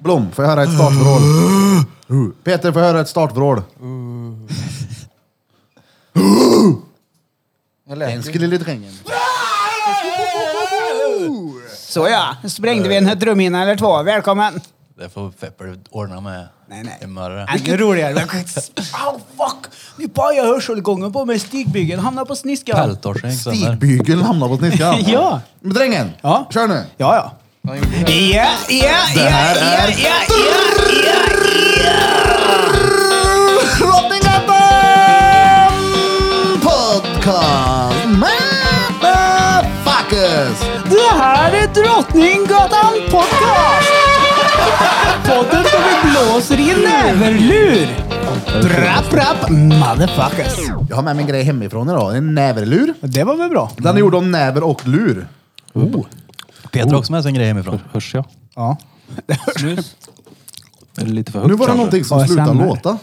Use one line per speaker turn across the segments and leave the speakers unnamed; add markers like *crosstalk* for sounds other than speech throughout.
Blom, får jag höra ett
*gasps*
startvrål? Uh. Peter, får jag höra ett startvrål?
Uh.
Jag lät ju.
Skulle lite drängen.
Så ja, nu sprängde vi en drumhinna eller två. Välkommen!
Det får Pepper ordna med
Nej, nej.
imorgon.
Ännu roligare. Au, fuck! Nu pajade hörselgången på mig. Stigbygeln hamnade på sniskan.
Pältorsen gick sönder.
Stigbygeln hamnar på sniskan.
*laughs* Ja.
Men drängen,
Ja.
kör nu.
Ja, ja.
Han gjorde
Ja,
det.
ja, ja, ja, ja, ja,
Drottninggatan podcast motherfuckers.
Det här är Drottninggatan Podcast! Podden där vi blåser i en näverlur. Brapp, brapp, motherfuckers.
Jag har med mig en grej hemifrån idag. En näverlur.
Det var väl bra?
Den är
Mm.
gjord av näver och lur.
Peter har också med sig en grej hemifrån.
Hörs jag?
Ja.
Snus? Är det lite för högt
Nu var det
kanske?
någonting som
Ja, jag
slutade
känner.
låta.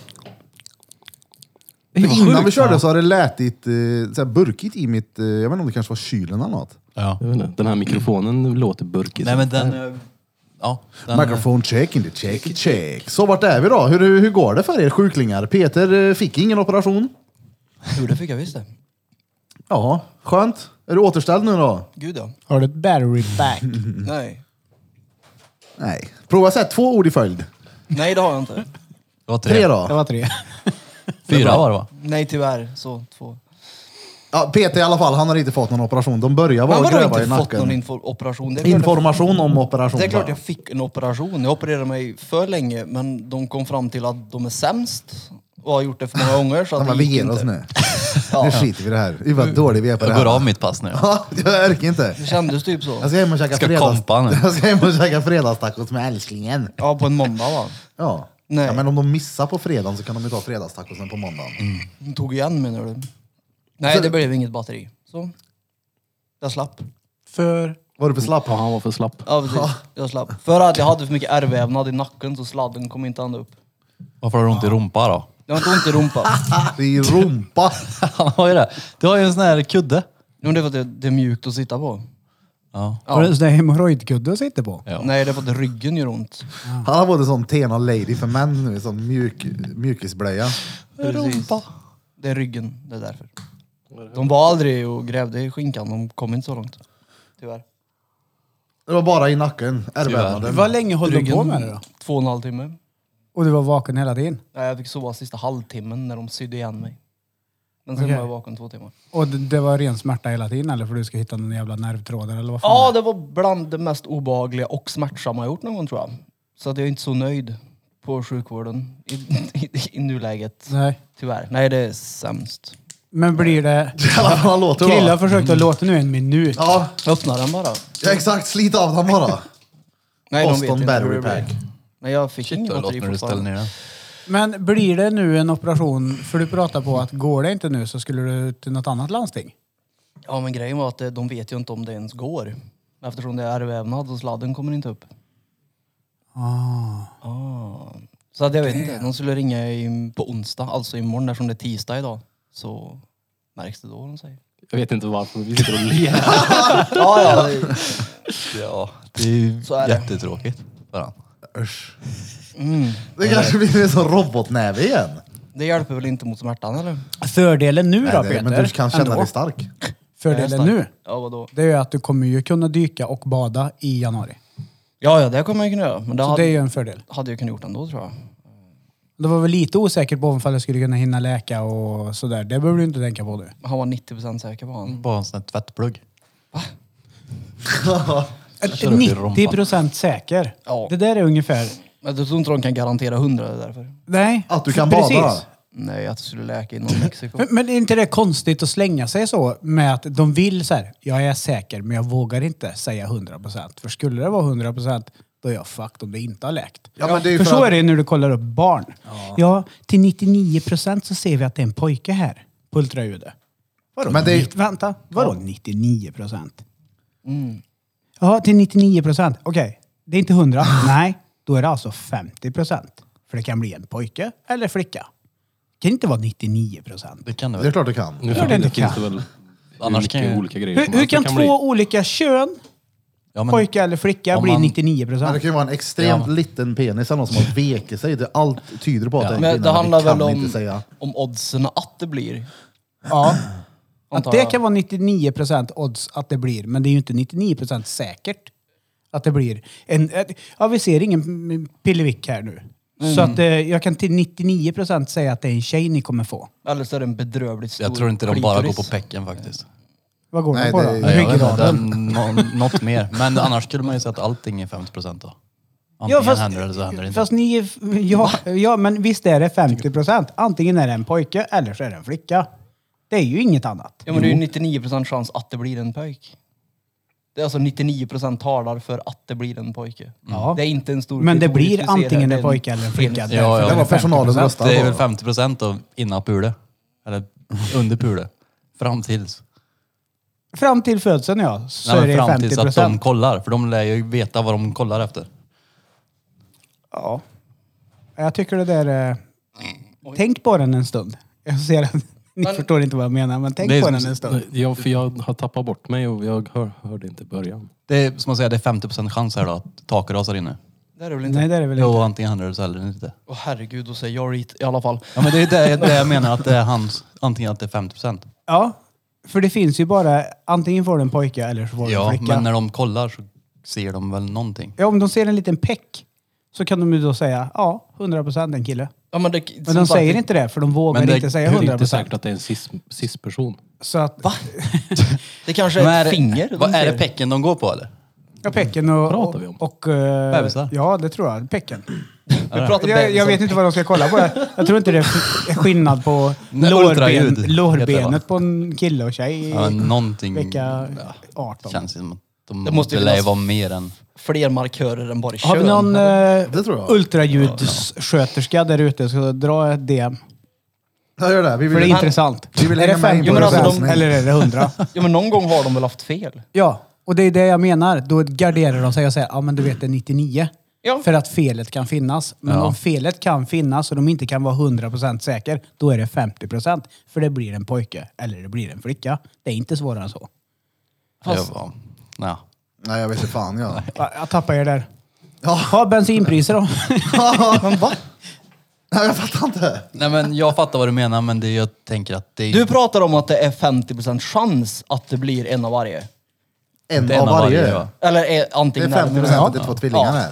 Det var
Innan
sjukt,
vi körde
va?
så har det lätit eh, såhär burkigt i mitt... Eh, jag vet inte om det kanske var kylen eller något.
Ja.
Jag vet inte, Den här mikrofonen låter burkig.
Nej men den... eh, Ja. Den,
Microphone check, in the check, check. Så vart är vi då? Hur, hur går det för er sjuklingar? Peter eh, fick ingen operation.
Jo, det fick jag visst det.
Ja, skönt. Är du återställd nu då?
Gud ja.
Har du ett battery back?
Mm.
Nej.
Nej. Prova säga två ord i följd.
Nej, det har jag inte.
Det var tre.
Tre
Det
då.
var tre.
Fyra var det va?
Nej, tyvärr. Så, två.
Ja, Peter i alla fall, han har inte fått någon operation. De börjar
Men
bara
vadå,
gräva i
inte fått någon
nacken.
info- operation? Det är klart jag-
Information om operation.
Det är klart
bara.
jag fick en operation. Jag opererade mig för länge, men de kom fram till att de är sämst och har gjort det för
*laughs*
många gånger. Så
Ja,
att
men
det
vi
gick
ger
inte.
oss nu. Nu skiter vi i det här. Gud vad dåliga vi är på det
Jag
här.
går av mitt pass nu.
*laughs* Ja, jag orkar inte.
Det kändes typ så.
Jag ska hem och käka,
Ska
fredags...
kompa nu.
*laughs* jag ska hem och käka fredagstacos med älsklingen.
Ja, på en måndag va?
Ja.
Nej.
ja. Men om de missar på fredagen så kan de ju ta fredagstacosen på måndagen.
Mm.
Hon tog igen menar du? Nej,
Så-
det blev inget batteri. Så. Jag slapp.
För?
Var du för slapp?
Ja, han var för slapp.
*laughs*
Ja, precis. Jag slapp. För att jag hade för mycket ärrvävnad i nacken så sladden kom inte ända upp.
Varför har du ont i rumpa då?
Jag har inte ont i rumpan.
*laughs* I rumpa.
*laughs* Han har ju det. Du har ju en sån här kudde.
Jo, men det är för att det, det är mjukt att sitta på.
Ja.
Har du en sån där hemorrojdkudde att sitta på?
Ja.
Nej, det är för att ryggen gör ont.
Han har både sån Tena Lady för män nu, sån mjuk, mjukisblöja.
Precis. Det är ryggen, det är därför. De var aldrig och grävde i skinkan, de kom inte så långt. Tyvärr.
Det var bara i nacken,
Hur
ärrvävnaden.
var länge höll du på med det då?
två och en halv timme.
Och du var vaken hela tiden?
Nej, Jag fick sova sista halvtimmen när de sydde igen mig. Men sen
Okej.
var jag vaken två timmar.
Och det, det var ren smärta hela tiden eller? För du ska hitta någon jävla nervtrådar eller vad fan?
Ja, det var bland det mest obehagliga och smärtsamma jag gjort någon gång tror jag. Så att jag är inte så nöjd på sjukvården i, *laughs* i, i nuläget.
Nej.
Tyvärr. Nej, det är sämst.
Men blir det...
Jävlar *laughs* vad han låter
Krilla
va?
har försökt att låta nu en minut.
Ja,
Öppna den bara.
ja, exakt. Slit av den bara.
Nej, de vet
Boston
inte hur
Battery
det blir.
Pack.
Men jag fick
Shit,
ingen
vad det låter
batteri
när du ställer
fortfarande.
ner den.
Men blir det nu en operation, för du pratar på att går det inte nu så skulle du till något annat landsting?
Ja, men grejen var att eh, de vet ju inte om det ens går. Eftersom det är ärrvävnad och sladden kommer inte upp.
Ah.
Ah. Så att jag vet inte. De skulle ringa i, på onsdag, alltså imorgon eftersom det är tisdag idag. Så märks det då vad de säger.
Jag vet inte varför vi sitter och ler.
Ja, ja. det-
Ja, det är ju
Så är det.
jättetråkigt för han.
Usch.
Mm.
Det kanske blir en sån robotnäve igen.
Det hjälper väl inte mot smärtan eller?
Fördelen nu då
Nej, det-
Peter,
men du kan känna
ändå,
dig stark.
fördelen
Jag är
nu,
stark. Ja, vadå?
det är ju att du kommer ju kunna dyka och bada i januari.
Ja, ja, det kommer jag kunna göra. Men det,
Så
hade,
det är ju en fördel.
hade jag kunnat gjort ändå tror jag.
Det var väl lite osäker på om jag skulle kunna hinna läka och sådär. Det behöver du inte tänka på nu.
Han var 90% säker på han.
Bara en sån här tvättplugg. kör upp i rumpan.
90 procent säker.
Ja.
Det där är ungefär...
Men du tror inte de kan garantera 100 det är därför?
Nej.
Att du kan
precis.
bada.
Nej, att du skulle läka inom Mexiko.
Men, men är inte det konstigt att slänga sig så med att de vill så här, jag är säker men jag vågar inte säga 100%. För skulle det vara 100% då är jag fucked om det inte har läkt.
Ja, men det är ju
för
för
så
att-
är det ju när du kollar upp barn. Ja. till 99% så ser vi att det är en pojke här på ultraljudet. Vadå?
Men det är-
nitt- Vänta, vadå 99%? Jaha, till 99%. Okej, det är inte 100. Nej, då är det alltså 50%. För det kan bli en pojke eller flicka. Det kan inte vara 99%.
Det kan du
Det är
väl?
klart du kan.
Nu
Klart det inte
finns
kan.
det väl
Annars
hur mycket
kan jag-
olika grejer
Hur,
som
hur
helst. Det
kan två
bli-
olika kön
Ja, men-
Pojke eller flicka
Om
blir
man-
99
Men det
procent.
kan ju vara en extremt
Ja.
liten penis eller någon som har vekit sig. Det, allt tyder på att det är en
Men
kvinna,
det handlar
kan
väl
vi inte
om,
säga.
om oddsen att det blir.
Ja. Att
Antar
det
jag.
kan vara 99 procent odds att det blir, men det är ju inte 99 procent säkert att det blir. En, ett- ja, vi ser ingen pillevick här nu. Så att eh, jag kan till 99 procent säga att det är en tjej ni kommer få.
Eller så är det en bedrövligt stor
Jag tror inte de bara går
klitoris.
på pecken faktiskt.
Vad går
Nej,
den på
det
då?
är-
Nej, jag vet inte,
Ryggraden?
nå- Något mer. Men annars skulle man ju säga att allting är 50 procent då. Antingen händer det eller så händer det inte.
Fast ni, är- ja, ja, men visst är det 50 procent. Antingen är det en pojke eller så är det en flicka. Det är ju inget annat.
Ja men det är ju 99% chans att det blir en pojk. Det är alltså 99% talar för att det blir en pojke.
Ja.
Det är inte en stor
Men det
klitoris vi
blir
ser här,
antingen
det är
en pojke eller en flicka.
penis.
Ja, ja.
Det var personalen röstade.
Det är
på.
väl 50 procent då innan pule. Eller under pule. Fram tills.
Fram till födseln ja, så
Nej,
är
men
det
fram
50
tills att de
procent.
kollar. För de lär ju veta vad de kollar efter.
Ja. Jag tycker det där... Eh, tänk på den en stund. Jag ser att *laughs* ni
Men-
förstår inte vad jag menar, men tänk
Det är
på
som-
den en stund.
Jag, för jag har tappat bort mig och jag hör, hörde inte början.
Det är som att säga, det är 50 procent chans här då att taket rasar inne.
Det är det väl inte?
Nej, det är det väl inte.
Jo, antingen händer det så händer det inte.
Åh herregud, då säger jag rit i alla fall.
Ja, men det är det, det jag menar att det är hans. Antingen att det är 50 procent.
Ja, för det finns ju bara... Antingen får du en pojke eller så får du
Ja,
en flicka.
men när de kollar så ser de väl någonting.
Ja, om de ser en liten peck så kan de ju då säga ja, 100 procent en kille.
Ja, men det,
Men
som
de
sagt,
säger inte det, för de vågar
Men det-
inte säga
Det är
100
inte säkert
procent.
att det är en cis- cis-person.
Så att,
Det kanske är ett finger. de
Vad är
ser.
det pecken de går på eller?
ja, pecken och...
Pratar vi om?
Och, eh,
Bebisar?
ja, det tror jag. Pecken.
Vi pratar
Jag, jag
bebisar.
vet inte vad de ska kolla på. Jag, jag tror inte det är f- skillnad på
Nej,
lårben,
ultraljud heter det, va?
lårbenet på en kille och tjej.
Ja, någonting.
Vecka
Ja,
18.
känns som att de
Det måste
det
ju
lär ju
finnas-
vara mer än...
Fler markörer än bara i
Har vi
kön.
någon
Det tror
uh,
jag.
ultraljudssköterska där ute? Ska jag dra ett DM?
Ja, gör det. Vi
För det är
vill,
intressant.
vi vill
är det
hänga med in
50
på
men alltså
lösning.
eller är det 100?
Ja, men någon gång har de väl haft fel?
Ja, och det är det jag menar. Då garderar de sig och säger ja men du vet det är 99.
Ja.
För att felet kan finnas. Men
Ja.
om felet kan finnas och de inte kan vara 100% säker, då är det 50%. För det blir en pojke eller det blir en flicka. Det är inte svårare än så.
Fast-
Ja, ja.
Nej, jag vet inte fan jag.
Ja, Jag tappar er där.
Ja. *laughs*
Ja, bensinpriser då. *laughs*
Men va? Nej, jag fattar inte.
Nej men jag fattar vad du menar men det jag tänker att det är...
Du pratar om att det är 50% chans att det blir en av varje.
En,
det är
av varje.
va?
Eller är
Det är
antingen
50
eller.
procent att det är två tvillingar
Ja.
här.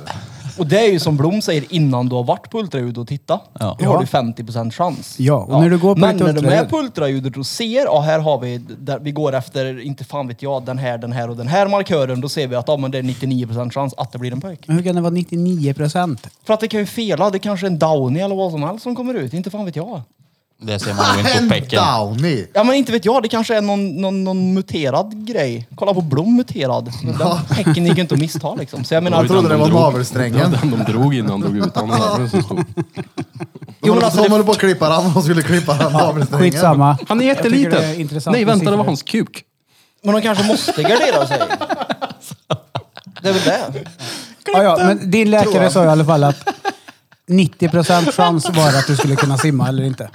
Och det är ju som Blom säger, innan du har varit på ultraljud och titta,
Ja.
då har du 50% chans.
Ja, och när du går på
Men
ett
när du är
ultraljud-
på ultraljudet och ser, ja här har vi, där vi går efter, inte fan vet jag, den här, den här och den här markören, då ser vi att ja, men det är 99% chans att det blir en pojk.
Men hur kan det vara 99%?
För att det kan ju fela, det kanske är en downy eller vad som helst som kommer ut, inte fan vet jag.
Det ser man ju inte
*laughs*
på
En
pecken.
downy!
Ja men inte vet jag, det kanske är någon, någon, någon muterad grej. Kolla på Blom muterad. Men Den häcken gick ju inte att missta liksom. Så jag menar,
Jag trodde det var
drog.
navelsträngen.
Det var den de drog innan de drog ut honom. Det var den som
*laughs*
stod.
De
men
håller
alltså
de
det-
håller på att klippa den, de skulle klippa den navelsträngen.
Skitsamma.
Han är
Jag tycker
jätteliten!
det är intressant
Nej
med
vänta, det var
siffror.
hans kuk.
Men de kanske måste
*laughs*
gardera sig. Det är väl det.
Ja, ja, men din läkare sa i alla fall att 90% chans var att du skulle kunna simma eller inte.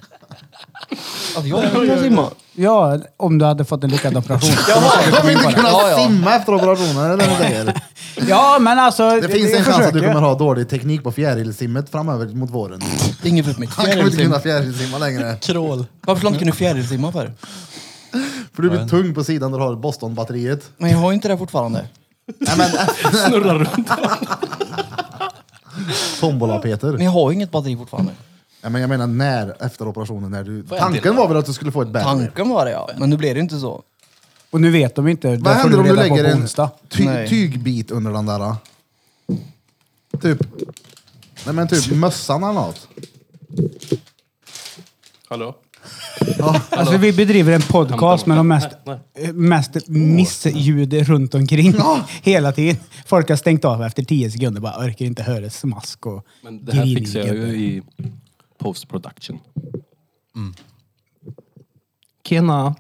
Att jag kan simma.
Ja, om du hade fått en lyckad operation.
*laughs* De kommer inte kunna
Ja, ja.
simma efter operationen, eller vad säger.
Ja, men alltså...
Det finns en
jag
chans att du
försöker.
kommer ha dålig teknik på fjärilsimmet framöver mot våren.
Inget för mitt
Han kommer inte
fjärilsim.
kunna fjärilsimma längre.
Krål.
Varför skulle inte kunna fjärilsimma för?
För du blir tung på sidan när du har Boston-batteriet.
Men jag har ju inte det fortfarande.
Nej men,
Snurrar runt.
*laughs* tombola-Peter.
Men jag har ju inget batteri fortfarande.
Nej, men jag menar när, efter operationen, när du...
jag till
Tanken var väl att du skulle få ett bättre.
Tanken var det ja, men nu blev det ju inte så.
Och nu vet de inte. Det
Vad
får
händer om du
reda på
lägger
på
en
onsdag.
ty-
Nej.
tygbit under den där? Typ... Nej men typ mössan eller något.
Hallå?
Alltså vi bedriver en podcast med de mest, eh, mest missljud runt omkring *laughs* hela tiden. Folk har stängt av efter 10 sekunder. Bara orkar inte höra smask och
Men det här
grinig
fixar jag ju
gubbe. Mm.
i post production. Kena.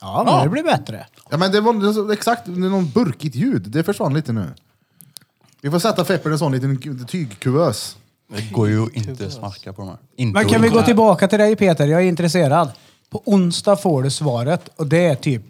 Ja, men det blir bättre.
Ja men det var det var så- exakt, det är någon burkigt ljud. Det försvann lite nu. Vi får sätta Feppel i en sån liten ku- tygkuvös.
Det går ju inte att smaska på de här. Inte
Men kan vi
att-
gå tillbaka till dig Peter? Jag är intresserad. På onsdag får du svaret och det är typ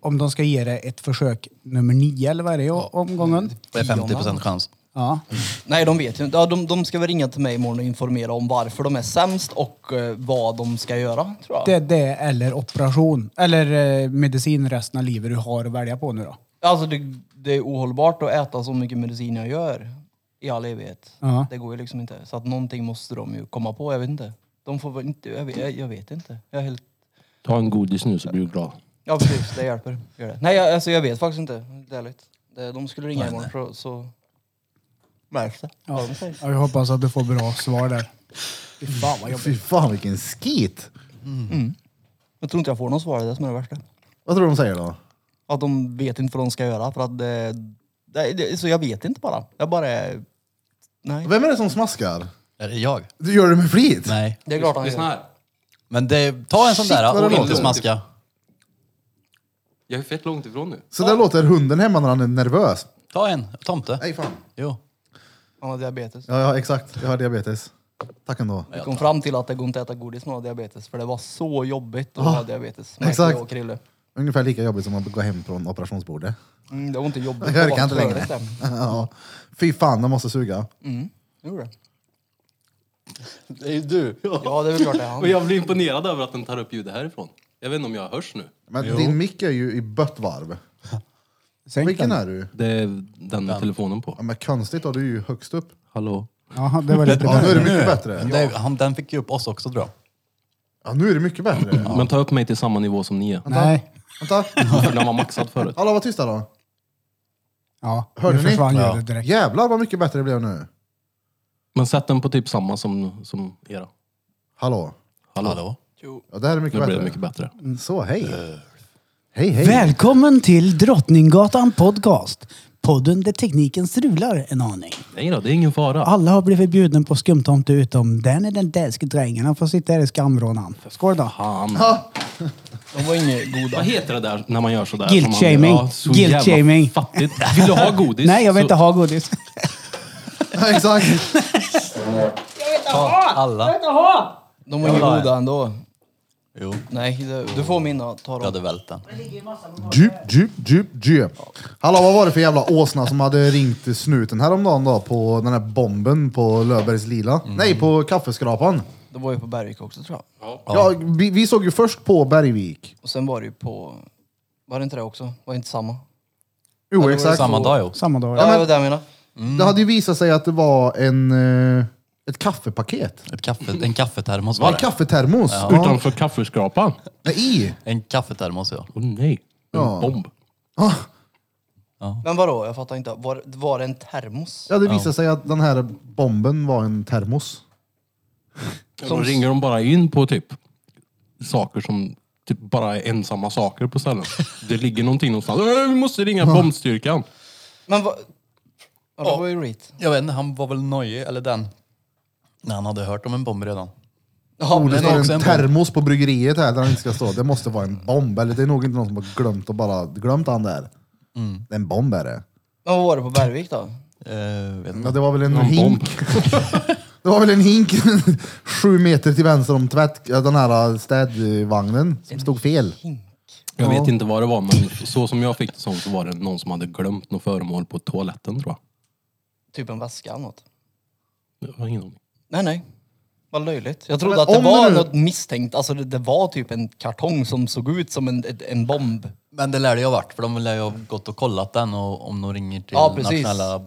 om de ska ge det ett försök nummer nio eller vad är det i omgången?
Mm.
Det är 50 procent chans.
Ja.
Nej, de vet ju inte. Ja, de, de ska väl ringa till mig imorgon och informera om varför de är sämst och eh, vad de ska göra, tror jag.
Det är det eller operation. Eller eh, medicin resten av livet du har att välja på nu då.
Alltså, det, det är ohållbart att äta så mycket medicin jag gör i all evighet.
Ja.
Det går ju liksom inte. Så att någonting måste de ju komma på, jag vet inte. De får väl inte, jag vet, jag vet inte. Jag är helt...
Ta en godis nu så blir du glad.
Ja, precis. Det hjälper. Gör det. Nej, jag, alltså, jag vet faktiskt inte. Det är ärligt. Det- De skulle ringa imorgon, så... så... Märks det? Ja. de säger.
Ja, jag hoppas att du får bra svar där. Fy fan vad jobbigt.
Fy fan vilken skit!
Jag tror inte jag får något svar, det är det som är det värsta.
Vad tror du de säger då?
Att de vet inte vad de ska göra för att det, det, det, Så jag vet inte bara. Jag bara är... Nej.
Vem är det som smaskar?
Är det jag?
Du gör det med flit?
Nej.
Det är klart han gör.
här.
Men det, ta en sån
Shit, vad
där
det
och inte
låter.
smaska.
Jag är fett långt ifrån nu.
Så där låter hunden hemma när han är nervös.
Ta en. Tomte.
Nej fan.
Jo.
Han har diabetes.
Ja, ja exakt. Jag har diabetes. Tack ändå.
Vi kom fram till att det går inte att äta godis när man har diabetes för det var så jobbigt att
Ja,
ha diabetes. märkte
Ah, exakt.
Jag och Krille.
Ungefär lika jobbigt som att gå hem från operationsbordet.
Mm, det var inte jobbigt.
Jag
det var
orkar inte längre.
förrätt det.
*laughs* ja. Fy fan, de måste suga.
Mm, det gjorde det.
Det är ju du.
Ja, det är väl klart det är
Och
han.
jag blir imponerad över att den tar upp ljudet härifrån. Jag vet inte om jag hörs nu.
Men din mick är ju i böttvarv.
Sänk
Vilken
den.
är du?
Det är den med telefonen på.
Ja, men konstigt då, du är ju högst upp.
Hallå?
Jaha, det var lite
Ja, nu är
bättre.
det mycket bättre.
Det, han, den fick ju upp oss också tror jag.
Ja, nu är det mycket bättre.
Men ta upp mig till samma nivå som ni är.
Nej.
Vänta.
För den var maxad förut.
Alla var tysta då.
Ja,
Hörde
nu
ni?
försvann
Ja.
ljudet direkt.
Jävlar vad mycket bättre det blev nu.
Men sätt den på typ samma som, som era.
Hallå.
Hallå?
Hallå?
Jo.
Ja, det här är mycket
Nu blir
bättre.
det mycket bättre.
Så, hej. Hej, hej.
Välkommen till Drottninggatan Podcast. Podden där tekniken strular en aning.
Nej då, det är ingen fara.
Alla har blivit bjudna på skumtomte utom den är den danske drängen. Han får sitta här i skamvrån Skål då.
Fan.
*laughs* De var inget
Vad
goda.
heter det där när man gör sådär?
Guilt
Som man-
shaming.
Ja, så
Guilt
jävla
shaming.
Fattigt. Vill du ha godis?
Nej, jag vill inte
så-
ha godis.
*laughs*
*laughs*
Ja, exakt.
Alla?
De var inget
Ja,
goda ändå.
Jo.
Nej, det, du får mina. Ta
Jag hade
dem.
vält den.
Djup, djup, djup, djup. Hallå, vad var det för jävla åsna som hade ringt snuten häromdagen då på den här bomben på Löfbergs Lila? Nej, på kaffeskrapan.
Det var ju på Bergvik också tror jag.
Ja, vi, vi såg ju först på Bergvik.
Och sen var det ju på... Var det inte det också? Var det inte samma?
Jo,
det
exakt.
Samma dag jo.
Samma dag.
Ja, det var det jag menade.
Det hade ju visat sig att det var en, eh, ett kaffepaket.
Ett kaffe, en kaffetermos var
En
det.
kaffetermos. Ja.
Utanför kaffeskrapan?
Nej, i.
En kaffetermos ja.
Åh nej. En
Ja.
bomb.
Ah,
Men vadå? Jag fattar inte. Var, var det en termos?
Det hade visat sig att den här bomben var en termos.
Då ringer de bara in på typ saker som typ bara är ensamma saker på *laughs* ställen. Det ligger någonting någonstans. "Äh, Vi måste ringa bombstyrkan.
Men vad... Ja, det var ju REIT.
Jag vet inte, han var väl nojig, eller den. Nej, han hade hört om en bomb redan.
Ja,
Oh, det
men,
står
också
en
en
termos på bryggeriet här där den inte ska stå. Det måste vara en bomb. Eller det är nog inte någon som har glömt och bara glömt han där. Det är en bomb är det.
men vad var det på Bergvik då?
Eh, vet
Ja,
inte.
det var väl en,
En bomb.
hink. *laughs* Det var väl en hink *laughs* sju meter till vänster om tvätt, ja, den här äh, städvagnen som stod fel.
Jag vet inte vad det var, men så som jag fick det som så var det någon som hade glömt något föremål på toaletten tror jag.
Typ en väska eller något?
Jag har ingen aning.
Nej, nej. Vad löjligt. Jag trodde
Men
att det
om
var
nu-
något misstänkt. Alltså det, det var typ en kartong som såg ut som en, ett- en bomb.
Men det lär det ju ha varit, för de lär ju ha gått och kollat den och om de ringer till
Ja, precis.
nationella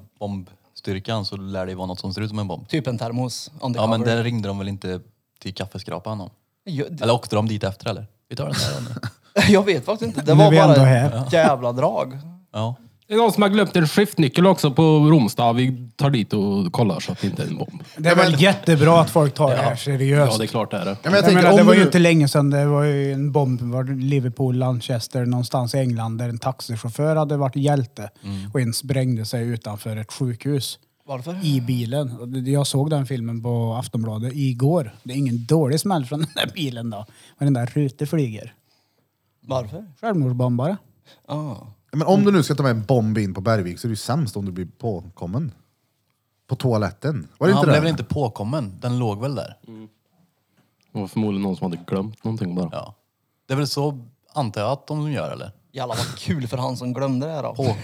bombstyrkan så lär det ju vara något som ser ut som en bomb.
Typ en termos.
Ja,
Undercover.
men det ringde de väl inte till kaffeskrapan om?
jag, det-
Eller åkte de dit efter eller? Vi tar den där då nu.
*laughs* jag vet faktiskt inte. Det
Nu är
var
vi ändå
bara
här.
ett jävla drag.
Ja.
Det är någon som har glömt en skiftnyckel också på Romsta. Vi tar dit och kollar så att det inte är en bomb.
Det är väl jättebra att folk tar det här
Ja,
seriöst.
det är klart det är det.
Ja, men
Jag
jag tänker,
menar, det
om
var ju
nu-
inte länge sedan det var ju en bomb var det Liverpool, Manchester, någonstans i England där en taxichaufför hade varit hjälte och en sprängde sig utanför ett sjukhus
Varför?
i bilen. Och det- Jag såg den filmen på Aftonbladet igår. Det är ingen dålig smäll från *laughs* den där bilen då. Men den där rutor flyger.
Varför?
Självmordsbombare.
Ah.
Ja, Men om du nu ska ta med en bomb in på Bergvik så är det ju sämst om du blir påkommen. På toaletten. Var det
Han
inte
blev
det?
väl inte påkommen, den låg väl där.
Det var förmodligen någon som hade glömt någonting bara.
Ja. Det är väl så, antar jag, att de gör eller?
Jävlar vad kul för han som glömde det här då.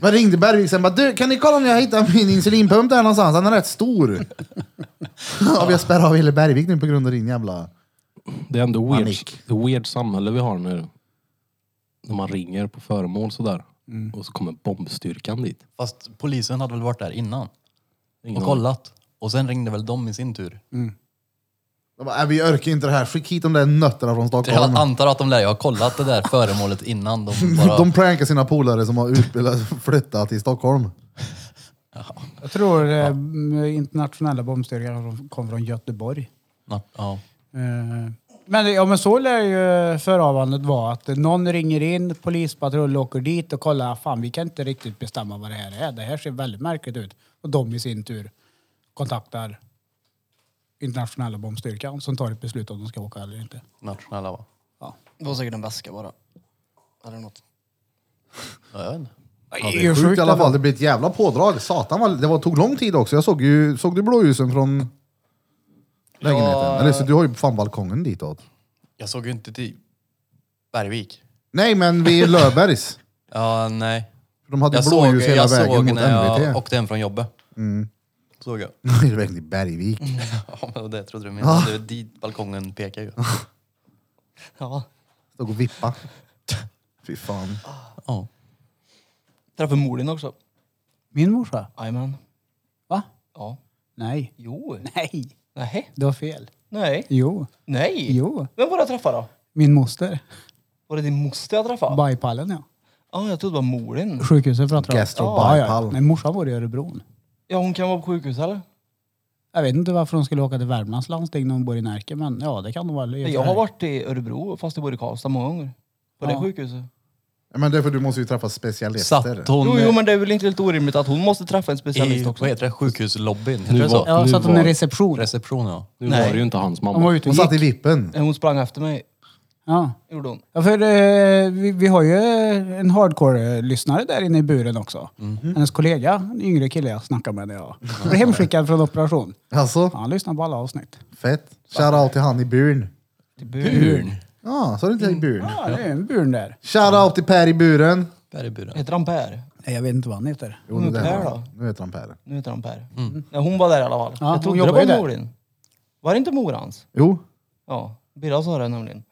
Men ringde Bergviksen bara, du kan ni kolla om jag hittar min insulinpump där någonstans? Den är rätt
*laughs*
stor. ja, vi har spärrat av hela Bergvik nu på grund av din jävla...
Det är ändå weird,
Panik.
det weird samhälle vi har nu. När man ringer på föremål sådär. Och så kommer bombstyrkan dit.
Fast polisen hade väl varit där innan
Ingen
och kollat. Och sen ringde väl de i sin tur.
De bara, "Nej, vi orkar inte det här. Skicka hit de där nötterna från Stockholm.
*laughs* Jag antar att de lär har kollat det där föremålet innan de bara...
*laughs* De prankar sina polare som har utbildat, *laughs* flyttat till Stockholm.
Jag tror eh, m- internationella bombstyrkan som kom från Göteborg.
Ja, ja.
Eh, Men, ja, men så lär ju förhavandet vara. Att någon ringer in, polispatrull åker dit och kollar. Fan, vi kan inte riktigt bestämma vad det här är. Det här ser väldigt märkligt ut. Och de i sin tur kontaktar internationella bombstyrkan som tar ett beslut om de ska åka eller inte.
Nationella va?
Det var säkert en väska bara. Eller något.
Ja, jag vet inte.
Ja, det är sjukt i alla fall. Det blir ett jävla pådrag. Satan vad, det var, tog lång tid också. Jag såg ju, såg du blåljusen från lägenheten? Eller så du har ju fan balkongen ditåt.
Jag såg ju inte till Bergvik.
Nej, men vid
*laughs*
Löfbergs.
Ja, nej.
De hade
Jag
ju
såg,
blåljus hela
jag
vägen
såg
mot
när
*laughs*
jag
NVT.
åkte hem från jobbet. Såg jag.
Hela vägen till Bergvik.
Ja, men det trodde du menade. Det är dit balkongen pekar ju.
Ja.
Stod och vippa. *laughs* Fy fan.
Ja.
Träffade mor din också.
Min morsa?
Jajamän.
Va?
Ja.
Nej.
Jo.
Nej.
Nej.
Du har fel.
Nej.
Jo.
Nej.
Jo.
Vem var det jag träffade då?
Min moster.
Var det din moster jag träffade? Ja,
Bajpallen ja.
jag trodde det var mor din.
Sjukhuset pratar jag om.
Gastro
Ja, ja.
bypass.
Men morsan var i Örebro.
Ja, hon kan vara på sjukhus eller?
Jag vet inte varför hon skulle åka till Värmlands landsting när hon bor i Närke, men ja det kan hon väl.
Jag har varit i Örebro fast jag bor i Karlstad många gånger. På det
Ja.
sjukhuset.
Men därför du måste ju träffa specialister.
Satt hon
Jo, jo, men det är väl inte helt orimligt att hon måste träffa
i
en specialist också.
vad heter det, sjukhuslobbyn? Heter
Nu
det så?
var-
Ja, så att hon
Nu
är
var-
reception.
Reception ja.
Nu
Nej.
var det ju inte hans
Hon var
mamma.
ute
Hon
och
satt i
gick.
vippen.
Hon sprang efter mig.
Ja.
Gjorde hon.
Ja, för eh, vi, vi har ju eh, en hardcore-lyssnare där inne i buren också.
Mhm.
Hennes kollega, en yngre kille jag snackade med när jag blev hemskickad från operation.
Alltså,
Ja, Han lyssnar på alla avsnitt.
fett. Shoutout till han i Burn.
Till Bur.
Ja, sa du inte i Burn?
Ja, det är en buren där.
Shoutout till Per i Buren.
Bergburen.
Heter han Per?
Nej, jag vet inte vad han heter.
Jo, det
Men
där
Per
var-
då?
Nu heter han Per.
Nu heter han Per. Nej, hon var där i alla fall.
Ja,
jag
hon
trodde det
jobbar ju
var
där.
mor din. Var det inte mor hans?
Jo.
Ja, Birra sa det nämligen.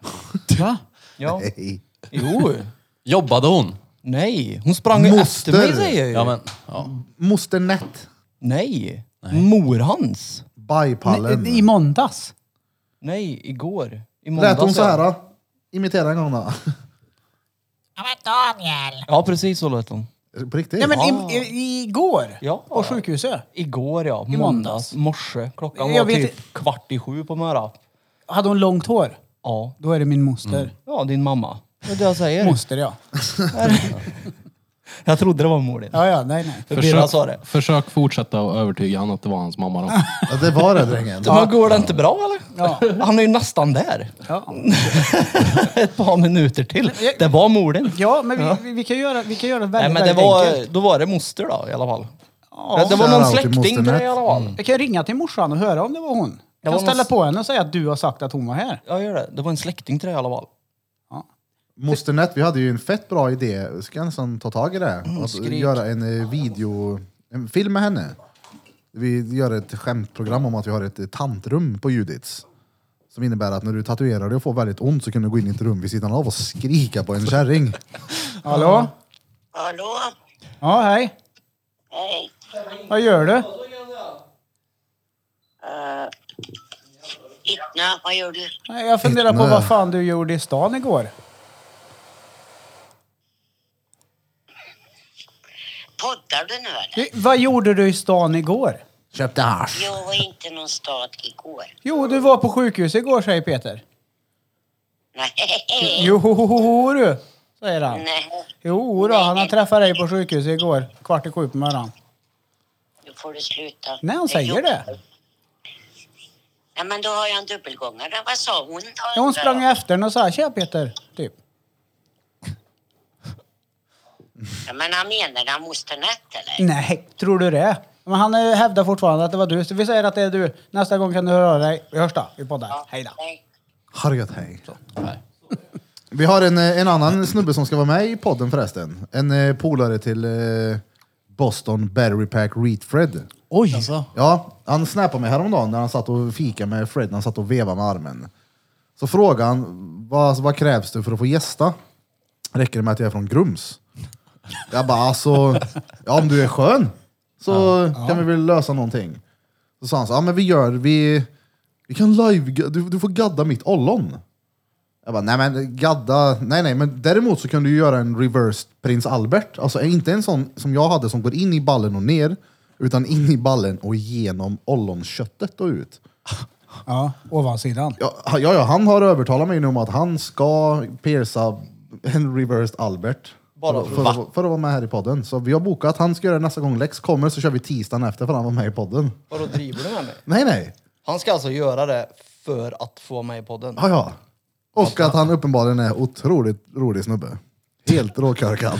Va?
Ja.
Hej.
*laughs* Jo.
Jobbade hon?
Nej, hon sprang ju
Moster.
efter mig säger jag ju.
Ja, men, ja.
Moster Nett.
Nej. mor hans.
Bajpallen.
I måndags?
Nej, igår. I måndags.
Lät hon så
ja.
här? då? Imitera en gång då. *laughs*
Ja, precis så lät hon.
På riktigt?
Nej, men
Ah.
i, i, igår?
Ja.
På sjukhuset?
Igår ja,
I måndags.
måndags. Morse. Klockan
Jag
var
vet
typ kvart i sju på morgonen.
Hade hon långt hår?
Ja.
Då är det min moster.
Ja, din mamma. Det är det jag säger.
Moster ja.
Jag trodde det var mor din.
Ja, ja, nej, nej.
För Birra sa det.
Försök, försök fortsätta och övertyga honom att det var hans mamma då.
Ja, det var det drängen.
Ja. Men går det inte bra eller?
Ja.
Han är ju nästan där. *laughs*
Ja.
Ett par minuter till. Det var mor din.
Ja, men vi, vi, vi kan göra, vi kan göra det
Nej
väldigt,
men det
väldigt
var,
enkelt.
då var det moster då i alla fall.
Ja.
det var någon
Shoutout till
släkting
moster
till det
Nett. Mm.
i alla fall.
Jag kan ringa till morsan och höra om det var hon. Jag
var
kan ställa
någon-
på henne och säga att du har sagt att hon var här.
Ja, gör det. Det var en släkting till det i alla fall.
Moster Nett, vi hade ju en fett bra idé. Vi ska nästan ta tag i det. Att
skrik.
göra en eh, video, en film med henne. Vi gör ett skämtprogram om att vi har ett eh, tantrum på Judits. Som innebär att när du tatuerar dig och får väldigt ont så kan du gå in i ett rum vid sidan av och skrika på en kärring.
Hallå?
Hallå?
Ja, hej.
Hej.
Vad gör du?
Uh, Itna, vad gör du?
Nej, Jag funderar på
Vittne.
vad fan du gjorde i stan igår.
Poddar du nu eller?
Du, Vad gjorde du i stan igår?
Köpte hasch.
Jag var inte någon stad igår.
Jo, du var på sjukhus igår, säger Peter.
Nej.
Jo, du, säger han.
Nej.
Jo, då, han har träffat dig på sjukhuset igår, kvart i sju på morgonen.
Nu får du sluta.
Nej, han
Jag
säger
jobbar.
det.
Ja, men då har jag en dubbelgångare. Vad sa hon då?
Ja, Hon
undrar
sprang
jag?
efter henne och sa tja Peter, typ.
Ja, men han menade han moster Nett eller?
Nej, tror du det? Men han eh, hävdar fortfarande att det var du. Så vi säger att det är du. Nästa gång kan du höra av dig. Vi hörs då. Vi poddar. Hej då.
Nej.
Har det gött, hej.
Nej.
Vi har en, eh, en annan snubbe som ska vara med i podden förresten. En eh, polare till eh, Boston Battery Pack Reed Fred.
Oj!
Alltså,
Ja, han snappade mig häromdagen när han satt och fika med Fred, när han satt och vevade med armen. Så frågade han, vad, vad krävs det för att få gästa? Räcker det med att jag är från Grums? Jag bara, alltså, ja, om du är skön så kan vi väl lösa någonting. Så sa han så, ja men vi gör, vi, vi kan live, du, du får gadda mitt ollon. Jag bara, nej men gadda, nej nej, men däremot så kan du ju göra en reversed prins Albert. Alltså inte en sån som jag hade som går in i ballen och ner, utan in i ballen och genom ollonköttet och ut.
Ja, ovansidan.
Ja, ja, ja, han har övertalat mig nu om att han ska pierca en reversed Albert.
Bara
för,
för-
för, att, för att vara med här i podden. Så vi har bokat, han ska göra det nästa gång Lex kommer så kör vi tisdagen efter för han var med i podden.
Vadå driver du med mig?
Nej nej,
Han ska alltså göra det för att få mig i podden.
ja ja. Och att han uppenbarligen är otroligt rolig snubbe. Helt råkörkad.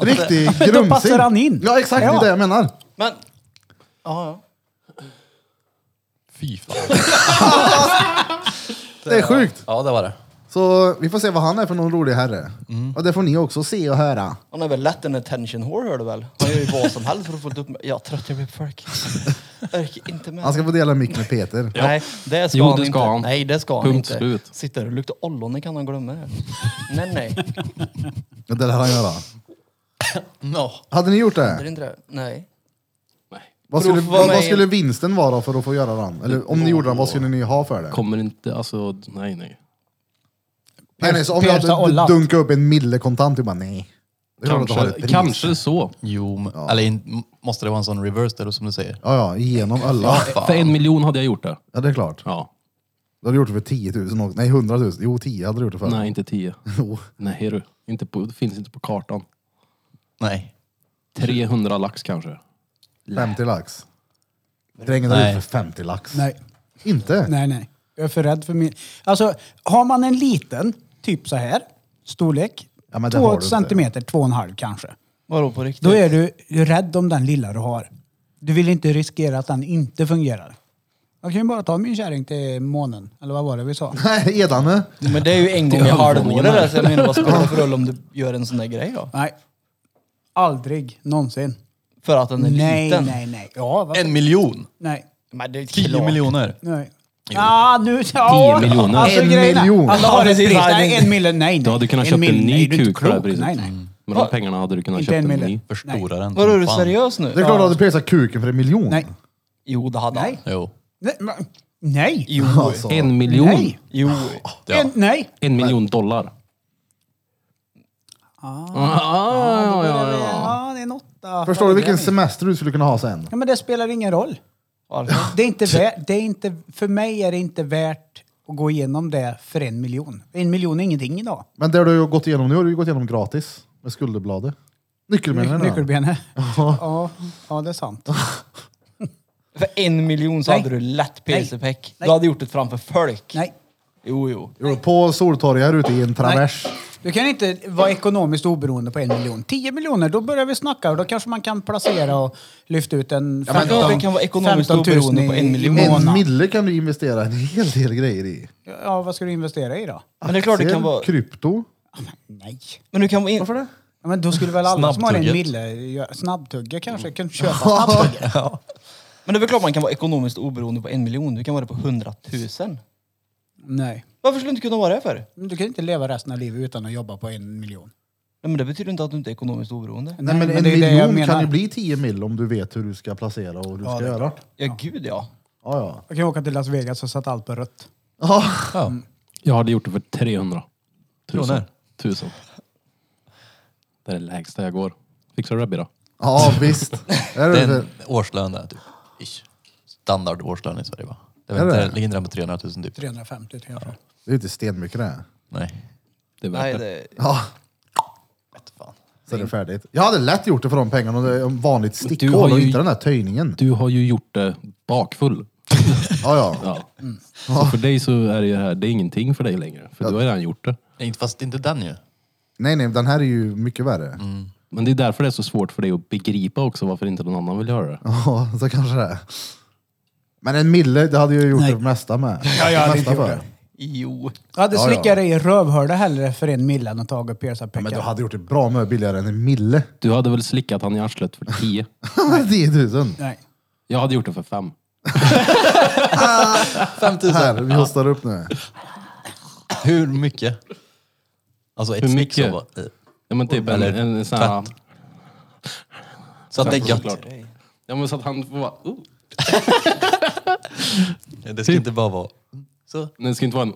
Riktig grumsing.
Då passar han in.
Ja exakt, det
Ja.
är det jag menar.
Men... Ja, ja.
fy fan.
Det är sjukt.
Ja, det var det.
Så vi får se vad han är för någon rolig herre. Och det får ni också se och höra.
Han är väl lätt en attention whore hör du väl? Han
*laughs*
gör ju vad som helst för att få upp mig. Jag är trött, jag blir på folk. Jag orkar inte med.
Han ska få dela mick med Peter.
Nej, det ska
Jo,
han
det
inte.
ska han.
Nej, det ska han
Punkt
inte.
slut.
Sitter och luktar ollon, det kan han glömma. det. Nej, nej.
Det lär han göra.
No.
Hade ni gjort
Det är
det?
inte det. Nej.
Nej.
Vad skulle,
Prova mig.
vad skulle vinsten vara då för att få göra den? Eller om ni gjorde den, vad skulle ni ha för det?
Kommer inte, alltså nej nej.
Nej, nej, så om
Persa
jag hade
Ollat.
dunkat upp en mille kontant, du bara nej. Det är klart att du har ett
Kanske,
pris.
kanske så.
Jo, men- eller in, m- måste det vara en sån reverse där som du säger?
Ja, ja, genom alla.
För en miljon hade jag gjort det.
Ja, det är klart.
Ja.
Då hade du gjort det för 10 000 också. Nej, 100 000. Jo, 10 hade du gjort det för.
Nej, inte tio.
Jo.
Nej du, inte på, det finns inte på kartan.
Nej.
300 lax kanske.
50 lax. Drängen hade
Nej.
gjort det för 50 lax.
Nej.
Inte?
Nej, nej. Jag är för rädd för min... Alltså, har man en liten, typ så här, storlek.
Ja, men det har du
två
inte.
centimeter, två och en halv kanske.
Vadå på riktigt?
Då är du rädd om den lilla du har. Du vill inte riskera att den inte fungerar. Jag kan ju bara ta min kärring till månen, eller vad var det vi sa?
*laughs* Nej, eh? Edane.
Men det är ju en gång i halvåret där, så jag menar vad spelar det för roll om du gör en sån där grej då?
Nej. Aldrig någonsin.
För att den är
Nej,
liten?
nej, nej. Ja, vad?
En miljon?
Nej.
Men det är
Tio
klart.
miljoner?
Nej. Ja, nu... Ja.
Tio miljoner.
En
grejen är-
miljon.
Alla har
Ja,
ett
precis.
pris.
Nej,
Nej,
det-
en miljon. Nej, nej.
Du hade kunnat
En
köpt en
miljon,
ny
nej, du är inte
kuk för det
klok.
priset.
Nej, nej.
Med de pengarna hade du kunnat
Inte
köpa en
en
ny.
miljon.
Förstora den.
Vadå,
som
är du
fan.
seriös nu?
Det är klart att du hade piercat kuken för en miljon.
Nej.
Jo, det hade han.
Nej.
Jo.
Nej. men- Nej.
Jo.
*laughs* Alltså.
En miljon?
Nej.
Jo.
Ja.
En, nej.
En miljon dollar. Ah, ja, ja, ja.
Ja, det är en åtta.
Förstår du vilken semester du skulle kunna ha sen?
Ja, men det spelar ingen roll.
Varför?
Det är inte värt, det är inte, för mig är det inte värt att gå igenom det för en miljon. En miljon är ingenting idag.
Men det du har gått igenom nu har du ju gått igenom gratis. Med skulderbladet. Nyckelbenen. ja.
Nyckelbenet. Ja, ja, det är sant.
För en miljon så
Nej.
hade du lätt PC-peck.
Nej.
Du hade gjort det framför folk.
Nej.
Jo, jo.
Jo, På Soltorget här ute i en travers.
Du kan inte vara ekonomiskt oberoende på en miljon. Tio miljoner, då börjar vi snacka och då kanske man kan placera och lyfta ut en
men
15
ja, vi kan vara ekonomiskt
15 000
oberoende på en
i- i
miljon.
månaden.
En mille kan du investera en hel del grejer i.
Ja, vad ska du investera i då?
Men det är klart det kan
Aktier,
vara...
Krypto.
Nej.
Men du kan vara in...
Varför det?
Ja, men då skulle väl alla som har en
Snabbtugget.
mille göra- snabbtugga
*laughs*
kanske kunna köpa snabbtugge.
Men det är väl klart man kan vara ekonomiskt oberoende på en miljon. Du kan vara det på hundratusen.
Nej.
Varför skulle du inte kunna vara det för? Nej,
Men du kan inte leva resten av livet utan att jobba på en miljon.
men det betyder inte att du inte är ekonomiskt oberoende.
Nej, men en
det är det jag
miljon
menar.
kan ju bli 10 mil om du vet hur du ska placera och hur du
Ja,
ska
det är
göra.
Ja, gud ja.
Ja, ja.
Jag kan åka till Las Vegas och sätta allt på rött.
Ja,
Ja.
Jag hade gjort det för 300. Tusen.
Kronor.
Tusen. Det är det lägsta jag går. Fixar du det Birra?
ja
*laughs*
visst. Är
Det
det,
är
det?
en årslön där typ. Ish. Standard årslön i Sverige va? Det är
Är
väl
det?
inte, ligger inte den på 300 000 typ?
350 tror jag.
det är inte stenmycket det.
Nej.
Det är värt
Nej,
det.
det...
Ja,
Vet fan.
så är det färdigt. Jag hade lätt gjort det för de pengarna. och det är en Vanligt
Du har
stickhål och
ju-
inte den där töjningen.
Du har ju gjort det bakfull.
Ja, ja.
Ja. Så för dig så är det ju här, det är ingenting för dig längre. För du har redan gjort det.
Nej, inte- fast inte den ju.
Nej, nej, den här är ju mycket värre.
Mm.
Men det är därför det är så svårt för dig att begripa också varför inte någon annan vill göra det.
*laughs* Ja, så kanske det är. Men en mille, det hade jag gjort det mesta med.
Ja, jag hade
mesta
inte gjort
för.
det.
Jo.
Jag hade
Ja, ja.
slickat dig i rövhörda hellre för en mille än att ta och pierca
Men du
peckan.
hade gjort det bra mycket billigare än en mille. *laughs*
Du hade väl slickat han i arslet för 10?
10 000.
Nej.
Jag hade gjort det för 5.
5 000.
Här, vi hostar upp nu.
Hur mycket? Alltså ett
Hur
Hur
mycket?
mycket? Så, bara, eh,
Ja men typ en,
Eller
en, en sån här...
så att det är gött.
Såklart. Ja men så att han får vara... Oh.
Det ska inte bara vara... Så.
Nej, det ska inte vara en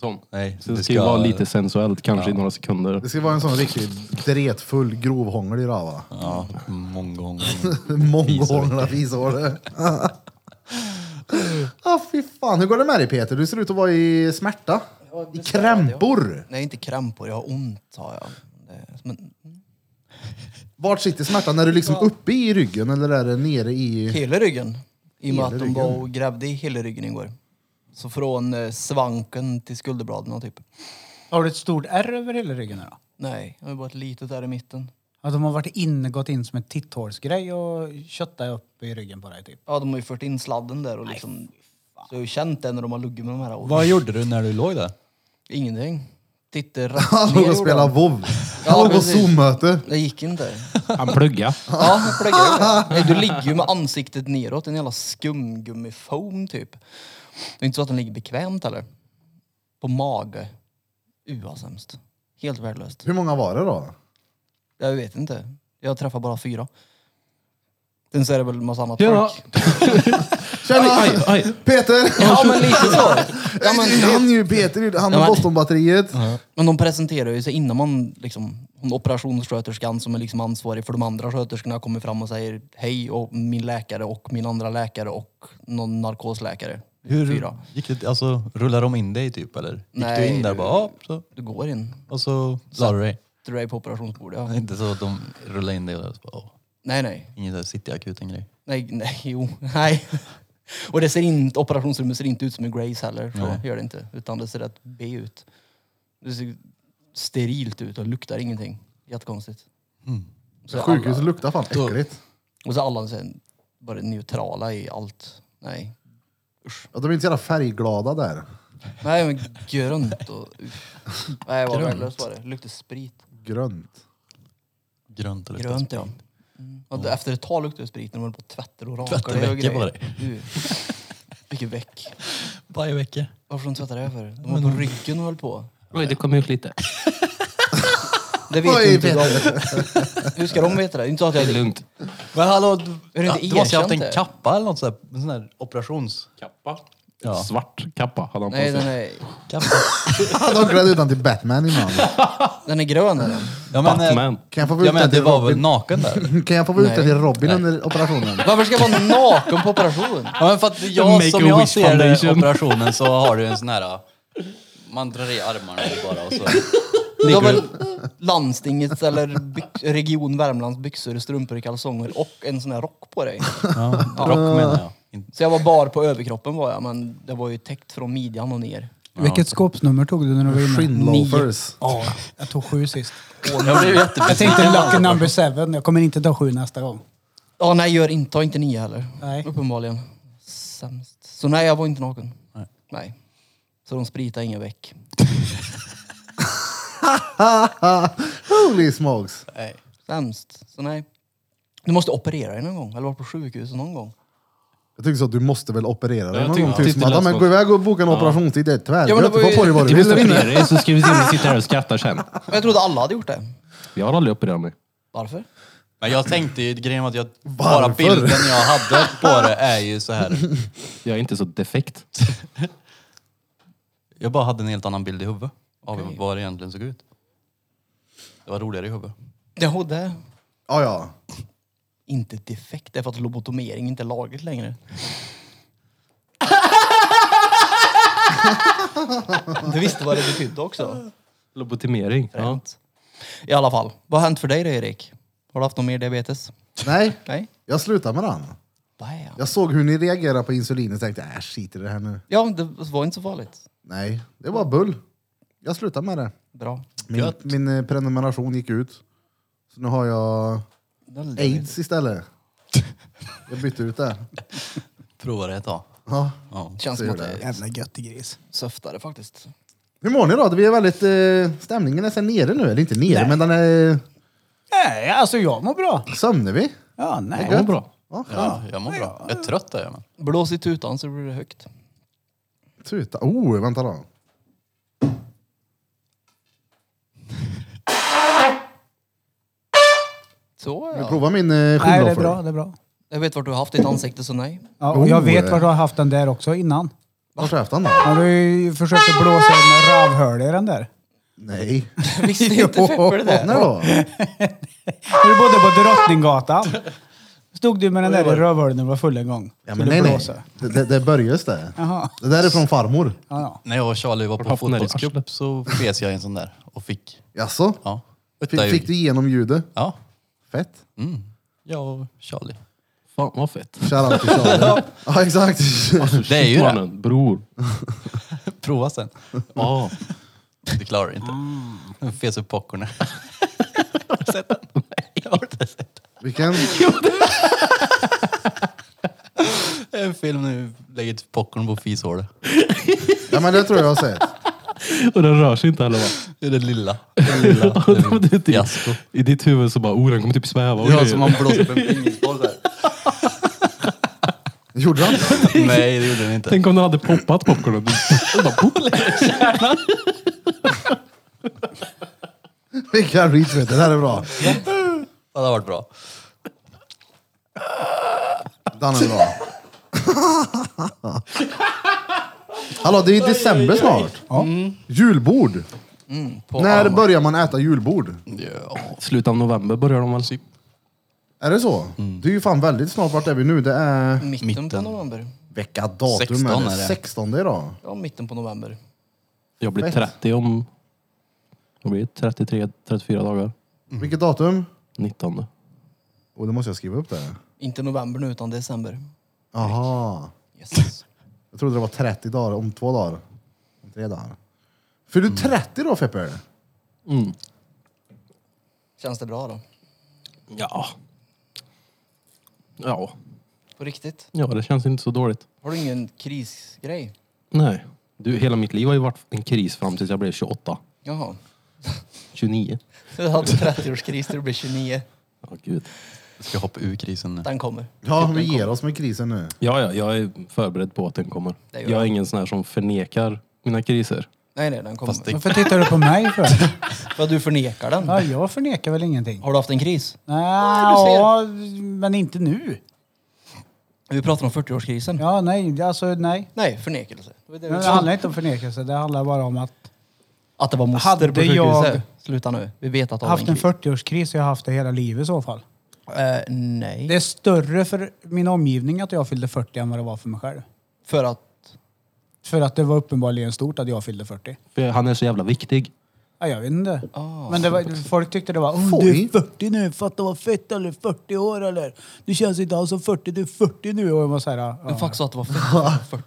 sån.
Nej,
Så det
det
ska ju vara
ska-
lite sensuellt kanske i några sekunder.
Det ska vara en sån riktigt dretfull grovhånglig rava.
Ja, många gånger.
*laughs* Mongolerna visar det. *laughs* ah, fy fan. Hur går det med dig Peter? Du ser ut att vara i smärta. I krämpor.
Nej, inte krämpor. Jag har ont, har jag. Det- Men
Vart sitter smärtan? Är du liksom uppe i ryggen eller är det nere *laughs* i...
hela ryggen. I och med
Hela
att de
ryggen?
var och grävde i hela ryggen igår. Så från eh, svanken till skulderbladen typ.
Har du ett stort ärr över hela ryggen nu då?
Nej, jag har bara ett litet där i mitten.
Att de har varit in, gått in som en titthålsgrej och köttat upp i ryggen på dig typ.
Ja, de har ju fört in sladden där och liksom... Så jag har ju känt det när de har luggit med de här.
Vad gjorde du när du låg där?
Ingenting. Titta rätt
Han
ner
låg och
gjorde
spelade
han.
vov.
Ja,
Han låg på
precis.
Zoom-möte.
Det gick inte.
Han plugga.
Ja, jag pluggade ju det. Nej, Du ligger ju med ansiktet neråt, en jävla skumgummifoam typ. Det är inte så att den ligger bekvämt heller. På mage. U vad sämst. Helt värdelöst.
Hur många var det då?
Jag vet inte. Jag träffar bara fyra. Sen så är det väl massa annat
Ja.
folk.
Tjena!
Aj, aj.
Peter! *laughs*
Ja men lite så. Ja, men,
han är ju Peter, han har
men-
Boston-batteriet.
men de presenterar ju sig innan man liksom, hon operationssköterskan som är liksom ansvarig för de andra sköterskorna kommer fram och säger hej och min läkare och min andra läkare och någon narkosläkare.
Hur
Fyra.
gick det, alltså, rullade de in dig typ eller? Gick
Nej,
du in där
du-
och bara, ja, så,
Du går in.
och så la du dig?
Du är på operationsbordet. Ja.
Inte så att de rullade in dig och så bara, åh,
Nej, nej.
ingen där cityakuten grej.
Nej, nej, jo. *laughs* Nej. Och det ser inte, operationsrummet ser inte ut som en Grace heller. Så gör det inte. Utan det ser rätt B ut. Det ser sterilt ut och luktar ingenting. Jättekonstigt. Så alla,
Sjukhuset luktar fan äckligt.
och så alla så här bara neutrala i allt. Nej.
Ja, de är inte så jävla färgglada där.
Nej men grönt och... uff. Nej vad värdelöst var det. Det Luktade sprit.
Grönt. *laughs*
Grönt eller
Grönt ja. Mm. Och Efter ett tag luktade det sprit när man höll på och tvättade och rakade
Tvättade
och
veckor
grejer.
var det.
Du. Vilken veck.
Varje vecka.
Varför de tvättade det för? De var på ryggen och höll på.
Oj, det kom ut lite.
Det vet
Oj,
ju inte de. Hur ska de veta det? Inte så att jag
Det är lugnt.
Men hallå, du,
Är det
ja,
inte
du måste ju Alltså, haft
erkänt
en
det?
kappa eller något sånt där, en sån där operations...
Kappa.
Ja.
Svart kappa hade han på
Nej, den
sig.
är,
Kappa.
Han har klädd ut honom till Batman innan.
den är grön är den.
Ja, men, eh,
Batman.
Kan jag få vara
Ja,
utklädd
men det
till
var väl
Robin? *laughs*
naken där?
Kan jag få vara utklädd
Nej.
till Robin under
*laughs*
operationen?
Varför ska jag vara naken på operation?
Ja, men för att
Make
jag, som
a
jag
wish
ser det,
foundation.
operationen så har du en sån här... Man drar i armarna bara och så...
Det var väl landstingets eller byx- region Värmlands byxor, strumpor, kalsonger och en sån här rock på dig.
Ja, rock menar jag. Inte-
Så jag var bar på överkroppen var jag, men det var ju täckt från midjan och ner.
Vilket skåpsnummer tog du när du var inne?
Skinnloafers.
Ja, jag tog sju sist.
Jag blev
Jag
jättebesviken.
tänkte lucky number seven. Jag kommer inte ta sju nästa gång.
Ja, nej, gör inte. Ta inte nio heller.
Nej.
Uppenbarligen. Sämst. Så nej, jag var inte naken.
Nej.
Så de spritade ingen veck.
Holy smokes.
Sämst. Så nej. Du måste operera dig någon gång, eller vara på sjukhuset någon gång.
Jag tycker så att du måste väl operera dig
Jag
någon
tyckte-
gång. Tyst
tyckte det
Madde,
lät
men
så.
gå iväg och boka en operationstid. Det är
Ja, men det var
tvärgött.
ju-
Få på dig vad
Du
du vill
måste
där
operera
inne.
dig så ska vi se om vi sitter här och skrattar sen.
Men jag trodde alla hade gjort det.
Jag har aldrig opererat mig.
Varför?
Men jag tänkte ju, grejen var att jag, bara
Varför?
bilden jag hade på det är ju så här.
Jag är inte så defekt.
Jag bara hade en helt annan bild i huvudet av vad det egentligen såg ut. Det var roligare i huvudet.
Jo, det.
Ja, ja.
Inte defekt, det är för att lobotomering inte är lagligt längre. *laughs* Du visste vad det betydde också.
Lobotomering. Ja.
I alla fall, vad har hänt för dig då Erik? Har du haft någon mer diabetes?
Nej,
Nej?
jag slutar med den.
Bam.
Jag såg hur ni reagerade på insulinet och tänkte, äh, skit i det här nu.
Ja, det var inte så farligt.
Nej, det var bull. Jag slutar med det.
Bra.
Min, min eh, prenumeration gick ut. Så nu har jag
Det var lite- *laughs*
aids istället. Jag bytte ut det.
Prova det ett tag.
Ja.
Det känns som att det är
Jävla göttegris.
söftare faktiskt.
Hur mår ni då? Vi är väldigt, eh, stämningen är sen nere nu, eller inte nere,
Nej.
men den är...
Nej, alltså jag mår bra.
Sömnar vi?
Ja, nej.
Det är bra.
Ja, skönt.
Ja, jag mår bra. Jag är trött där, men.
Blås i tutan så blir det högt.
Tuta. Oh, vänta då.
Så
Jag
ja.
provar min eh,
Nej,
skinnloffer.
det är bra. Det är bra.
Jag vet vart du har haft ditt ansikte så nej.
Ja, och jag
Oh.
vet var du har haft den där också innan.
Vart har jag haft den då?
Har du försökt blåsa en rövhöl i den där?
Nej.
Visste inte Feppe det
När
där?
då?
När du bodde på Drottninggatan. Stod du med den där i rövhålet när du var full en gång?
Ja, men
Skulle
nej, nej.
blåsa.
Det, det, det börjas det.
Jaha.
Det där är från farmor.
Ja, ja.
När jag och Charlie var
du
på
haft den där i
fotbollscup så fes jag i en sån där och fick.
Jaså?
Ja.
Fick, fick du igenom ljudet?
Ja.
Fett.
Mm. Jag och Charlie.
Fan vad fett.
Shoutout
*laughs*
till Charlie. ja, exakt.
Det är ju det.
Mannen, bror.
Prova sen.
Ja.
Du klarar det inte. Den fes upp *laughs* popcornen. Har du sett den? Mm. Nej, jag har inte sett den.
Vilken...
Det är en film när du lägger ett popcorn på fishålet.
Ja, men det tror jag jag har sett.
Och den rör sig inte heller va?
Det är det
*laughs*
lilla. Det lilla. Det är
Det är
mitt
typ-
fiasko.
I ditt huvud så bara, oh den kommer typ sväva och
Ja,
grejer.
som man blåser upp en pingisboll där.
Gjorde
*laughs*
han?
Nej, det gjorde den inte.
Tänk om den hade poppat popcornen. Du- bara, pop.
Vilken reach vet du. Det här är bra.
Det hade varit bra.
Den är bra. Hallå, det är ju december snart. Mm. Julbord. Mm,
På
När
armen.
börjar man äta julbord?
Ja.
Slutet av november börjar de väl?
Är det så? Det är ju fan väldigt snart. Vart är vi nu? Det är...
Mitten, på
Mitten.
november.
Vecka datum
16
är
är
det.
det.
16 idag.
Ja, mitten på november.
Jag blir
Fett.
30 om... Vad blir det? 33, 34 dagar.
Vilket datum?
19.
Och det måste jag skriva upp där.
Inte november nu, utan december.
Aha.
Yes.
Jag trodde det var 30 dagar om två dagar. Om tre dagar. Fyller du 30 då Feppe?
Mm.
Känns det bra då?
Ja. Ja.
På riktigt?
Ja, det känns inte så dåligt.
Har du ingen krisgrej?
Nej. Du, hela mitt liv har ju varit en kris fram tills jag blev 28.
Jaha.
29.
Du hade 30-årskris när du blev 29.
Ja, gud.
Jag ska hoppa ur krisen nu.
Den kommer.
Ja, vi ger oss med krisen nu.
Ja, ja, jag är förberedd på att den kommer.
Det gör
jag är
jag.
ingen sån här som förnekar mina kriser.
Nej, nej, den kommer.
Fast det-
Varför tittar du på mig för?
Vad du förnekar den.
Ja, jag förnekar väl ingenting.
Har du haft en kris?
Nej,
du ser.
ja, men inte nu.
Vi pratar om 40-årskrisen.
Ja, nej, alltså nej.
Nej, förnekelse. Det var det vi
Men det
sa.
handlar inte om förnekelse, det handlar bara om att
Att det var
Hade
moster på sjukhuset.
jag-
Sluta nu. Vi vet att du
jag
har
haft en
kris.
40-årskris och jag har haft det hela livet i så fall.
Eh, nej.
Det är större för min omgivning att jag fyllde 40 än vad det var för mig själv.
För att...
För att det var uppenbarligen stort att jag fyllde 40.
För han är så jävla viktig.
Ja, jag vet inte.
Ah.
Men det var, folk tyckte det var... "Åh,
Foj.
Du är 40 nu, fatta vad fett eller 40 år eller? Du känns inte alls som 40, du är 40 nu. Och jag var så här, ja.
Men fuck sa att det var fett att vara 40.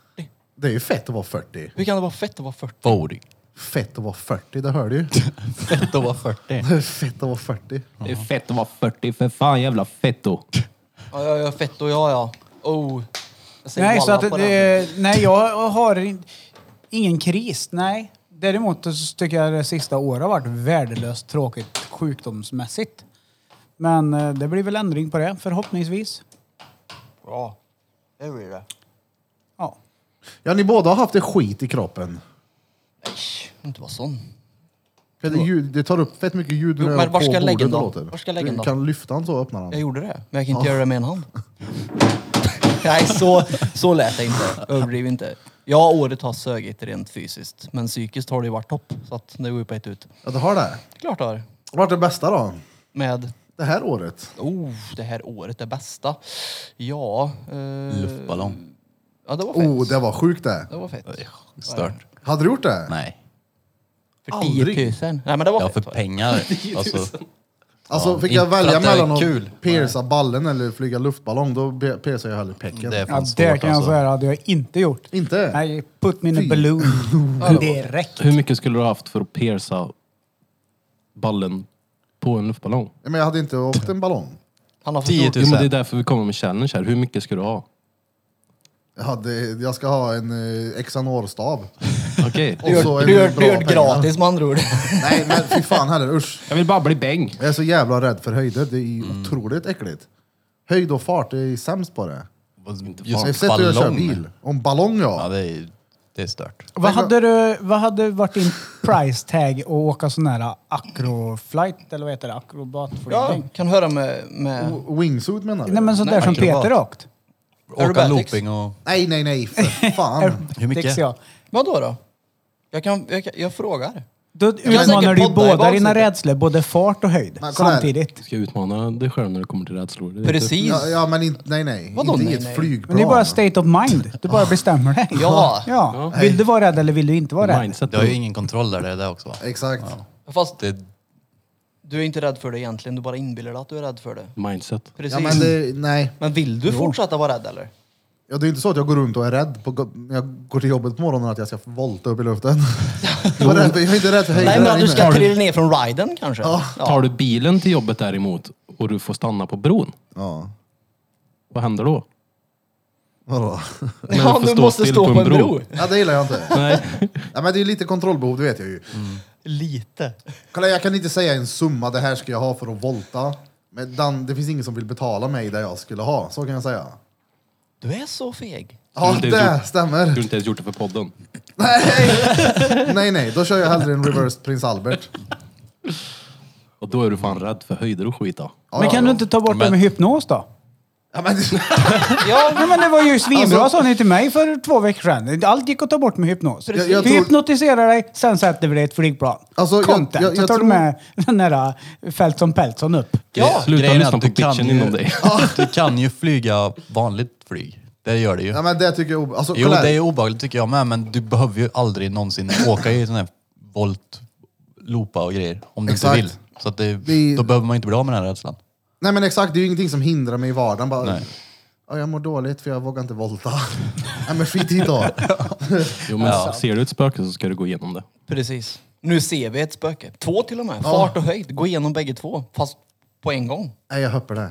Det är ju fett att vara 40.
Hur kan det vara fett att vara 40?
Body.
Fett att vara 40, det hör du ju.
Fett att vara 40.
Det är fett att vara 40.
Det är fett att vara 40, för fan jävla fetto.
Ja, ja, ja, fett och ja, ja. Oh. Jag säger
Nej, så
walla
att,
på den.
det, nej, jag har in, ingen kris. Nej. Däremot så tycker jag det sista året har varit värdelöst tråkigt sjukdomsmässigt. Men eh, det blir väl ändring på det förhoppningsvis.
Bra. Det blir det.
Ja.
Ja, ni båda har haft det skit i kroppen.
Nej, inte vara sån.
För det, ljud, det tar upp fett mycket ljud
Jo,
när
men
jag
var ska
på
jag lägga
bordet
den
och
då?
låter.
Var ska jag lägga
du
den
kan lyfta den så öppnar
Jag
den.
gjorde det, men jag kan inte göra det med en hand. *laughs* Nej, så, så lät det inte. Överdriv inte. Ja, året har sögit rent fysiskt, men psykiskt har det ju varit topp. Så att det går ju på ett ut.
Ja, du har det.
Klart det har.
Vart det bästa då?
Med,
Det här året?
oh, det här året, det bästa. Ja. Eh,
Mm.
Luftballong.
Ja, det var fett.
Oh, det var sjukt det.
Det var fett.
Stört.
Hade du gjort det?
Nej.
För
Aldrig.
10 000. Nej, men det var
Ja,
fett.
för
var
*laughs*
det.
pengar. Alltså,
Alltså
Ja,
fick jag
inte för
välja
att det är
mellan att
kul.
pierca ballen eller flyga luftballong, då pe- piercar jag hellre pecken.
det är
Ja,
fan svårt
det kan jag
alltså.
säga hade jag inte gjort.
Inte?
Nej, put me in a
Fy.
*laughs*
balloon direkt.
Hur mycket skulle du ha haft för att pierca ballen på en luftballong?
Men jag hade inte åkt en ballong.
Han har för
10
stor-
000.
Jo, men det är därför vi kommer med challenge här. Hur mycket ska du ha?
Ja, det, jag ska ha en eh, Xanor-stav.
*laughs* Okej.
Och så en
Du gör,
bra
du gör
pengar.
gratis med
*laughs*
andra ord.
Nej, men fy fan heller, usch.
Jag vill bara bli bäng.
Jag är så jävla rädd för höjder. Det är ju otroligt äckligt. Höjd och fart, det är sämst på det.
Just
Jag sätter hur jag kör bil. Om ballong
Ja,
ja.
det är, det är stört.
Vad hade, du, vad hade varit din price tag att åka sån här acroflight eller vad heter det?
Ja,
Akrobatflygning?
kan höra med... med
W- Wingsuit menar du?
Nej men sån där
Nej,
som
akrobat.
Peter åkt.
Åka
Aerobatics.
looping och...
Nej, nej, nej,
*laughs*
för fan.
Hur mycket?
Tycks Jag.
vadå då? Jag, kan, jag, kan, jag frågar.
Då utmanar
säkert
du ju
podda i
båda dina
baksätet.
rädslor, både fart och höjd,
Men kolla här.
samtidigt.
Du ska utmana dig själv när det kommer till rädslor. Det är typ inte-
Precis.
Ja, ja men inte, nej, nej.
Vadå
inte i
nej,
ett
nej?
flygplan.
Men det är bara state of mind. Du bara bestämmer dig.
Ja.
ja. Vill du vara rädd eller vill du inte vara rädd?
Mindset.
Du har ju ingen kontroll där, det är det också. va?
Exakt.
Fast
Det,
du är inte rädd för det egentligen, du bara inbillar dig att du är rädd för det.
Mindset.
Precis.
Ja, men
men,
det, nej.
vill du fortsätta vara rädd eller?
Ja, det är inte så att jag går runt och är rädd på, go- när jag går till jobbet på morgonen att jag ska volta upp i luften.
*laughs*
jag, är rädd, för- jag är inte rädd för höjder
Nej, men att
här
du
inne.
ska trilla ner från riden kanske? Ja.
Tar du bilen till jobbet däremot och du får stanna på bron,
Ja,
vad händer
*laughs*
då?
vadå? *laughs*
du
Ja,
får
du
stå
måste
still
stå på en bro.
Ja, det gillar jag inte.
Nej.
Ja, men det är lite kontrollbehov, det vet jag ju.
Lite.
Kolla, jag kan inte säga en summa, det här ska jag ha för att volta. Men den, det finns ingen som vill betala mig det jag skulle ha, så kan jag säga.
Du är så feg.
Ja,
Det
det
är du- Du har
*laughs* stämmer.
inte ens gjort det för podden.
Nej, nej, då kör jag hellre en reverse prins Albert.
Och då är du fan rädd för höjder och skit då.
Ja,
Men
ja,
kan du
ja.
inte ta bort det
Men-
med hypnos då?
Ja, men,
Ja,
Nej, men det var ju svinbra
Alltså-
sa ni till mig för två veckor sedan. Allt gick att ta bort med hypnos.
Jag- jag
du
tror-
hypnotiserar dig, sen sätter vi dig i ett flygplan.
Alltså, jag-
Content.
jag- jag
så tar
tror-
du med den där Feltson Peltson upp.
Ja,
Sluta
grejen är
lyssna
att du
på
kan
bitchen
ju- *laughs*
inom dig.
Du kan ju flyga vanligt flyg. Det gör det ju.
ja, men det tycker jag är obe- alltså,
Jo,
kolla här.
det är obehagligt tycker jag med, men du behöver ju aldrig någonsin *laughs* åka i sån här volt, loopa och grejer om du
Exakt.
inte vill. Så att det,
Vi-
då behöver man inte bli av med den här rädslan.
Nej men exakt, det är ju ingenting som hindrar mig i vardagen. Bara,
Nej.
"Ja, jag mår dåligt för jag vågar inte volta. Nej men skit i det då.
Jo, men Ser du ett spöke så ska du gå igenom det.
precis. Nu ser vi ett spöke. Två till och med. Fart och höjd. Gå igenom bägge två, fast på en gång.
Nej jag hoppar det.
Du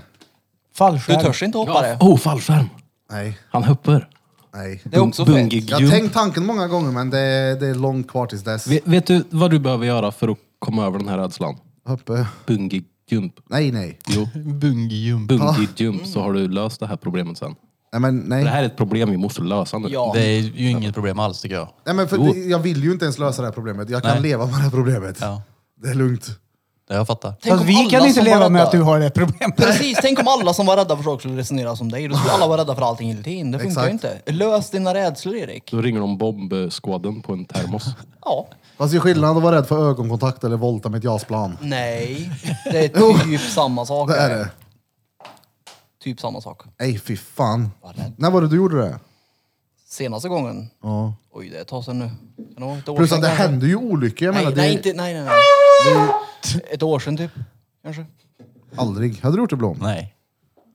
Fallskärm.
törs inte hoppa det.
Oh, fallskärm!
Nej,
Han hoppar.
nej.
Det är också fett.
Bungee
Jag har
jump.
tänkt tanken många gånger men det, är- det är långt kvar tills dess.
Vet, vet du vad du behöver göra för att komma över den här rädslan?
Hoppe.
Bungee jump.
Nej nej.
Jo,
Bungyjump.
bungee jump så har du löst det här problemet sen.
Nej men
Det
nej.
här är ett problem vi måste lösa nu.
Ja.
Det är ju inget problem alls tycker jag.
nej men för
Jo.
det- jag vill ju inte ens lösa det här problemet. Jag kan
Nej.
leva med det här problemet.
Ja,
Det är lugnt.
det har jag fattat.
Tänk
Fast
om
vi
alla
kan inte
som var
leva med
rädda-
att du har det problemet.
Precis, tänk om alla som var rädda för saker skulle resonera som dig. Då skulle alla vara rädda för allting hela tiden. Det funkar ju inte. Lös dina rädslor, Erik.
Då ringer de bombskåden på en termos.
Ja.
Fast det är skillnad att vara rädd för ögonkontakt eller volta med ett jasplan.
Nej,
*laughs*
det är typ samma sak.
Det är det.
Typ samma sak.
Nej fy fan.
Vad rädd.
När var det du gjorde det?
Senaste gången,
Ja.
oj det är ett tag sedan nu. Kan det vara ett år
Plus
sedan
att det
kanske?
händer ju olyckor. Jag
Nej,
menar,
nej,
det,
inte, nej, nej, nej. Ett år sedan typ, kanske.
Aldrig. Hade du gjort det Blom?
Nej.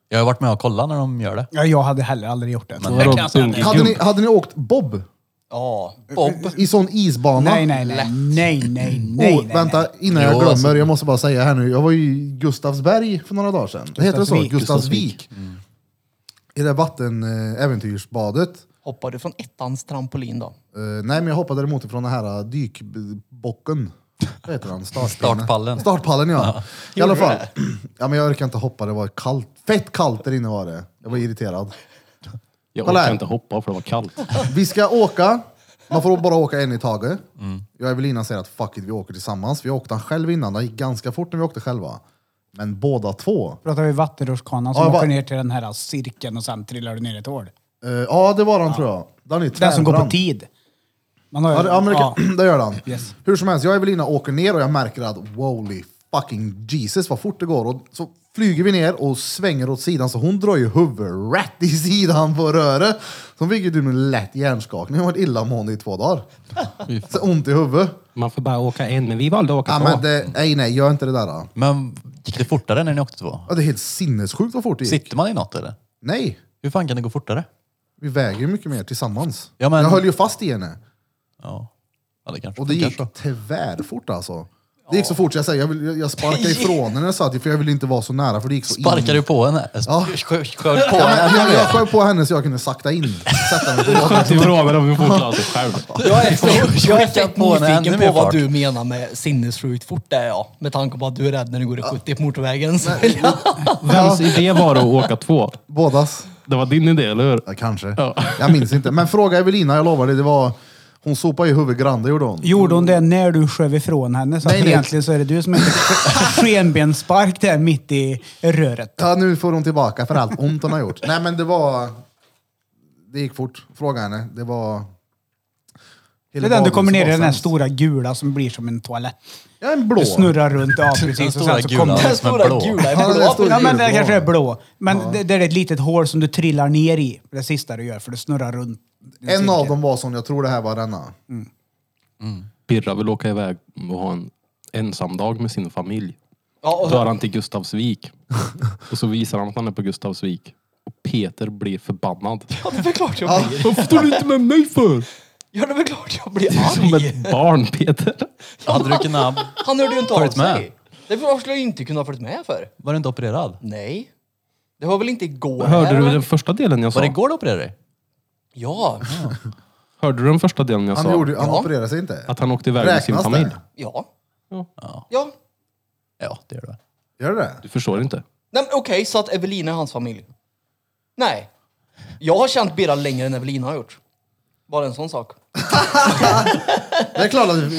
Jag har varit med och kollat när de gör det.
Ja, jag hade heller aldrig gjort det.
Vadå bungee
Hade ni,
jump?
hade ni åkt bob?
Ja, Bob.
I sån isbana?
Nej, nej, nej. Nej, nej, nej.
oh,
nej.
vänta, innan jag
Jo,
glömmer,
alltså.
jag måste bara säga här nu. Jag var ju i Gustavsberg för några dagar sedan. Det heter det så?
Gustavsvik.
Gustavsvik. I det där vattenäventyrsbadet.
Hoppade från ettans trampolin då.
Eh, nej, men jag hoppade däremot från den här eh, dykbocken. Vad heter han? Startpinnen.
Startpallen.
Startpallen ja. I alla fall. Ja, men jag orkade inte hoppa, det var kallt. Fett kallt där inne var det. Jag var irriterad.
Jag
Kolla
orkar
här.
inte hoppa för det var kallt.
Vi ska åka. Man får bara åka en i taget.
Mm.
Jag och Evelina säger att fuck it, vi åker tillsammans. Vi åkte han själv innan, det gick ganska fort när vi åkte själva. Men båda två.
Pratar vi vattenrutschkanan som
Ja, jag
åker
bara-
ner till den här cirkeln och sen trillar du ner i ett hål.
Eh, ja, det var han tror jag. Den, är
Den som går på
tvärbrant.
tid. Man har ju,
Ja, det, ja, men det, kan- *clears throat* det gör han.
Yes.
Hur som helst, jag och Evelina åker ner och jag märker att holy fucking Jesus vad fort det går. Och så flyger vi ner och svänger åt sidan så hon drar ju huvudet rätt i sidan på röret. Så hon fick ju typ en lätt hjärnskakning. Hon har varit illamående i två dagar. Så ont i huvudet.
Man får bara åka en, men vi valde att åka
Ja,
två.
men det, nej, nej, gör inte det där. Då.
Men gick det fortare när ni åkte två?
Ja, det är helt sinnessjukt vad fort det gick.
Sitter man i något eller?
Nej,
Hur fan kan det gå fortare?
vi väger ju mycket mer tillsammans.
Ja, men-
Jag höll ju fast i henne.
Ja, ja det kanske
Och det gick
funkar så.
tvärfort alltså. Det gick så fort, jag, säger, jag, vill, jag sparkade ifrån henne så att, för jag ville inte vara så nära för det gick så
Sparkar
in.
du på henne?
Ja.
Skö- Skölj på
Ja, men, jag, jag
henne?
sköv på henne så jag kunde sakta in. Sätta mig på
*laughs*
båten.
Det är bra men de får klara sig själv.
*laughs*
Jag är fett, jag är fett
på henne ännu
nyfiken
mer
på vad
fart.
du menar med sinnessjukt fort det är ja. Med tanke på att du är rädd när du går i 70 på *laughs* motorvägen. Så vill jag-
Vems idé var det att åka två?
Bådas.
Det var din idé, eller hur?
Ja, kanske.
Ja.
Jag minns inte. Men fråga Evelina, jag lovar dig. Det var, hon sopade ju huvudet grande gjorde hon.
Gjorde hon det när du sköv ifrån henne? Så
Nej,
att
nej.
egentligen så är det du som är skenbensspark där mitt i röret.
Ja, nu får hon tillbaka för allt ont hon har gjort. Nej, men det var... Det gick fort. Fråga henne. Det var...
Det är den du kommer ner i den här stora gula som blir som en toalett.
Ja, en blå.
Du snurrar runt, ja precis. Och
stora
sen så
gula.
kommer
Den
Den stora
blå.
gula
Ja, den
är blå.
stora-
Ja, men det
Gulblå.
kanske är blå. Men det, det är ett litet hål som du trillar ner i. Det sista du gör, för du snurrar runt.
En av dem var sån, jag tror det här var denna.
Birra vill åka iväg och ha en ensam dag med sin familj.
Ja, och-
Drar han till Gustavsvik. Och så visar han att han är på Gustavsvik. Och Peter blir förbannad.
Ja, det är väl klart jag
*laughs*
blir.
Varför står du inte med mig för?
Ja, det är väl klart jag blir
Som
arg.
ett barn Peter.
Hade du kunnat...
Han hörde ju inte av
Följt med.
sig. Det skulle jag ju inte kunna ha följt med för.
Var du inte opererad?
Nej. Det var väl inte igår?
Hörde
här,
du
eller?
den första delen jag
Var det
sa?
igår du opererade dig? Ah.
Ja.
Hörde du den första delen jag
Han,
sa?
gjorde, han
Ja.
opererade sig inte.
Att han åkte iväg med sin
Räknas
familj.
det?
Ja.
Ja.
Ja.
Ja, det gör du.
Gör det det?
Du förstår inte.
Nej, men okej, så att Evelina är hans familj? Nej. Jag har känt Birra längre än Evelina har gjort. Bara en sån sak.
Det är klart att eh,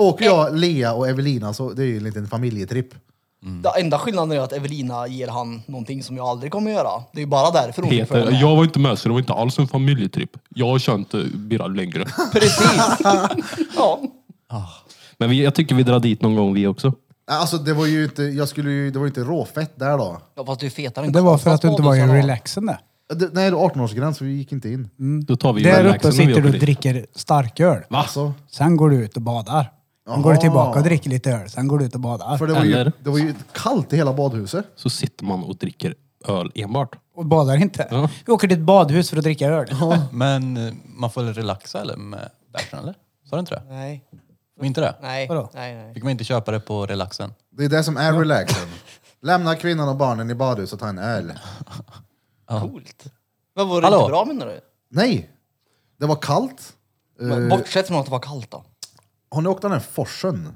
åker jag, Lea och Evelina så det är ju en liten familjetripp.
Den enda skillnaden är att Evelina ger han någonting som jag aldrig kommer göra. Det är ju bara därför hon fick följa
Peter,
med.
jag var inte med så det var inte alls en familjetripp. Jag har känt eh, Birra längre.
Precis. ja.
Men vi, jag tycker vi drar dit någon gång vi också.
Alltså det var ju inte, jag skulle ju, det var ju inte råfett där då.
ja, fast du är fetare än
Det var för att du inte var i
Karlstads
relaxande.
Det, nej, det var 18-årsgräns så vi gick inte in.
Då tar vi
Där
relaxen
uppe
när
sitter
vi åker
du och
dit.
dricker starköl.
Va?
Alltså,
Sen går du ut och badar. Sen går du tillbaka och dricker lite öl. Sen går du ut
för
och badar.
det var, ju,
Eller?
det var ju kallt i hela badhuset.
Så sitter man och dricker öl enbart.
Och badar inte.
Ja.
Vi åker till ett badhus för att dricka öl.
Men eh, man får väl relaxa eller med bärsen eller? Sa du inte det?
Nej,
Får inte det?
nej,
Vadå?
nej, nej.
Fick man inte köpa det på relaxen?
Det är det som är relaxen. Lämna kvinnan och barnen i badhuset och ta en öl.
Coolt. Men var det
Hallå?
inte bra menar du?
Nej, det var kallt.
Men
Eh.
Bortsett från att det var kallt då.
Har ni åkt den här forsen?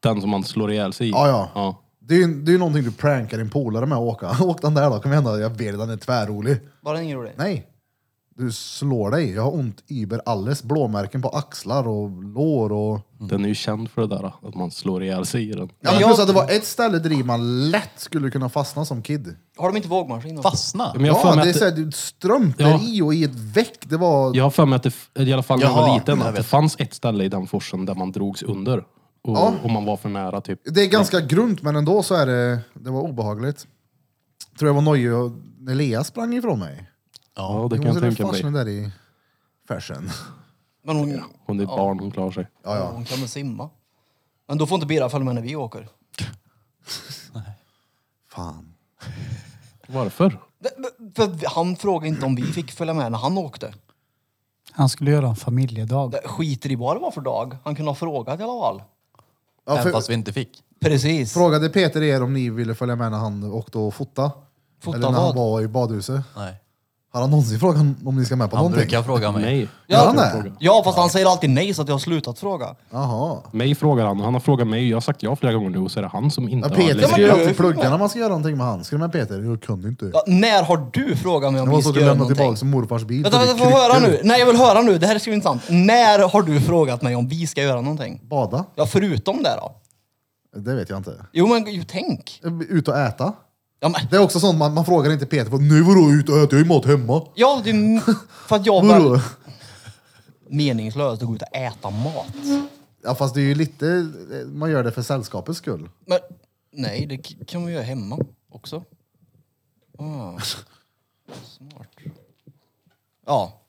Den som man slår ihjäl sig i.
Ja, ja.
ja.
Det är ju det är ju någonting du prankar din polare med att åka. *laughs* Åk den där då, kom igen då. Jag vet den är tvärrolig.
Var den ingen rolig?
Nej, du slår dig. Jag har ont über alles. Blåmärken på axlar och lår och...
Mm. Den är ju känd för det där, att man slår ihjäl sig i den.
Ja, men
jag-
plus att det var ett ställe där man lätt skulle kunna fastna som kid.
Har de inte vågmaskin? också?
Fastna?
Men jag har
Ja,
för mig
det är
att
såhär, du strömplar
Ja.
i och i ett väck. Det var...
jag har för mig att det, f- i alla fall när jag
Jaha,
var liten,
jag
att det
vet.
fanns ett ställe i den forsen där man drogs under. Och,
Ja.
och man var för nära typ.
Det är ganska grunt, men ändå så är det... Det var obehagligt. Tror jag var nojig och- när Lea sprang ifrån mig.
Ja, det
Jo,
kan jag
så det
tänka mig.
fastnade där i färsen.
Men hon,
Hon är ett barn, hon klarar sig.
*laughs* Ja, ja.
hon kan väl simma? Men då får inte Birra följa med när vi åker.
Fan.
Varför?
Det- men- För han frågade inte om vi fick följa med när han åkte.
Han skulle göra en familjedag.
Det skiter i vad det var för dag. Han kunde ha frågat i alla fall.
Ja,
Även
för,
fast vi inte fick.
Precis.
frågade Peter er om ni ville följa med när han åkte och fota?
Fota
Eller när han
vad?
var i badhuset?
Nej.
Har han någonsin frågat om ni ska med på
Han
någonting?
brukar fråga mig.
Nej.
Gör han
Jag
det?
frågar.
Ja, fast han säger alltid nej så att jag har slutat fråga.
Jaha.
Mig frågar han, han har frågat mig, jag har sagt ja flera gånger nu och så är det han som inte
Ja,
har
Peter
levererat.
ska ju
men-
alltid plugga när man ska göra någonting med han. Ska du med Peter? Jag kunde inte.
Ja, när har du frågat mig
Det
om
var
vi
så att
ska
du
göra
lämnade
någonting?
tillbaka som morfars bil.
Vänta,
för
vänta,
det
får jag höra
kryckor.
nu? Nej, jag vill höra nu. Det här är så intressant. När har du frågat mig om vi ska göra någonting?
Bada?
Ja, förutom det då?
Det vet jag inte.
Jo, men ju, tänk.
Ut och äta?
Ja, men,
Det är också sånt man, man frågar inte Peter på. Nu var du ut och äta, jag har ju mat hemma.
ja det är m- för att jag
*laughs*
var
Vadå?
meningslöst att gå ut och äta mat.
Ja fast det är ju lite, man gör det för sällskapets skull.
Men nej, det k- kan man göra hemma också. Ah. Smart. Ja.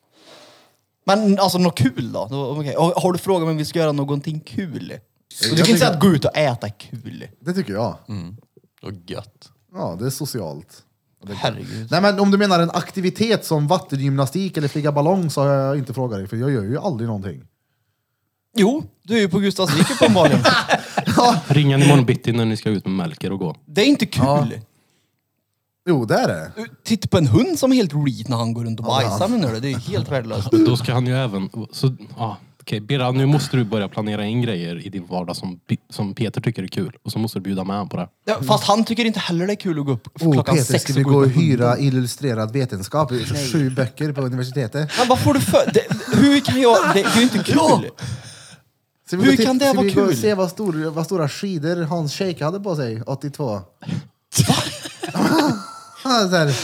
Men alltså något kul då? Då- okej. Har har du frågat mig om vi ska göra någonting kul? Och du kan
tycker-
inte säga att gå ut och äta kul.
Det tycker jag.
Mm.
Och gött.
Ja, det är socialt.
Herregud.
Nej men om du menar en aktivitet som vattengymnastik eller flyga ballong så har jag inte frågat dig för jag gör ju aldrig någonting. *laughs*
Jo, du är ju på Gustavsvik uppenbarligen.
Ring han imorgon bitti när ni ska ut med Melker och gå.
Det är inte kul.
Jo, det är det.
Titta på en hund som är helt reet när han går runt och bajsar menar du? Det är
*laughs*
helt värdelöst.
Då ska han ju även... Så, ja, okej, Birra, nu måste du börja planera in grejer i din vardag som, Pi- som Peter tycker är kul. Och så måste du bjuda med honom på det.
Ja, fast han tycker inte heller det är kul att gå upp
Oh,
klockan
Peter,
sex
ska
och
vi
gå
gå och
ut med hunden.
hyra illustrerad vetenskap? Det är Sju böcker på universitetet.
Men vad får du för det, Hur kan jag... Det, det är ju inte kul.
Ska
Hur
gå till-
kan det
ska
vara
vi gå och
kul?
se vad, stor, vad stora skidor Hans Scheik hade på sig 82? Ja, *laughs* så här,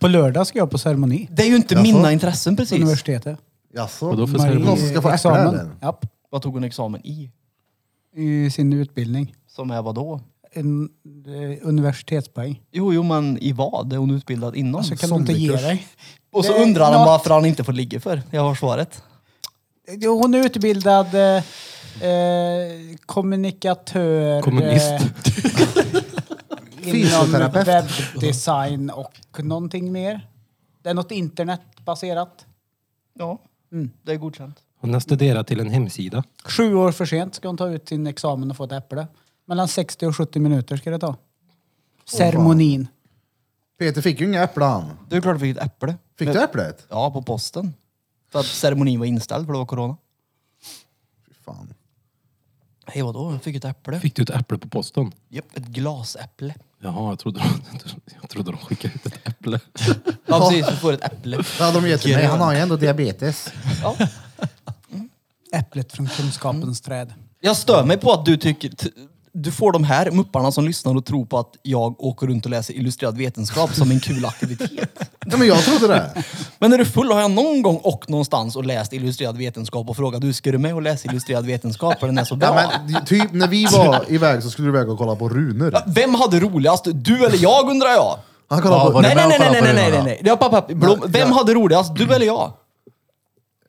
På lördag ska jag på ceremoni.
Det är ju inte
Jaså?
mina intressen
På
precis.
universitetet.
Jaså?
Vadå för
Någon som ska få äpple eller?
Examen. Japp.
Vad tog hon examen i?
I sin utbildning.
Som är vad då?
En eh, universitetspoäng.
Jo, jo, men i vad? Är hon utbildad inom?
Så Alltså, kan du inte ge
Zombiekurs.
dig.
och så
Nej,
undrar han
något-
varför han inte får ligga för. Jag har svaret.
Jo, Hon är utbildad eh, eh, kommunikatör.
Kommunist.
Eh, inom
Fysioterapeut.
webbdesign och någonting mer. Det är något internetbaserat.
Ja, Mm. det är godkänt.
Han har studerat till en hemsida.
Sju år för sent ska hon ta ut sin examen och få ett äpple. Mellan 60 och 70 minuter ska det ta. Ceremonin.
Peter fick ju inga äpplen.
Det är klart att vi fick ett äpple.
Fick
Men-
du äpplet?
Ja, på posten. För att ceremonin var inställd för det var corona.
Fy Fan.
Hej, vadå? Jag fick ett äpple.
Fick du ett äpple på posten?
Japp, ett glasäpple.
Jaha, jag trodde, de- jag trodde de skickade ut ett äpple.
Ja, precis. Du får ett äpple.
Det hade de gett till mig. Han har ju ändå diabetes.
Ja.
Äpplet från kunskapens träd.
Jag stör mig på att du tycker... T- du får de här mupparna som lyssnar och tror på att jag åker runt och läser illustrerad vetenskap som en kul
*laughs*
aktivitet.
Ja, men jag trodde det.
Men är du full har jag någon gång och någonstans och läst illustrerad vetenskap och frågat du ska du med och läsa illustrerad vetenskap för den är så bra?
*laughs* Ja, men, typ när vi var iväg så skulle du iväg och kolla på runor.
Vem hade roligast? Du eller jag undrar jag?
Han kollade
Ja,
på...
var det-
Nej,
med
nej,
och
nej, nej,
kollade på
nej,
den här
nej, nej,
då?
nej. Det var pappa, Blom,
Nej,
vem
ja.
hade roligast? Alltså, Du eller jag?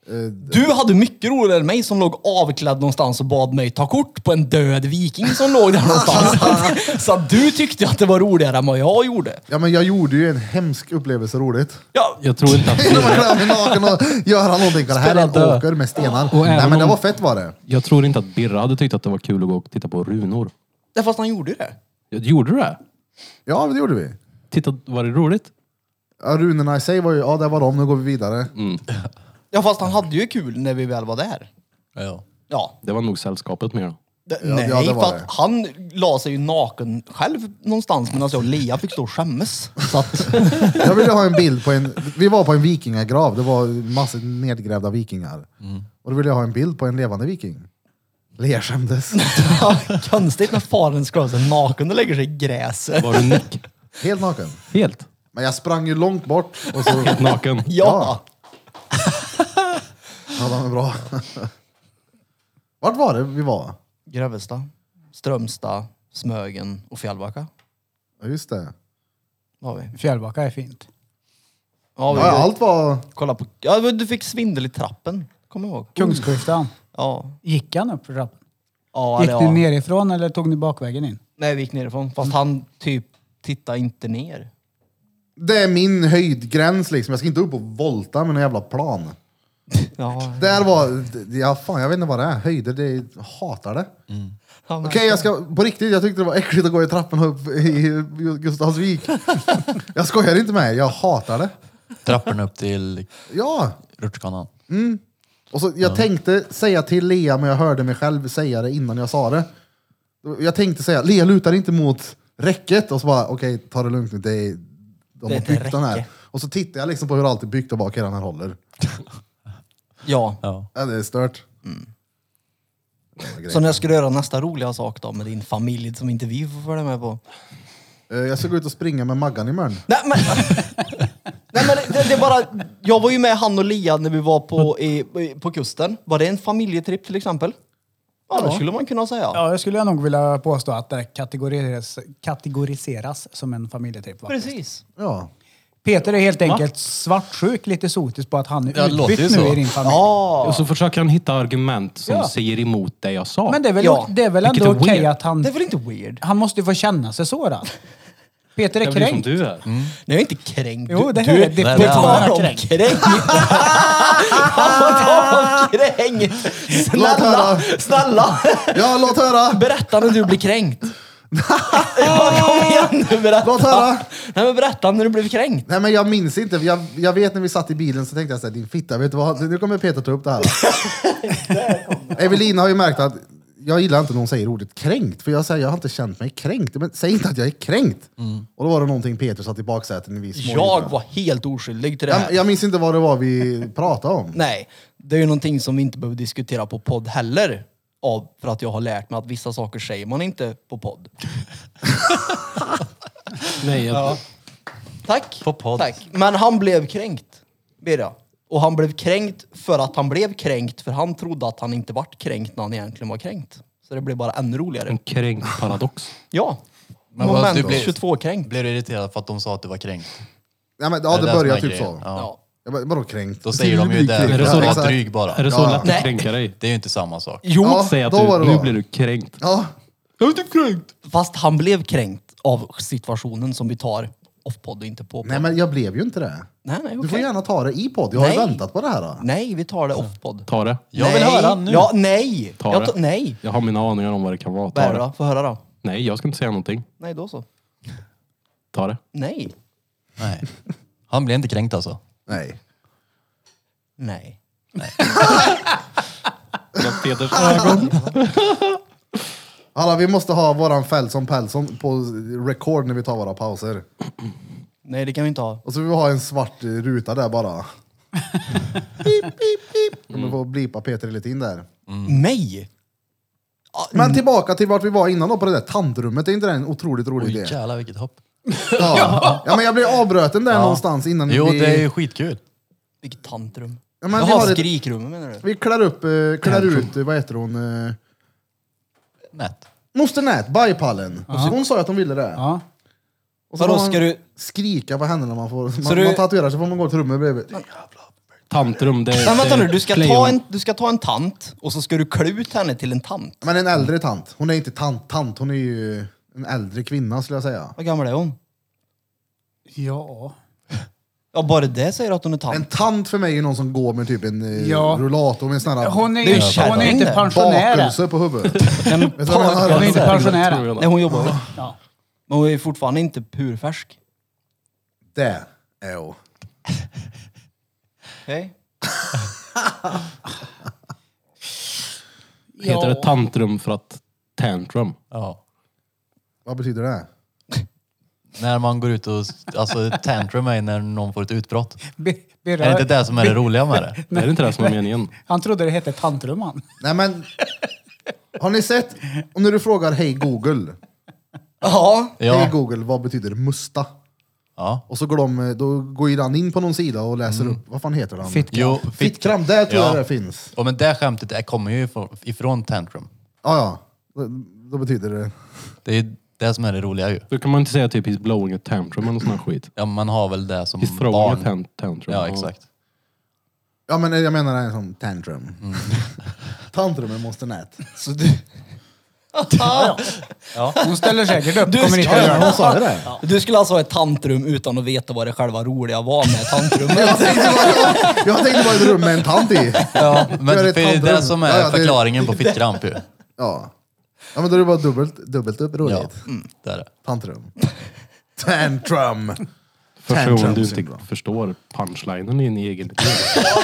Eh,
Du hade mycket roligare än mig som låg avklädd någonstans och bad mig ta kort på en död viking som låg där någonstans. så att du tyckte att det var roligare än vad jag gjorde.
Ja, men jag gjorde ju en hemsk upplevelse roligt.
Ja,
Jag tror inte att...
När man klämmer naken och göra någonting. Det här är
Spela
en
dö.
åker med stenar.
Och
Nej
även
men det
om-
var fett var det.
Jag tror inte att Birra hade tyckt att det var kul att gå och titta på runor.
det fast han gjorde det.
Gjorde du det?
Ja det gjorde vi.
Titta, var det roligt?
Ja, runorna i sig var ju, ja det var de, nu går vi vidare.
Ja, fast han hade ju kul när vi väl var där.
Ja.
Ja.
Det var nog sällskapet mer.
Det,
Ja,
nej,
ja, det var
för att
det.
han la sig ju naken själv någonstans medan jag och Lea fick stå och skämmas. Så att, *laughs*
Jag ville ha en bild på en, vi var på en vikingagrav, det var massor nedgrävda vikingar. Och då ville jag ha en bild på en levande viking. Lea skämdes.
ja, konstigt när faren ska ha sig naken och lägger sig i gräset.
Var du nick?
Helt naken.
Helt?
Men jag sprang ju långt bort och så
Naken?
Ja.
hade han det bra. Vart var det vi var?
Grebbestad, Strömstad, Smögen och Fjällbacka
Ja just det.
var vi.
Fjällbacka är fint.
Ja, vi
Ja, allt var...
kolla på... Ja, men du fick svindel i trappen. Kommer jag ihåg.
Kungsklyftan.
Ja.
Gick han upp för trappan?
ja
Gick
eller
du
ja.
nerifrån eller tog ni bakvägen in?
Nej, vi gick nerifrån. Fast han typ tittade inte ner.
Det är min höjdgräns liksom. Jag ska inte upp och volta med någon jävla plan.
Ja.
Där var, ja fan jag vet inte vad det är, höjder, det är, jag hatar det.
Han,
Okej jag ska, på riktigt, jag tyckte det var äckligt att gå i trappan upp i Gustavsvik. *laughs* jag skojar inte med er, jag hatar det.
Trapporna upp till
Ja!
rutschkanan.
Och så, jag tänkte säga till Lea, men jag hörde mig själv säga det innan jag sa det. Jag tänkte säga, Lea lutar inte mot räcket, och så bara, okej ta det lugnt nu, det är, de
Det är
har
ett
byggt den här.
räcke.
Och så tittar jag liksom på hur allt är byggt och bara, okej den här håller.
Ja.
Ja.
Ja, det är stört.
Så när jag skulle göra nästa roliga sak då med din familj som inte vi får följa med på.
Eh, Jag ska gå ut och springa med Maggan imorgon.
Nej *laughs* men, Nej, men det, det är bara, jag var ju med han och Lia när vi var på, i, på kusten. Var det en familjetripp till exempel? Ja, det skulle man kunna säga.
Ja, jag skulle nog vilja påstå att det kategoriseras, kategoriseras som en familjetripp. va?
Precis.
Ja.
Peter är helt enkelt svartsjuk lite sotisk på att han är
Ja, det låter ju
utbytt nu
så.
i din familj.
Och så försöker han hitta argument som
Ja.
säger emot det jag sa.
Men det är väl,
Ja.
det är väl
Vilket
ändå
är
okej
weird.
att han,
Det är väl inte weird?
han måste ju få känna sig sårad. Peter är
Jag blir som
kränkt.
du är.
Nej, jag är inte kränkt.
Jo, det här
du,
är- det-
på
det
här är
tal om
kränkt. *laughs*
kränkt. På tal om kränkt. Snälla,
höra.
snälla.
Ja, låt höra!
Berätta när du
*laughs*
blir kränkt. ja, kom igen nu, berätta.
Låt höra.
Nej, men berätta när du blev kränkt.
Nej men jag minns inte, jag, jag vet när vi satt i bilen så tänkte jag såhär, din fitta, vet du vad? Nu kommer Peter ta upp
*laughs*
det här. Evelina har ju märkt att jag gillar inte när hon säger ordet kränkt, för jag säger jag har inte känt mig kränkt. Men säg inte att jag är kränkt!
Mm.
Och då var det någonting Peter satt i baksätet när vi smågjorde.
Jag var helt oskyldig till det här.
jag, jag minns inte vad det var vi pratade om.
Nej, det är ju någonting som vi inte behöver diskutera på podd heller. Av, för att jag har lärt mig att vissa saker säger man inte på podd.
Nej, jag,
Tack.
På podd.
Tack. Men han blev kränkt, Birra. Och han blev kränkt för att han blev kränkt, för han trodde att han inte vart kränkt när han egentligen var kränkt. Så det blev bara ännu roligare.
en kränkt paradox.
Ja.
Men vad,
Moment
du blev-
22 kränkt.
Blev du irriterad för att de sa att du var kränkt?
Ja, men, ja det,
det som
började
är
typ
grejen.
så.
Ja.
Ja.
Jag bara, vadå kränkt?
Då säger de ju det.
Kränkt,
Är det
ja,
så
Var
lätt?
exakt.
dryg bara.
Är det så
Ja.
lätt att
Nej.
kränka dig?
Det är ju inte samma sak.
Jo,
Ja.
Säg att
då var det
du, nu
då.
blir du kränkt.
Ja,
Jag är typ kränkt.
fast han blev kränkt av situationen som vi tar off-podd och inte på podd.
nej men jag blev ju inte det.
nej, nej,
Du får
okej.
gärna ta det i podd, jag har ju
Nej.
väntat på det här. Då.
nej vi tar det off-podd.
Ta det.
Jag vill
Nej.
höra nu.
Ja, nej!
Ta
jag
det.
ta- nej!
Jag har mina aningar om vad det kan vara.
Vad är
Ta
det
det.
då? Få höra då.
Nej, jag ska inte säga någonting.
Nej, då så.
Ta det.
Nej.
Nej. Han blev inte kränkt alltså.
Nej.
Nej.
Peters
Alla, vi måste ha våran Felson Pelson på record när vi tar våra pauser.
Nej, det kan vi inte ha.
Och så vill vi ha en svart eh, ruta där bara. pip, pip, pip. Kommer få blipa Peter lite in där.
Nej! Ah,
Men tillbaka till vart vi var innan då på det där tantrummet. Är inte det en otroligt rolig
Oj
idé? Ja.
jävlar vilket hopp.
ja men jag blev avbruten där någonstans innan
Jo
vi...
det är ju skitkul.
Vilket tantrum.
Ja, men vi,
Jaha,
har ett...
skrikrummet menar du?
vi klär upp, eh, klär ut, eh, vad heter hon? Eh...
Nät.
Moster Nät, Bajpallen. Hon sa ju att hon ville det.
Ja.
Och så
Vadå,
får man
ska du-
skrika på henne när man får... Man,
du-
man tatuerar sig får man gå till rummet bredvid.
tantrum. Det,
Men vänta
det-
nu, du ska, ta en, du ska ta en tant och så ska du klä ut henne till en tant.
Men en äldre tant. Hon är inte tant, tant. Hon är ju en äldre kvinna skulle jag säga.
Vad gammal är hon?
Ja.
Ja, bara det säger att hon är
En
tant.
tant för mig är någon som går med typ en eh,
Ja.
rullator med en sån här
Hon är,
Det är ju
ju- hon är ju inte
kärringen.
pensionär.
bakelse på
*laughs*
huvudet. Vet du vad jag menar?
Hon är inte pensionär. än.
Nej, hon jobbar väl.
Ja.
Men hon är fortfarande inte purfärsk.
Det är hon.
*laughs*
Okej?
Heter det tantrum för att tantrum?
Ja.
Vad betyder det?
När man går ut och, alltså tantrum är när någon får
*laughs*
ett utbrott.
Be-
Är det
berör,
inte det som är det roliga med det?
Det är inte det som är meningen.
han trodde det hette tantrum han.
Nej men, har ni sett? Om när du frågar hej Google,
Ja.
hej
Ja.
Google, vad betyder musta?
ja.
Och så går de, eh, då går ju den in på någon sida och läser upp, vad fan heter den?
Fitt-
Jo, fitt.
Fittkram, där tror jag
Ja.
det finns.
Ja, men det skämtet det kommer ju ifrån- ifrån tantrum.
Ja, ja. Då, då betyder det...
Det är ju det som är det roliga ju.
Då kan man inte säga typ he's blowing a tantrum eller sån här skit.
Ja, man har väl det som
He's throwing a
barn.
tan- tantrum.
Ja, exakt.
Ja men jag menar en sån tantrum.
Mm.
*laughs* Tantrum är måste nät.
Så du,
Hon ställer säkert upp.
Du
kommer
ska-
inte
Ja,
göra
ja,
något.
hon sa ju det.
du skulle alltså ha ett tantrum utan att veta vad det själva roliga var med tantrummet?
Jag tänkte bara ett rum med en tant i.
Ja, men
är
för
det
det är
tantrum.
det som
Ja, ja,
är
det-
förklaringen på fittkramp ju.
Ja. ja men då är det bara dubbelt, dubbelt upp roligt.
Ja, det är det.
Tantrum. Tantrum.
Första gången du
Tantrum
inte
syndrom.
förstår punchlinen i din egen idé.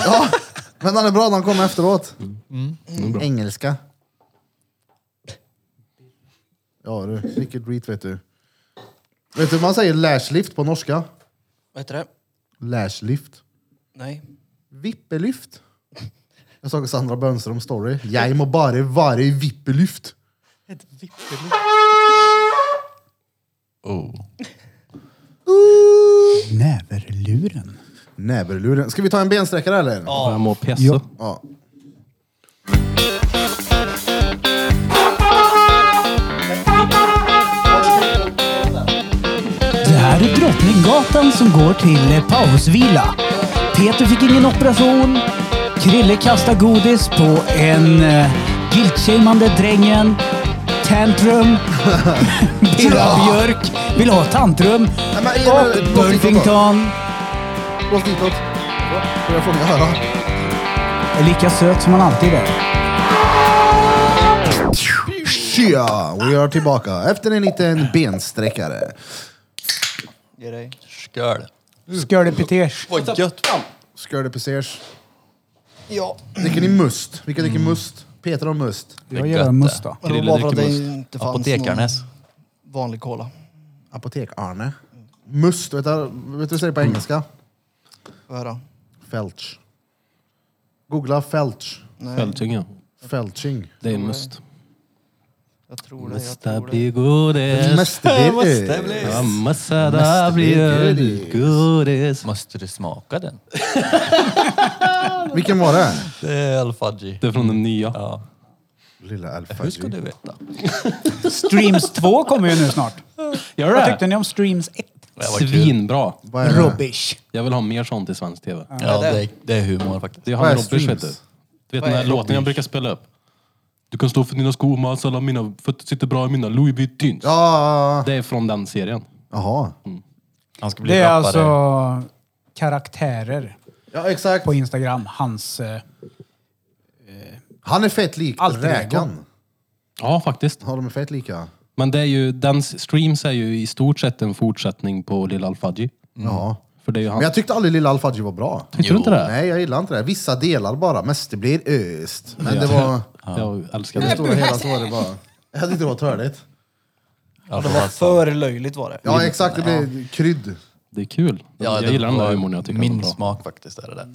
Ja, men den är bra, den kommer efteråt.
Mm.
Engelska. Ja du, vilket reat vet du. Vet du hur man säger lashlift på norska?
Vad heter det?
Lashlift.
Nej.
Vippelyft. Jag såg Sandra Bönström story. Jag må bara vara i vippelyft.
Oh.
Näverluren.
Näverluren. Ska vi ta en bensträckare eller?
Jag mår pjässe.
Ja.
Det här är Drottninggatan som går till eh, pausvila. Peter fick ingen operation. Krille kastar godis på en eh, guilt-shameande drängen.
*laughs*
Tantrum. Birra Björk vill ha tantrum.
Nej, men, ge mig- blås
Och
ditåt då.
Burfington
Blås ditåt. Så, så jag får ni höra.
är lika söt som han alltid är.
Tja! Vi är tillbaka efter en liten bensträckare.
Ge dig.
Skål.
Skördepetesch.
Vad gött.
Skörde pesers.
Ja.
Dricker ni must? Vilka dricker must? Peter och must.
Jag gör en must då.
Och Det var bara för att det inte fanns
Apotekarnes.
någon vanlig cola.
Apotek-Arne. Must, vet du vet du vad du säger på engelska?
Får jag höra.
Felch. Googla felch.
Fältinga.
Felching.
Det är en must.
Jag tror det. Jag
Mesta
tror det.
blir godis.
Mest det är-
Ja, Mesta
Mesta
där blir
blir
godis. Måste du smaka den?
Vilken var det?
Det är alfadji.
Det är från den nya.
Ja.
Lilla Alfa
Hur ska du veta?
Streams 2 kommer ju nu snart.
Gör
Vad
det?
tyckte ni om Streams 1?
Det var kul.
Svinbra.
Vad är det?
Rubbish.
Jag vill ha mer sånt i svensk tv.
Ja, det är, det är humor faktiskt.
Det är
Vad är
han Robbers vet du.
streams?
Du vet den här
är
låten jag brukar spela upp? Du kan stå för dina skor, mans alla mina fötter sitter bra i mina Louis Vuittins.
Ja,
Det är från den serien.
jaha.
Han ska bli
Det är
rappare.
alltså karaktärer
Ja, exakt.
på Instagram. Hans... eh,
Han är fett lik
Alter ego.
räkan.
Ja, faktiskt.
Ja, de är fett lika.
Men det är ju, den streams är ju i stort sett en fortsättning på Lil Alfadji.
Jaha.
För det är ju han.
Men jag tyckte aldrig Lilla Alfadji var bra.
Tyckte du inte det?
Nej, jag gillar inte det. Vissa delar bara. Mest det blir öst. Men det *laughs* var...
Jag älskar
I det
det.
stora hela så var det bara... Jag hade inte det var törligt.
Ja,
Det var för löjligt var det.
Ja, exakt. Det blev krydd.
Det är kul.
Ja,
jag gillar den där
var
humorn. Jag tycker
Min
den är bra.
smak faktiskt är det där.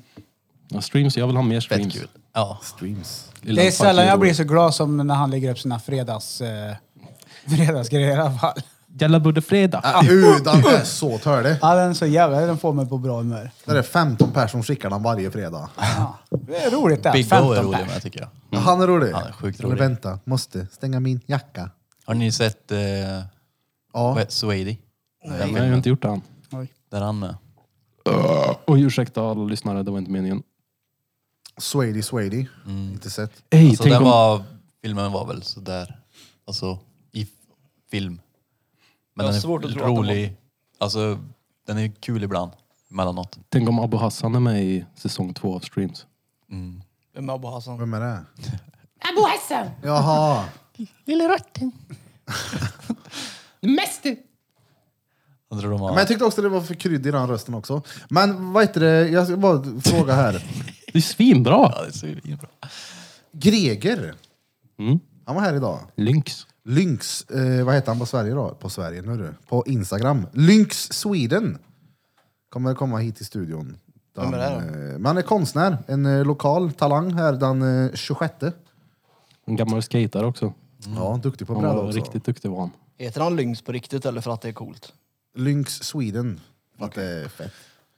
Ja, streams, jag vill ha mer
Fett
streams.
kul. Ja.
Streams.
Lil
Det är
Alfadji
sällan jag
rolig.
blir så glad som när han lägger upp sina fredags... eh, *laughs* fredagsgrejer i alla fall.
Jalla Budde Fredag.
Ah, uh, den är så törlig.
Ja, den är så jävla... Den får mig på bra humör.
Det är 15 personer som skickar den varje fredag.
Det är roligt det. här.
Big O är
15
rolig med
pers.
tycker jag.
Han är rolig.
Han är sjukt
Eller
rolig.
vänta, måste stänga min jacka.
Har ni sett eh,
Ja.
ja. Swady? Den
Nej, jag har
filmen.
inte gjort det än.
Där han med.
Oj, ursäkta alla lyssnare. Det var inte meningen.
Swady, Swady. Inte sett.
Ey,
Alltså,
tänk
den
om...
var, filmen var väl sådär. Alltså i film. Men
Jag har
den är
svårt att tro att den
rolig. Alltså den är kul ibland. Emellanåt.
Tänk om Abu Hassan är med i säsong två av Streams.
Vem är Abba Hassan?
Vem är det?
Abu Hassan,
Jaha.
lille rotten. Mest du.
Jag tror de har...
Men jag tyckte också det var för krydd i den rösten också. Men vad heter det? Jag ska bara fråga här.
Det är svinbra!
Ja, det är så bra.
Greger. Han var här idag.
Lynx.
Lynx, eh, vad heter han på Sverige då? På Sverige nu du. På Instagram. Lynx Sweden. Kommer komma hit till studion.
Vem är det
Den, eh, men han är konstnär, en eh, lokal talang här den eh, 26.
En gammal skater också.
Ja, duktig på
Han
bräda
var
också.
riktigt duktig var han.
Heter han Lynx på riktigt eller för att det är coolt?
Lynx Sweden. För att det är fett.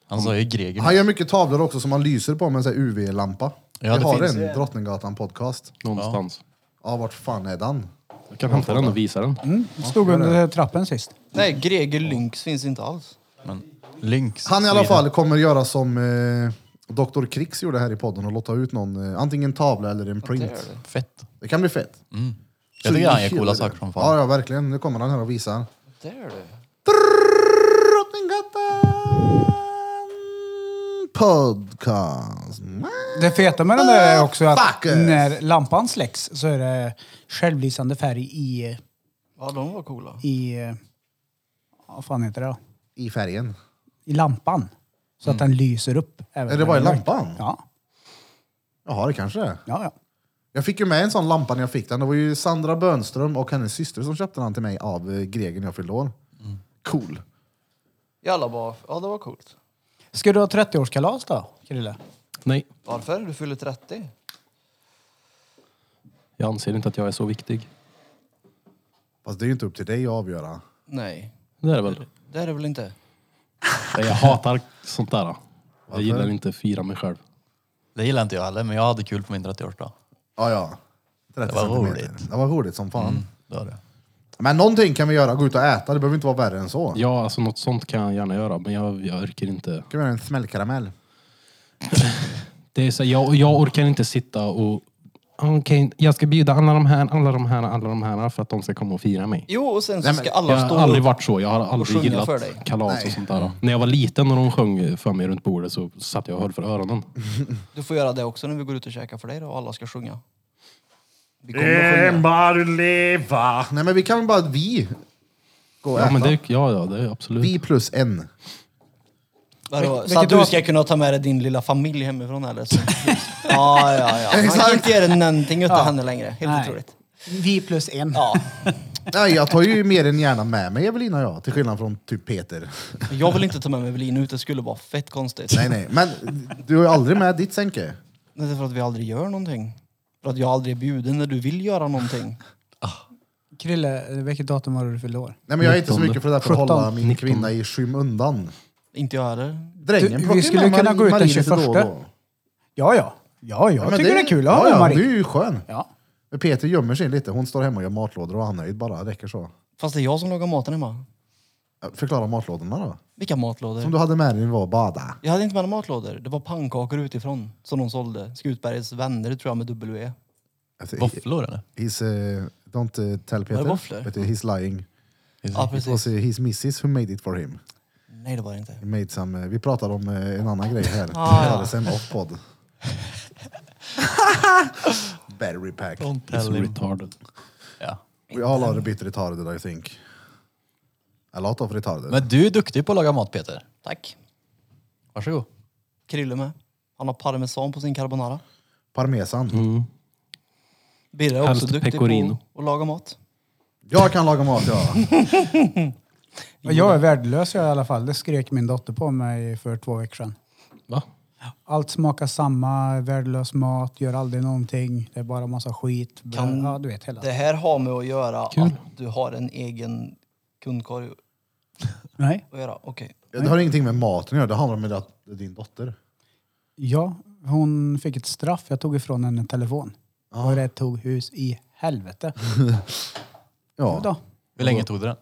Han sa ju Greger.
Han gör mycket tavlor också som han lyser på med en sån här UV-lampa.
Ja,
Vi
det
har
finns.
en Drottninggatan podcast.
Någonstans.
Ja, vart fan är den?
Jag kan hämta den och visa den.
Mm.
Stod under trappen sist.
Nej, Greger Lynx finns inte alls.
Men Lynx.
Han i alla
Sweden.
fall kommer göra som eh, Dr. Krix gjorde här i podden och låta ut någon, eh, antingen tavla eller en print.
gör det.
Fett.
Det kan bli fett.
Mm. Jag tycker
Så
han gör
kul
coola
är det.
saker som fan.
Ja, ja, verkligen. Nu kommer han här och visar.
Där du.
Drottninggatan podcast.
Det feta med den där är också att
Ah, Fuckers.
när lampan släcks så är det självlysande färg i...
Ja, de var coola.
i eh, vad fan heter det då?
I färgen.
I lampan. Så att den lyser upp. även
Mm. Är det
när
bara i
den är
lampan?
mörk. Ja.
Jaha, det kanske det är.
ja, ja.
Jag fick ju med en sån lampa när jag fick den. Det var ju Sandra Bönström och hennes syster som köpte den till mig av eh, Gregen när jag fyllde år. Cool.
Jalla bara, ja det var coolt.
Ska du ha 30-årskalas då, Krille?
Nej,
Varför? Du fyller 30.
jag anser inte att jag är så viktig.
Fast det är ju inte upp till dig att avgöra.
Nej,
Det är det väl.
det är det väl inte?
Nej, Jag hatar sånt där. Jag gillar inte att fira mig själv.
Det gillar inte jag heller, men jag hade kul på min 30-årsdag.
Ja, ja. 30
Det var
centimeter.
roligt.
Det var roligt som fan.
Det var det.
Men någonting kan vi göra. Gå ut och äta. Det behöver inte vara värre än så.
Ja, alltså något sånt kan jag gärna göra, men jag, jag orkar inte.
Kan vi göra en smällkaramell?
Det är så, jag, jag orkar inte sitta och okej, jag ska bjuda alla de här, alla de här, alla de här för att de ska komma och fira mig.
Jo, och sen så
Nej, men
ska
Jag
alla stå
har aldrig varit så. Jag har
sjunga
aldrig gillat
för dig.
kalas
Nej.
och sånt där. När jag var liten och de sjöng för mig runt bordet så satt jag och höll för öronen.
Du får göra det också när vi går ut och käkar för dig då. Alla ska sjunga. Vi kommer att sjunga.
Ah, nej men vi kan väl bara vi gå och
Ja,
äta.
men det, ja, ja, det är absolut.
Vi plus en.
Vadå? Så
vilket
att du
datum?
ska kunna ta med dig din lilla familj hemifrån eller? *laughs* Så. ja, ja, ja. Man kan
Exakt.
inte göra någonting utan henne längre. Helt
Nej.
otroligt.
Vi plus en.
Ja.
Nej, jag tar ju mer än gärna med mig Evelina och jag, till skillnad från typ Peter.
Jag vill inte ta med mig Evelina ut, det skulle vara fett konstigt.
Nej, nej. Men du är ju aldrig med ditt sänke.
Det är för att vi aldrig gör någonting. För att jag aldrig är bjuden när du vill göra någonting.
Krille, vilket datum var det du fyllde år?
Nej, men jag är inte så
Nittonde.
mycket för det där för att hålla min
19.
kvinna i skymundan.
Inte jag heller.
Drängen
Du, vi
plockar ju
skulle
med
kunna
Marie-
gå ut den
Marie lite då och
21.
då.
Ja, ja. Ja, jag
Ja, men
tycker det, är kul att
ja,
ha
ja,
Marie.
Du är ju skön.
Ja.
Men Peter gömmer sig lite. Hon står hemma och gör matlådor och han är nöjd bara. Räcker så.
Fast det är jag som lagar maten hemma.
Förklara matlådorna då.
Vilka matlådor?
Som du hade med dig när du var och badade.
Jag hade inte med några matlådor. Det var pannkakor utifrån som de sålde. Skutbergets vänner tror jag med W.
Alltså, he-
Våfflor eller?
he's, uh, don't uh, tell Peter.
våfflor?
But he's lying.
Ja,
It was
precis.
uh, his missus who made it for him.
Nej, det var det inte.
He made some, eh, vi pratade om eh, en annan grej här.
Ah,
Vi
ja.
hade sen off-podd. *laughs* Battery pack.
Don't
It's
tell him.
retarded.
Ja.
We all are a bit retarded I think. A lot of retarded.
Men du är duktig på att laga mat Peter.
Tack.
Varsågod.
Krille med. Han har parmesan på sin carbonara.
Parmesan.
Mm.
Birre är också
Helst
duktig
pecorino.
på att laga mat.
Jag kan laga mat ja.
Ja, Jag är värdelös jag i alla fall. Det skrek min dotter på mig för två veckor sedan.
Va?
Allt smakar samma, värdelös mat, gör aldrig någonting. Det är bara massa skit.
Kan-
Ja, du vet hela.
Det här har med att göra att du har en egen kundkorg
Nej.
att göra. Okej.
Det har ingenting med maten att göra. Det handlar om att det är din dotter.
Ja, hon fick ett straff. Jag tog ifrån henne en telefon.
Ah.
Och det tog hus i helvete. Ja.
Ja.
Då.
Hur länge tog det den?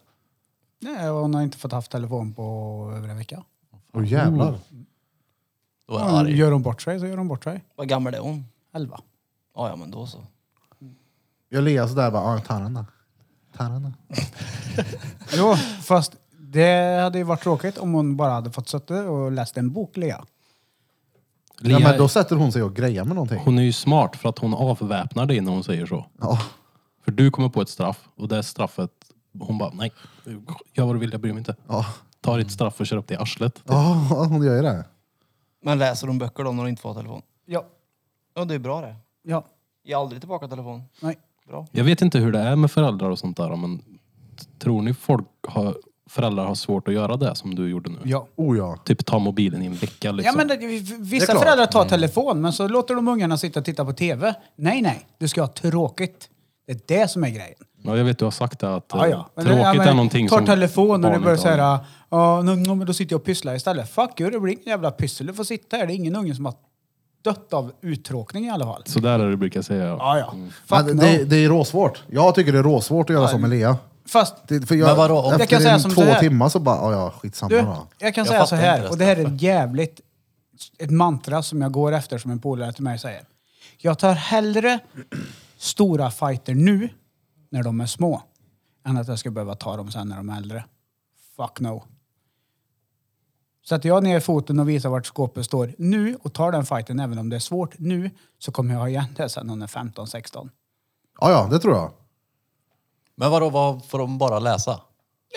Nej, hon har inte fått haft telefon på över en vecka.
Åh jävlar.
Mm. Då var jag
Ja,
Mm.
arg.
gör hon bort sig så gör hon bort sig.
Vad gammal är hon?
Elva.
Ja, ja, men då så.
Jag ler sådär bara, ah, tarana. Tarana.
Jo, fast det hade ju varit tråkigt om hon bara hade fått sitta och läst en bok, Lea.
Ja,
Lea,
men då sätter hon sig och grejar med någonting.
Hon är ju smart för att hon avväpnar dig när hon säger så.
Ja.
För du kommer på ett straff och det straffet, hon bara nej, gör vad du vill, jag bryr mig inte.
Ja.
Ta ditt straff och kör upp det i arslet.
Ja, hon gör ju det.
Men läser hon böcker då när hon inte får telefon?
Ja.
Ja, det är bra det.
Ja.
Ge aldrig tillbaka telefon.
Nej.
Bra.
Jag vet inte hur det är med föräldrar och sånt där men t- tror ni folk har, föräldrar har svårt att göra det som du gjorde nu?
Ja.
Oh ja.
Typ ta mobilen i en vecka
Ja,
liksom.
men det, v-
Det är
vissa
klart. Mm.
föräldrar tar telefon, men så låter de ungarna sitta och titta på TV. Nej, nej, du ska ha tråkigt. Det är det som är grejen.
ja, jag vet du har sagt det att eh,
Ja, ja. Men
tråkigt
det- ja, men
är någonting
tar
som
telefon och du
barnen
börjar
inte har.
säga ja, nu- nu, men då sitter jag och pysslar istället. Fuck you, det blir ingen jävla pyssel. Du får sitta här. Det är ingen unge som har dött av uttråkning i alla fall.
Så där är det du brukar säga. Ja.
Ja, ja.
Men
Fuck
Mm. det,
no.
det, det är råsvårt. Jag tycker det är råsvårt att göra så med Lea.
Fast
Det, för jag,
Men vadå, om-
efter
Jag kan säga
en
som
två
så här.
timmar så bara, "Ah, ja ja, skitsamma
Du,
då.
jag kan
Jag
säga
fattar
så här,
inte det
och det här är jävligt ett mantra som jag går efter som en polare till mig säger. Jag tar hellre stora fighter nu, när de är små, än att jag ska behöva ta dem sen när de är äldre. Fuck no. Sätter jag ner foten och visar vart skåpet står nu och tar den fighten även om det är svårt nu så kommer jag ha igen det sen när hon är 15-16.
Ja ja, det tror jag.
Men vadå, vad får de bara läsa?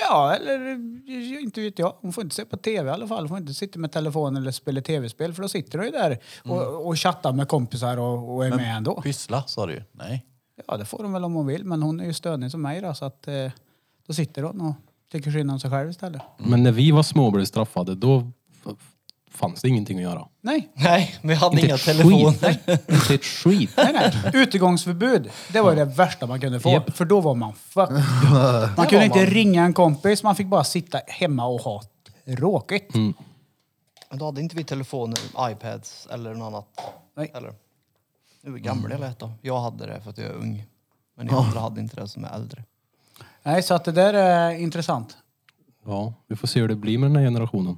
Ja, eller eh, inte vet jag. Hon får inte se på tv i alla fall. Hon får inte sitta med telefon eller spela tv-spel för då sitter hon ju där och, och chattar med kompisar och, och är med ändå.
Pyssla sa du ju. Nej.
Ja, det får hon väl om hon vill, men hon är ju stönig som mig då så att eh, då sitter hon och tycker synd om sig själv istället.
Men när vi var små och blev straffade, då f- fanns det ingenting att göra.
Nej,
*laughs* Nej, men jag hade inga
ett
telefoner.
skit. Inte ett skit.
nej, nej. Utegångsförbud, det var ju det värsta man kunde få.
Japp.
För då var man fucked. Man
var
kunde inte
man.
ringa en kompis, man fick bara sitta hemma och ha tråkigt.
Men Då hade inte vi telefoner, iPads eller något annat.
Nej.
Eller? Nu är gamla jag lät då. Jag hade det för att jag är ung. Men ni andra hade inte det som är äldre.
Nej, så att det där är intressant.
Ja, vi får se hur det blir med den här generationen.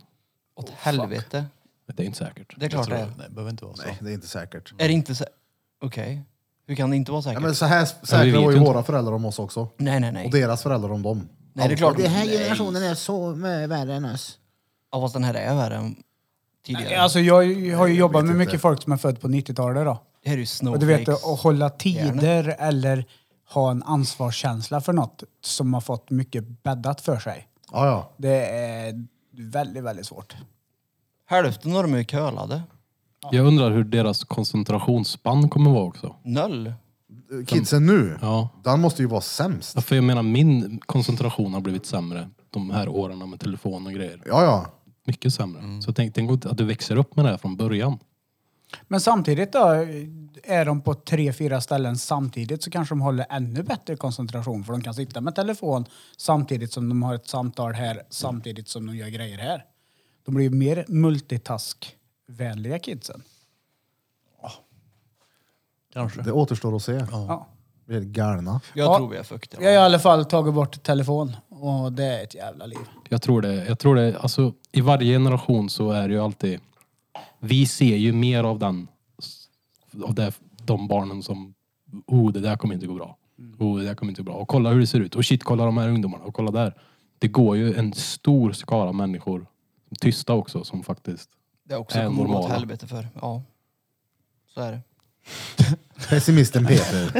Åt helvete.
Det är inte säkert.
Det är klart det är.
Nej, det behöver inte vara så.
Nej, det är inte säkert.
Är det inte så... Okej. Hur kan det inte vara säkert?
Ja, men så här
Ja, vi
säkra
vet
var
ju
ju
inte.
våra föräldrar om oss också.
Nej, nej, nej.
Och deras föräldrar om dem.
Nej, det är klart.
Alltid.
Nej.
är så mycket värre än oss.
Ja, fast den här är värre än tidigare.
Alltså jag, jag har ju jobbat med
inte.
mycket folk som är född på 90-talet då.
det här är ju
Och du vet,
snowflakes.
att hålla tider eller ha en ansvarskänsla för något som har fått mycket bäddat för sig.
Ja, ja.
Det är väldigt, väldigt svårt.
Hälften av dem är curlade.
Jag undrar hur deras koncentrationsspann kommer vara också.
Noll.
Kidsen nu,
Ja.
den måste ju vara sämst.
Ja, För jag menar, min koncentration har blivit sämre de här åren med telefon och grejer.
Ja, ja.
Mycket sämre. Så tänk, tänk att du växer upp med det här från början.
Men samtidigt då, är de på tre, fyra ställen samtidigt så kanske de håller ännu bättre koncentration för de kan sitta med telefon samtidigt som de har ett samtal här, samtidigt som de gör grejer här. De blir ju mer multitask-vänliga kidsen.
Kanske.
Det återstår att se.
Ja.
Vi är galna.
Jag
Ja.
tror vi är fucked.
Jag har i alla fall tagit bort telefon och det är ett jävla liv.
Jag tror det. Jag tror det alltså, I varje generation så är det ju alltid... Vi ser ju mer av den... Av det, de barnen som... Oh, det där kommer inte gå bra. Oh, det där kommer inte gå bra. Och kolla hur det ser ut. Och shit, kolla de här ungdomarna. Och kolla där. Det går ju en stor skara människor, tysta också, som faktiskt...
Det är också
Är
kommer att gå åt
normala.
helvete för. Ja. Så är det.
Pessimisten
*laughs*
Peter.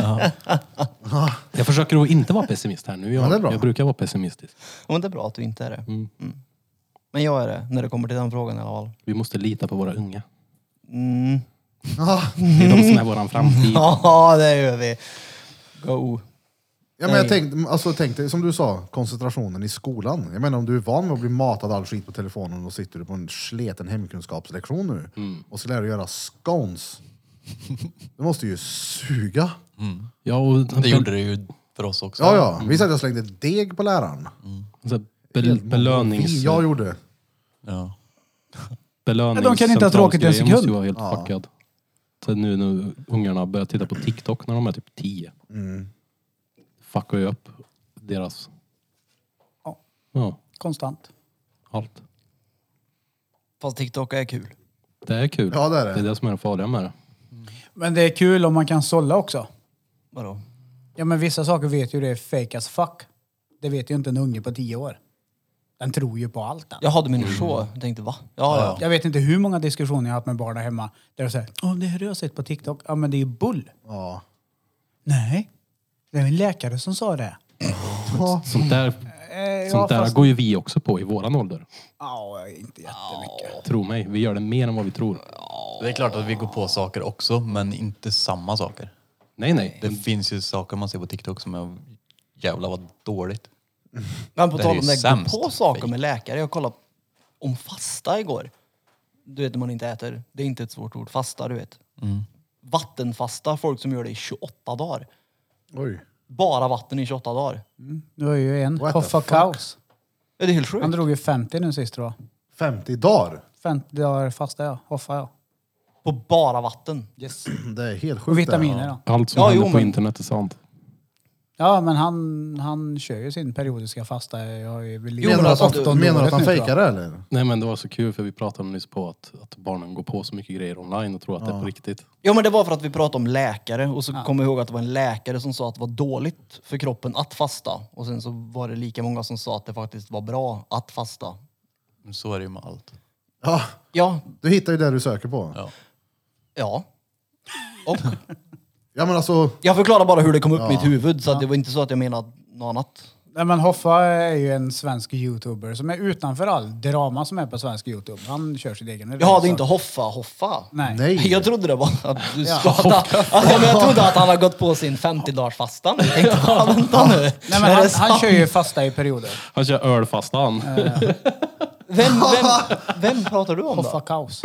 Jag försöker att inte vara pessimist här nu.
Ja,
Jag,
det är bra.
jag brukar vara pessimistisk.
Ja, Men det är bra att du inte är det. Mm. Men jag är det, när det kommer till den frågan i alla fall.
Vi måste lita på våra unga.
Mm.
Ja.
Det är de som är vår framtid.
*laughs* *laughs* Ja, det gör vi. Go.
Ja, men jag
Nej.
tänkte, alltså, tänkte, som du sa, koncentrationen i skolan. Jag menar om du är van vid att bli matad all skit på telefonen och sitter du på en sleten hemkunskapslektion nu
Mm.
och ska lära dig göra
*laughs*
scones. Det måste ju suga.
Ja, och
Det gjorde det ju för oss också.
Ja, ja. Vi säger att jag slängde deg på läraren.
Så här, bel, belönings...
Jag gjorde.
Ja.
belönings
Ja, de kan inte ha tråkigt en
centralgrejen måste ju
sekund.
vara helt fuckad. Så nu när ungarna börjar titta på TikTok när de är typ 10. Fuckar ju upp deras...
Ja.
Ja,
Konstant.
allt.
Fast TikTok är kul.
Det är kul.
Ja, det är det.
Det är det som är det farliga med det.
Men det är kul om man kan sålla också.
Vadå?
Ja men vissa saker vet ju det är fake as fuck. Det vet ju inte en unge på tio år. Den tror ju på allt den.
Jag hade min show. Jag tänkte va? Ja, ja.
Jag vet inte hur många diskussioner jag har haft med barn där hemma där de säger Åh, det här har jag sett på TikTok. Ja, men det är ju bull.
Ja.
Nej, det är en läkare som sa det.
Sånt där,
Eh,
sånt
ja,
där
fast-
går ju vi också på i våran ålder.
Ja, inte jättemycket.
Tro mig, vi gör det mer än vad vi tror.
Det är klart att vi går på saker också, men inte samma saker.
Nej, nej.
Det finns ju saker man ser på TikTok som är jävla vad dåligt.
Men på
Det är
tal
ju
om det, gå
sämst.
på saker med läkare. Jag kollade om fasta igår. Du vet när man inte äter. Det är inte ett svårt ord. Fasta, du vet. Vattenfasta. Folk som gör det i 28 dagar.
Oj.
Bara vatten i 28 dagar.
Det var ju en.
What the
Hoffa
fuck?
Kaos.
Ja, Det är helt
Han
sjukt.
drog ju 50 nu sist tror jag.
50 dagar.
50 dagar fasta ja. Hoffa ja.
På bara vatten.
Det är helt sjukt.
Och
det.
vitaminer då.
Allt som
Ja,
händer
jo,
på
men-
internet är sant.
Ja men han, han kör ju sin periodiska fasta. Jag har ju väl
Jo,
Menar
men
du att
alltså, du-
han, menar du att han
Nu, tror jag.
fejkar det eller?
Nej men det var så kul för vi pratade nyss på att, att barnen går på så mycket grejer online och tror att det är på riktigt.
Ja men det var för att vi pratade om läkare och så kom jag ihåg att det var en läkare som sa att det var dåligt för kroppen att fasta. Och sen så var det lika många som sa att det faktiskt var bra att fasta.
Men Så är det ju med allt.
Ja,
Ja,
du hittar ju det du söker på. Ja,
Ja.
ja.
*laughs*
Och
men alltså,
jag förklarar bara hur det kom upp i mitt huvud så att det var inte så att jag menade något annat.
Nej, men Hoffa är ju en svensk youtuber som är utanför all drama som är på svensk youtube. Han kör sin egen
Jag hade
resa.
inte hoffa, hoffa.
Nej.
nej.
*laughs* Jag trodde det var att du sa att han, ja, men jag trodde att han hade gått på sin 50-dagarsfasta nu. Jag tänkte, "Ja, vänta nu.
Nej,
Är
men
det
han, han
sant?"
kör ju fasta i perioder.
Han kör ölfasta han.
vem, vem,
*laughs*
vem pratar du om
Hoffa
då?
Kaos.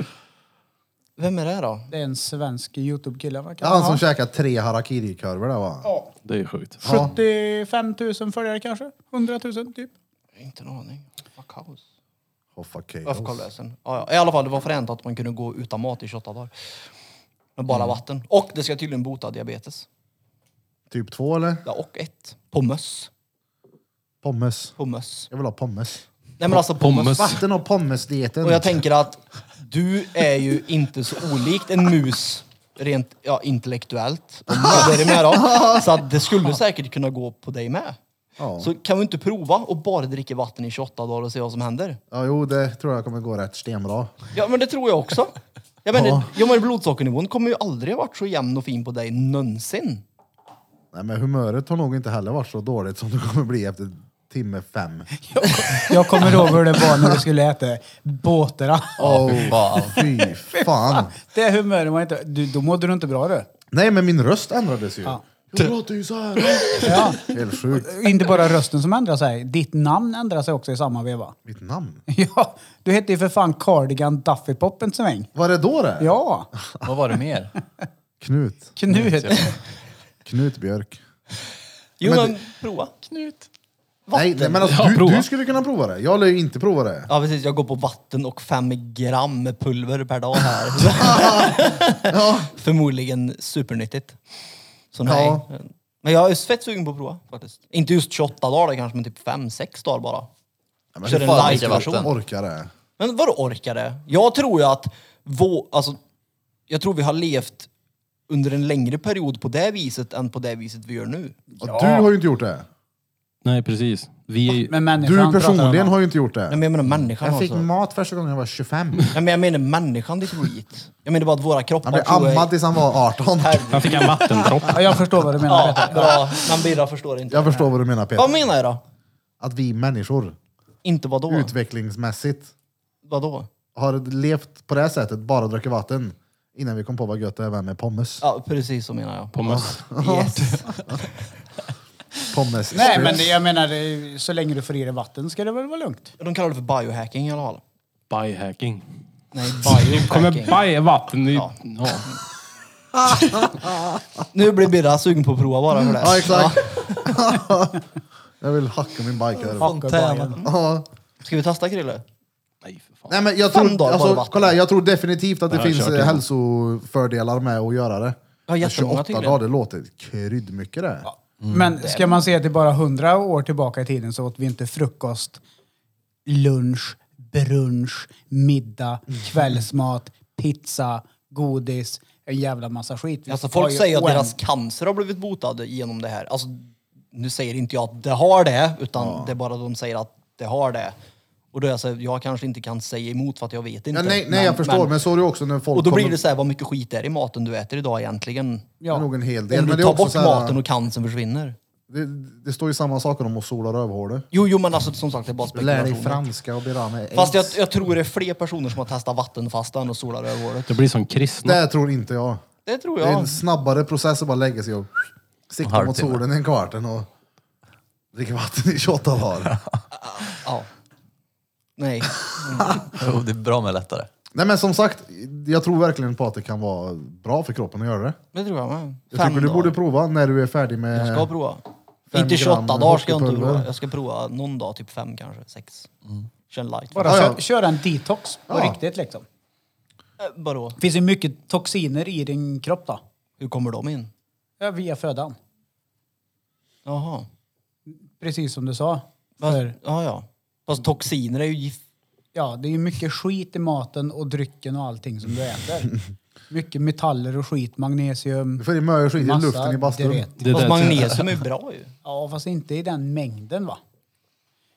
Vem är det då?
Det är en svensk Youtube-kille. vad
Ja,
kan
han
han
som
ha?
käkar tre harakiri-korvar där va?
*laughs* Det är ju sjukt.
75 000 följare kanske? 100 000 typ?
Inte en aning. Vad kaos.
Hoffa Chaos.
Varför kavlösen? Ja, ja. I alla fall, det var fränt att man kunde gå utan mat i 28 dagar. Med bara vatten. Och det ska tydligen bota diabetes.
Typ två eller?
Ja, och ett. Pommes.
Pommes.
Pommes.
Jag vill ha pommes.
Nej men alltså pommes.
Pommes.
Vatten och pommes-dieten.
Och jag tänker att du är ju inte så olikt en mus rent ja, intellektuellt. Och mördare med då. Så att det skulle säkert kunna gå på dig med.
Ja.
Så kan vi inte prova och bara dricka vatten i 28 dagar och se vad som händer?
Ja, jo, det tror jag kommer gå rätt stenbra.
Ja, men det tror jag också. Jag menar, ja. men blodsockernivån kommer ju aldrig ha varit så jämn och fin på dig någonsin.
Nej, men humöret har nog inte heller varit så dåligt som det kommer bli efter timme fem.
Jag kommer ihåg hur det var när du skulle äta båtarna.
Oh, *laughs* fy fan.
*laughs* Det humöret var inte... Du, då mådde du inte bra du.
Nej, men min röst ändrades ju. Jag pratar ju så här.
Ja.
Helt sjukt.
Inte bara rösten som ändrar sig. Ditt namn ändrar sig också i samma veva. *laughs*
Mitt namn?
Ja, du hette ju för fan Cardigan Duffy Pop en sväng.
Var det då det?
Ja,
Vad var det mer?
Knut.
Knut.
Knut Björk.
Jo,
Men
men prova. Knut.
Nej, nej, men alltså,
Ja,
du,
prova.
du skulle kunna prova det. Jag lär ju inte prova det.
Ja, precis. Jag går på vatten och fem gram med pulver per dag *laughs* här. Förmodligen supernyttigt. Så nej.
Ja.
Men jag är fett sugen på att prova faktiskt. Inte just 28 dagar kanske, men typ 5-6 dagar bara.
Ja, men
Kör
hur
en
fan
light-version.
orkar- Orkar det?
Men vadå orkar det? Jag tror ju att vå, alltså, jag tror vi har levt under en längre period på det viset än på det viset vi gör nu.
Och Du har ju inte gjort det.
Nej, precis. Vi är ju... *laughs*
Men människan
Du
pratar
personligen
om-
har ju inte gjort
Nej,
det.
men jag menar människan
Jag fick
alltså.
mat första gången jag var 25.
Nej, men jag menar människan, ditt skit. Jag menar bara att våra kroppar
Han blev
tror jag-
ammad tills han var 18.
Han fick en vattendropp.
Ja, jag förstår vad du menar.
Ja,
Peter.
bra. Men Birra förstår inte.
Jag förstår vad du menar
Vad
Peter.
menar jag då?
Att vi människor
Inte vadå?
utvecklingsmässigt
Vadå?
har levt på det här sättet, bara druckit vatten. Innan vi kom på vad gött det var med pommes.
Ja, precis så menar jag.
Pommes.
Yes.
Pommes
Nej,
strips.
men jag menar, det är- så länge du får i dig vatten ska det väl vara lugnt?
De kallar det för biohacking i alla fall.
Biohacking.
*laughs* Nej,
Kommer
biohacking. *laughs*
baja vatten i...
Ja.
Ja.
Nu blir Birra sugen på att prova bara för det.
Ja, exakt. *laughs* jag vill hacka min bike här.
Bajen.
Ja.
Ska vi testa Krille?
Nej, för fan.
Nej, men jag,
Fem
tror,
dagar bara
alltså,
vatten.
kolla, här, jag tror definitivt att det
har jag
finns eh,
kört innan.
hälsofördelar med att göra det. Men
jättemånga
28
tydligen.
dagar, det låter kryddmycket det.
Mm.
Men ska man se till bara hundra år tillbaka i tiden så åt vi inte frukost, lunch, brunch, middag,
Mm.
kvällsmat, pizza, godis, en jävla massa skit. Vi
Alltså
har
folk
ju
säger att
oänd-
deras cancer har blivit botad genom det här. Alltså, nu säger inte jag att det har det, utan det är bara de säger att det har det. Och då är jag så här, jag kanske inte kan säga emot för att jag vet inte.
Ja, nej, nej, jag förstår, men, så är det också när folk
och då blir
kommer-
det så här, vad mycket skit är i maten du äter idag egentligen?
Det är nog en hel del.
Om
Men
du
det, är
tar
också
bort
så här,
maten och cancern försvinner.
det, det står ju samma saker om att sola rövhålet.
Jo, jo, men alltså som sagt, det är bara
Lär dig
spekulationer.
franska och bli av med
Fast jag,
aids.
jag tror det är fler personer som har testat vattenfastan och solar över året.
Det blir som kristna.
Det tror inte jag.
Det tror
Det är
jag.
en snabbare process att bara lägga sig och sikta mot
halvtimme.
solen i en kvart än att dricka vatten i 28 dagar.
Ja. Nej.
*laughs* Jo, det är bra med lättare.
Nej men som sagt, jag tror verkligen på att det kan vara bra för kroppen att göra det.
Det tror jag med.
Jag tycker du
dagar.
borde prova när du är färdig
Jag ska
med...
prova.
fem
Inte 28
gram
dagar ska jag inte
hockeypulver.
prova. Jag ska prova någon dag, typ fem kanske, sex. Kör light.
Bara
Ja, ja.
kö- köra en detox på
Ja.
riktigt liksom.
Eh, Vadå?
Det finns ju mycket toxiner i din kropp då.
Hur kommer de in?
Ja, Via födan.
Jaha.
Precis som du sa.
Fast,
För,
ja, ja. Fast toxiner är ju gift.
ja, det är ju mycket skit i maten och drycken och allting som
*laughs*
du äter. mycket metaller och skit, magnesium,
Du får i mig skit i
massa
luften i bastun.
diuret.
Det
Fast
där-
magnesium är ju bra ju.
Ja, fast inte i den mängden va?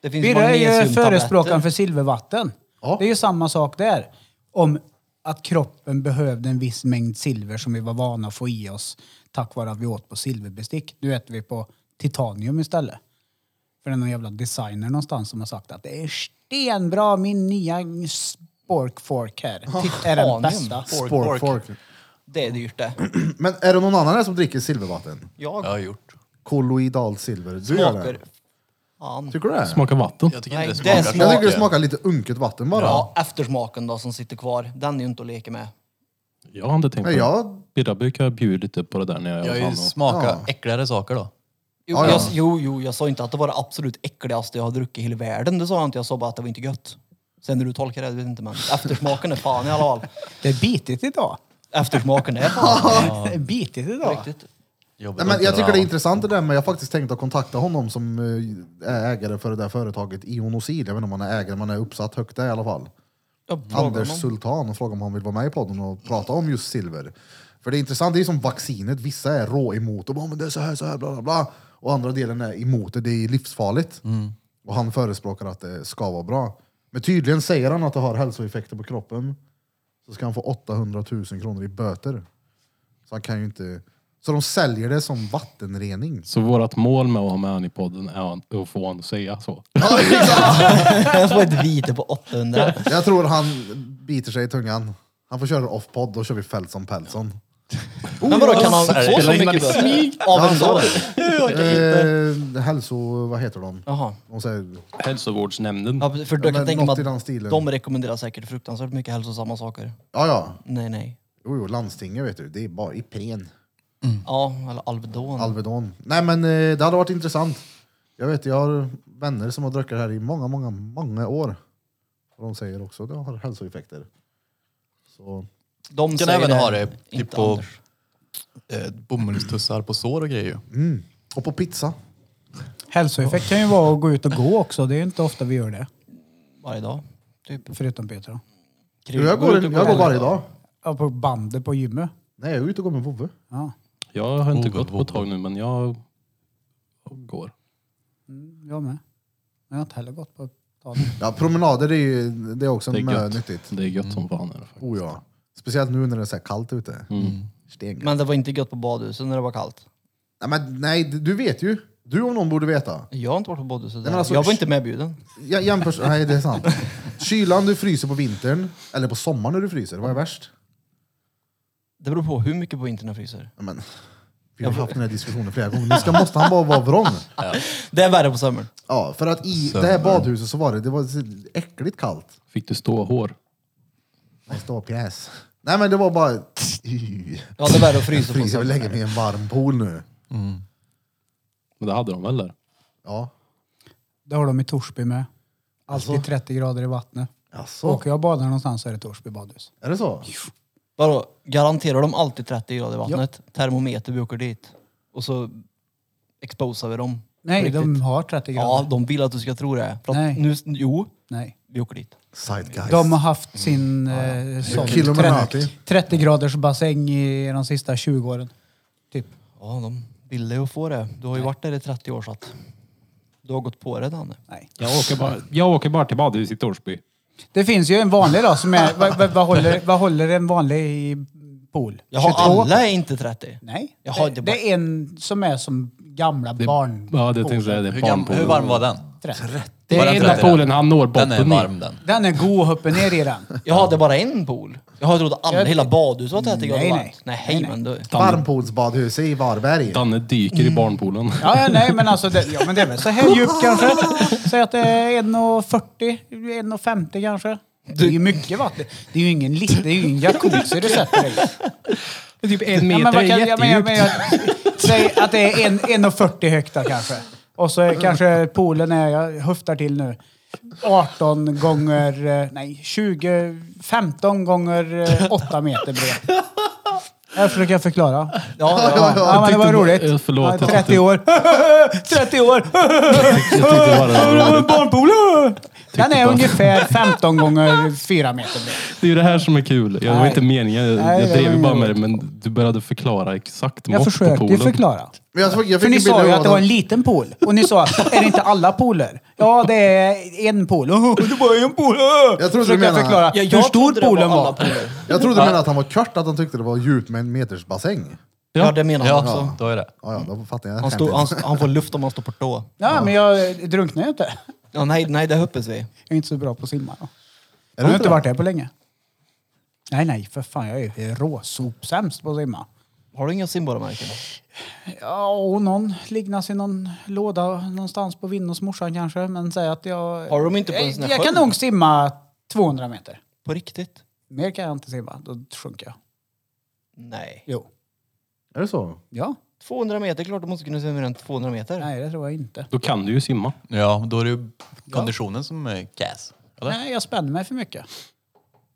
Det finns
Birra är ju
magnesiumtabletter.
förespråkaren för silvervatten.
Ja.
Det är ju samma sak där. Om att kroppen behövde en viss mängd silver som vi var vana att få i oss tack vare att vi åt på silverbestick. Nu äter vi på titanium istället. För det är någon jävla designer någonstans som har sagt att det är stenbra, min nya spork fork här. Det är den
Titanium.
bästa.
Fork,
Spork,
fork.
fork.
Det är dyrt det.
Men är det någon annan här som dricker silvervatten?
Jag har
Jag
gjort.
Kolloidalt silver. Du gör det? Typ-
smakar... Fan.
Tycker du det?
Smakar vatten.
Jag tycker
Nej,
inte
det
det
är
smakar.
Jag tycker det
så.
smakar lite unket vatten bara.
Ja, eftersmaken då som sitter kvar. Den är ju inte att leka med.
Jag har inte tänkt på
Nej,
det.
jag
Birra brukar bjuda lite på det där när jag,
Jag
jag
har
var
ju
fan och-
smakat
Ja.
äckligare saker då.
Jo,
Ja, ja.
Jag, jo, jo, jag sa inte att det var det absolut äckligaste jag har druckit i hela världen. Det sa jag inte. Jag sa bara att det var inte gött. Sen hur du tolkar det, det vet inte men. Eftersmaken är fan i alla fall.
Det är bitigt idag.
Eftersmaken är
*laughs*
fan
Det är bitigt
på
idag.
riktigt.
Nej, men jag tycker det är intressant det där men jag har faktiskt tänkt att kontakta honom som eh, är ägare för det där företaget Ionosil. Jag vet inte om han är ägare, men han är uppsatt högt där i alla fall.
Ja, fråga
Anders
honom.
Sultan och fråga om han vill vara med i podden och prata om just silver. För det är intressant, det är som vaccinet, vissa är rå emot och bara, men det är så här, så här, bla bla bla. Och andra delen är emot det, det är livsfarligt. Och han förespråkar att det ska vara bra. Men tydligen säger han att det har hälsoeffekter på kroppen. Så ska han få 800 000 kronor i böter. Så han kan ju inte... Så de säljer det som vattenrening.
Så vårt mål med att ha med han i podden är att få han att säga så.
*laughs* Ja, exakt.
Jag får ett vite på 800.
Jag tror han biter sig i tungan. Han får köra off-podd, då kör vi Feltson Peltson.
Men vadå, kan man
Så
få
här,
så
spelar in
mycket
det.
böter? Av en dag? *laughs*
Eh, hälso... Vad heter de?
Jaha.
De säger,
Hälsovårdsnämnden.
Ja, för
Ja,
jag
men
kan tänka mig
något i den
att
stilen.
de rekommenderar säkert fruktansvärt mycket hälsosamma saker.
ja, ja.
Nej, nej.
Jo, jo, landstinget vet du. Det är bara Ipren.
Mm.
Ja, eller Alvedon.
Alvedon. Nej, men eh, det hade varit intressant. Jag vet, jag har vänner som har druckit det här i många, många, många år. Och de säger också att det har hälsoeffekter. Så,
de
Kan
säger
även ha det typ
inte
på-
Anders.
Eh, bomullstussar på sår och grejer ju.
mm. Och på pizza.
Hälsoeffekt kan ju vara att gå ut och gå också. Det är inte ofta vi gör det.
Varje dag. Typ.
Förutom Peter då.
Du, jag, går, jag går varje dag.
Ja, på bandet på gymmet.
Nej, jag är ute och går med vovve.
Ja.
Jag har inte
Vovve,
gått på ett
vovve.
tag nu, men jag går.
Jag med. Men jag har inte heller gått på tal.
Ja, promenader är ju det är också
Det är
mö-
gött.
nyttigt.
Det är gött som fan. Är det, faktiskt.
Oh, ja. Speciellt nu när det är så här kallt ute.
Mm.
Stengött.
Men det var inte gött på badhuset när det var kallt.
Nej, men, nej, du vet ju. Du om någon borde veta.
Jag har inte varit på badhuset.
men
där.
alltså-
jag var inte medbjuden.
Jag jämför, nej, det är sant. Kylan du fryser på vintern, eller på sommaren när du fryser, vad är värst?
Det beror på hur mycket på internet fryser.
Ja, Men, vi har haft den här diskussionen flera gånger, nu ska, måste han bara vara vrång.
Det är värre på sommaren.
Ja, för att i det här badhuset så var det, det var så äckligt kallt.
Fick du stå hår?
En stor pjäs. Nej men det var bara...
Ja, det är värre att frysa på
Frys, jag vill lägga mig
sommaren.
i en varm pool nu.
Men det hade de väl där?
Ja,
Det har de i Torsby med. Alltid
Alltså.
30 grader i vattnet.
alltså,
Åker jag och badar någonstans så är det Torsby badhus.
är det så?
Vadå, garanterar de alltid 30 grader i vattnet? Termometer, vi åker dit. Och så exposar vi dem.
Nej,
Riktigt.
de har 30 grader.
Ja, de vill att du ska tro det. För att
Nej.
Nu, jo,
Nej.
vi åker dit.
Side guys.
De har haft sin eh, sån
Kilometer.
30, 30 graders bassäng i de sista 20 åren. Typ.
Ja, de ville ju få det. Du har ju varit där i 30 år så att du har gått på det Danne.
Nej.
Jag åker bara, jag åker bara till badhuset i Torsby.
Det finns ju en vanlig då som är... *laughs* Vad, vad, vad, håller, vad håller en vanlig i pool?
Jaha,
22?
alla är inte 30.
Nej. det,
Jaha, det
det är en som är som gamla barn.
Ja, det tänkte jag säga. Det
Hur,
är
gam, hur
barnpoolen.
varm var den?
Det
Var
är
den
enda
trött?
poolen han når botten
Den är
i.
varm den.
Den är god att hoppa ner i den.
Jag hade bara en pool. Jag har trott att alla,
Jag-
hela badhuset var 30 grader
Nej, nej.
varmt. Nej, hej
Nej,
men du.
Varmpoolsbadhuset i Varberg.
Danne dyker i barnpoolen.
Mm. Ja, ja, nej, men alltså det, ja, men det är väl så här djupt kanske. Säg att det är 1,40, 1,50 kanske. Det är ju mycket vatten. Det är ju ingen liten, det är ju ingen jacuzzi du sätter dig i.
typ en
Ja, men vad kan- ja, men- ja, men jag- Säg att det är en- 1,40 högt då kanske. Och så är kanske poolen är, jag höftar till nu, 18 gånger, eh, nej 20, 15 gånger eh, 8 meter bred. Jag försöker förklara.
Ja, ja.
Ja, men det var
tyckte- eh,
roligt.
förlåt,
Ja,
jag
30
tyckte-
år. *laughs* 30 år!
tyckte bara det
*laughs*
var roligt.
Barnpool! Den är
*laughs*
bara-
ungefär 15 gånger 4 meter bred.
Det är ju det här som är kul. Jag var
Nej.
inte meningen. Jag,
Nej,
jag
det
drev
var
ju bara med det,
roligt.
men du började förklara exakt
Jag
mått på
försökte ju
poolen.
förklara.
Men jag såg- jag
För
fick
ni
en bild
sa ju
av
att det var
Adam.
en liten pool. Och ni sa, är det inte alla pooler? Ja, det är en pool. Oh, det var en pool! Oh.
Jag trodde du
Försökte
menade-
förklara
Ja, jag
hur stor
trodde det
poolen
var alla
var.
pooler.
Jag trodde du menade att han var kört, att han tyckte det var djupt med en meters bassäng.
Ja, det menar han
Ja,
också.
då är det.
Ja, ja, då fattar jag.
Han, stod, han, han får luft om han står på tå.
*laughs* Ja, men jag drunknar ju inte.
Ja, nej, nej, det hoppas vi.
Jag är inte så bra på att simma. Då.
Är du
Jag har
inte
inte
det?
varit där på länge. Nej, nej, för fan. Jag är ju råsopsämst på att simma.
Har du inga simborgarmärken?
Ja, och någon lignas i någon låda någonstans på vinden hos morsan kanske. Men säg att jag...
Har de inte på en sån
jag,
här
Eh, jag
sjö?
kan nog simma 200 meter.
På riktigt?
Mer kan jag inte simma. Då sjunker jag.
Nej.
Jo.
Är det så?
Ja.
200 meter, klart du måste kunna simma mer än 200 meter.
Nej, det tror jag inte.
Då kan du ju simma.
Ja, då är det ju konditionen som är gas. Eller?
Nej, jag spänner mig för mycket.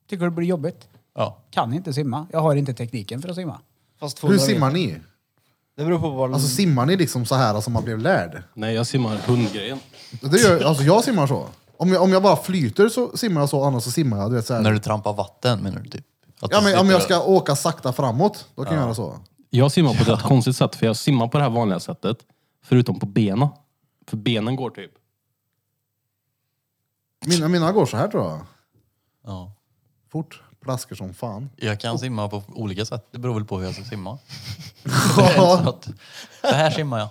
Tycker det blir jobbigt.
Ja.
Kan inte simma. Jag har inte tekniken för att *laughs* simma.
Fast 200
Hur simmar
meter.
ni?
Det beror på vad
Alltså
alltså,
simmar ni liksom så här som man blev lärd?
Nej, jag simmar hundgrejen.
Det gör, alltså jag simmar så. Om jag, om jag bara flyter så simmar jag så, annars så simmar jag. Du vet, så här.
När du trampar vatten menar du typ? Att
Ja,
du
men om
sitter
jag
och-
ska åka sakta framåt, då kan jag göra så.
Jag simmar på ett rätt konstigt sätt, för jag simmar på det här vanliga sättet. Förutom på benen. För benen går typ...
Mina, mina går så här tror jag.
Ja.
Fort. Plaskar som fan.
Jag
Oh.
kan simma på olika sätt. Det beror väl på hur jag ska simma.
*laughs*
Så
Ja,
att, *laughs* så här simmar jag.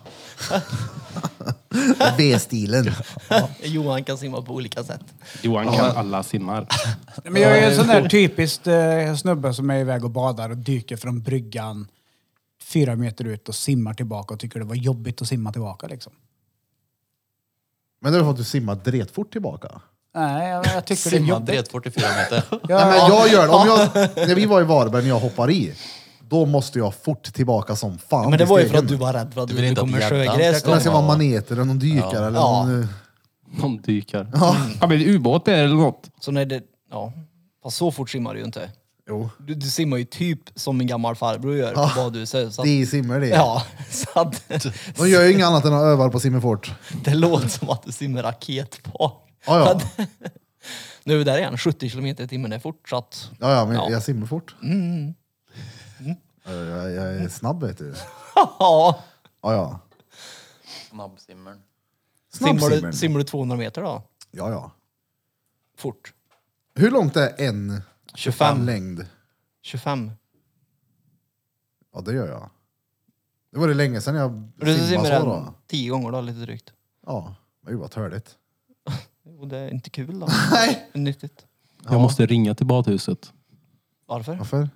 *laughs*
B-stilen.
Johan kan simma på olika sätt.
Johan kan alla simmar.
*laughs* Men jag är ju en sån där typisk eh, snubbe som är iväg och badar och dyker från bryggan fyra meter ut och simmar tillbaka och tycker det var jobbigt att simma tillbaka liksom.
Men det är för att du simmar dretfort tillbaka.
Nej, jag, jag tycker det är
Simma
jobbigt.
dret 44 meter.
*laughs*
Nej, men jag gör det. Om jag, när vi var i Varberg när jag hoppar i, då måste jag fort tillbaka som fan.
Men det
i
var ju för
stegen.
att du var rädd för att
Du
du
vill inte
skulle komma med
att hjärnan
sjögräs.
ska
Om det ska
komma.
vara maneter eller någon dykare eller
Ja.
någon... eh,
De dykar. Ja, men ubåt är det eller något.
Så när det, ja. Fast så fort simmar du ju inte.
Jo.
Du, du simmar ju typ som en gammal farbror gör på badhuset. Så att,
De simmar det.
ja, *laughs* så att
De gör ju inget annat än att öva på simmerfort.
*laughs* det låter som att du simmar raketfart.
Ja, ja.
För att- *laughs* Nu är vi där igen, 70 kilometer i timmen är fortsatt.
Ja, ja, men
Ja. Mm,
jag simmar fort. Eh, Jag, jag är snabb vet du.
Ja.
Ja, ja.
Snabbsimmern.
Simmar,
Snabbsimmern.
du, simmar du 200 meter då?
Ja, ja.
Fort.
Hur långt är en
25.
längd?
25.
Ja, det gör jag. Det var det länge sedan jag
Du
simmade
simmar
så
den
då.
10 gånger då, lite drygt.
Ja, men gud vad törligt.
Och det är inte kul då.
*laughs* Nej.
Nyttigt.
Jag måste ringa till badhuset.
Varför?
Varför?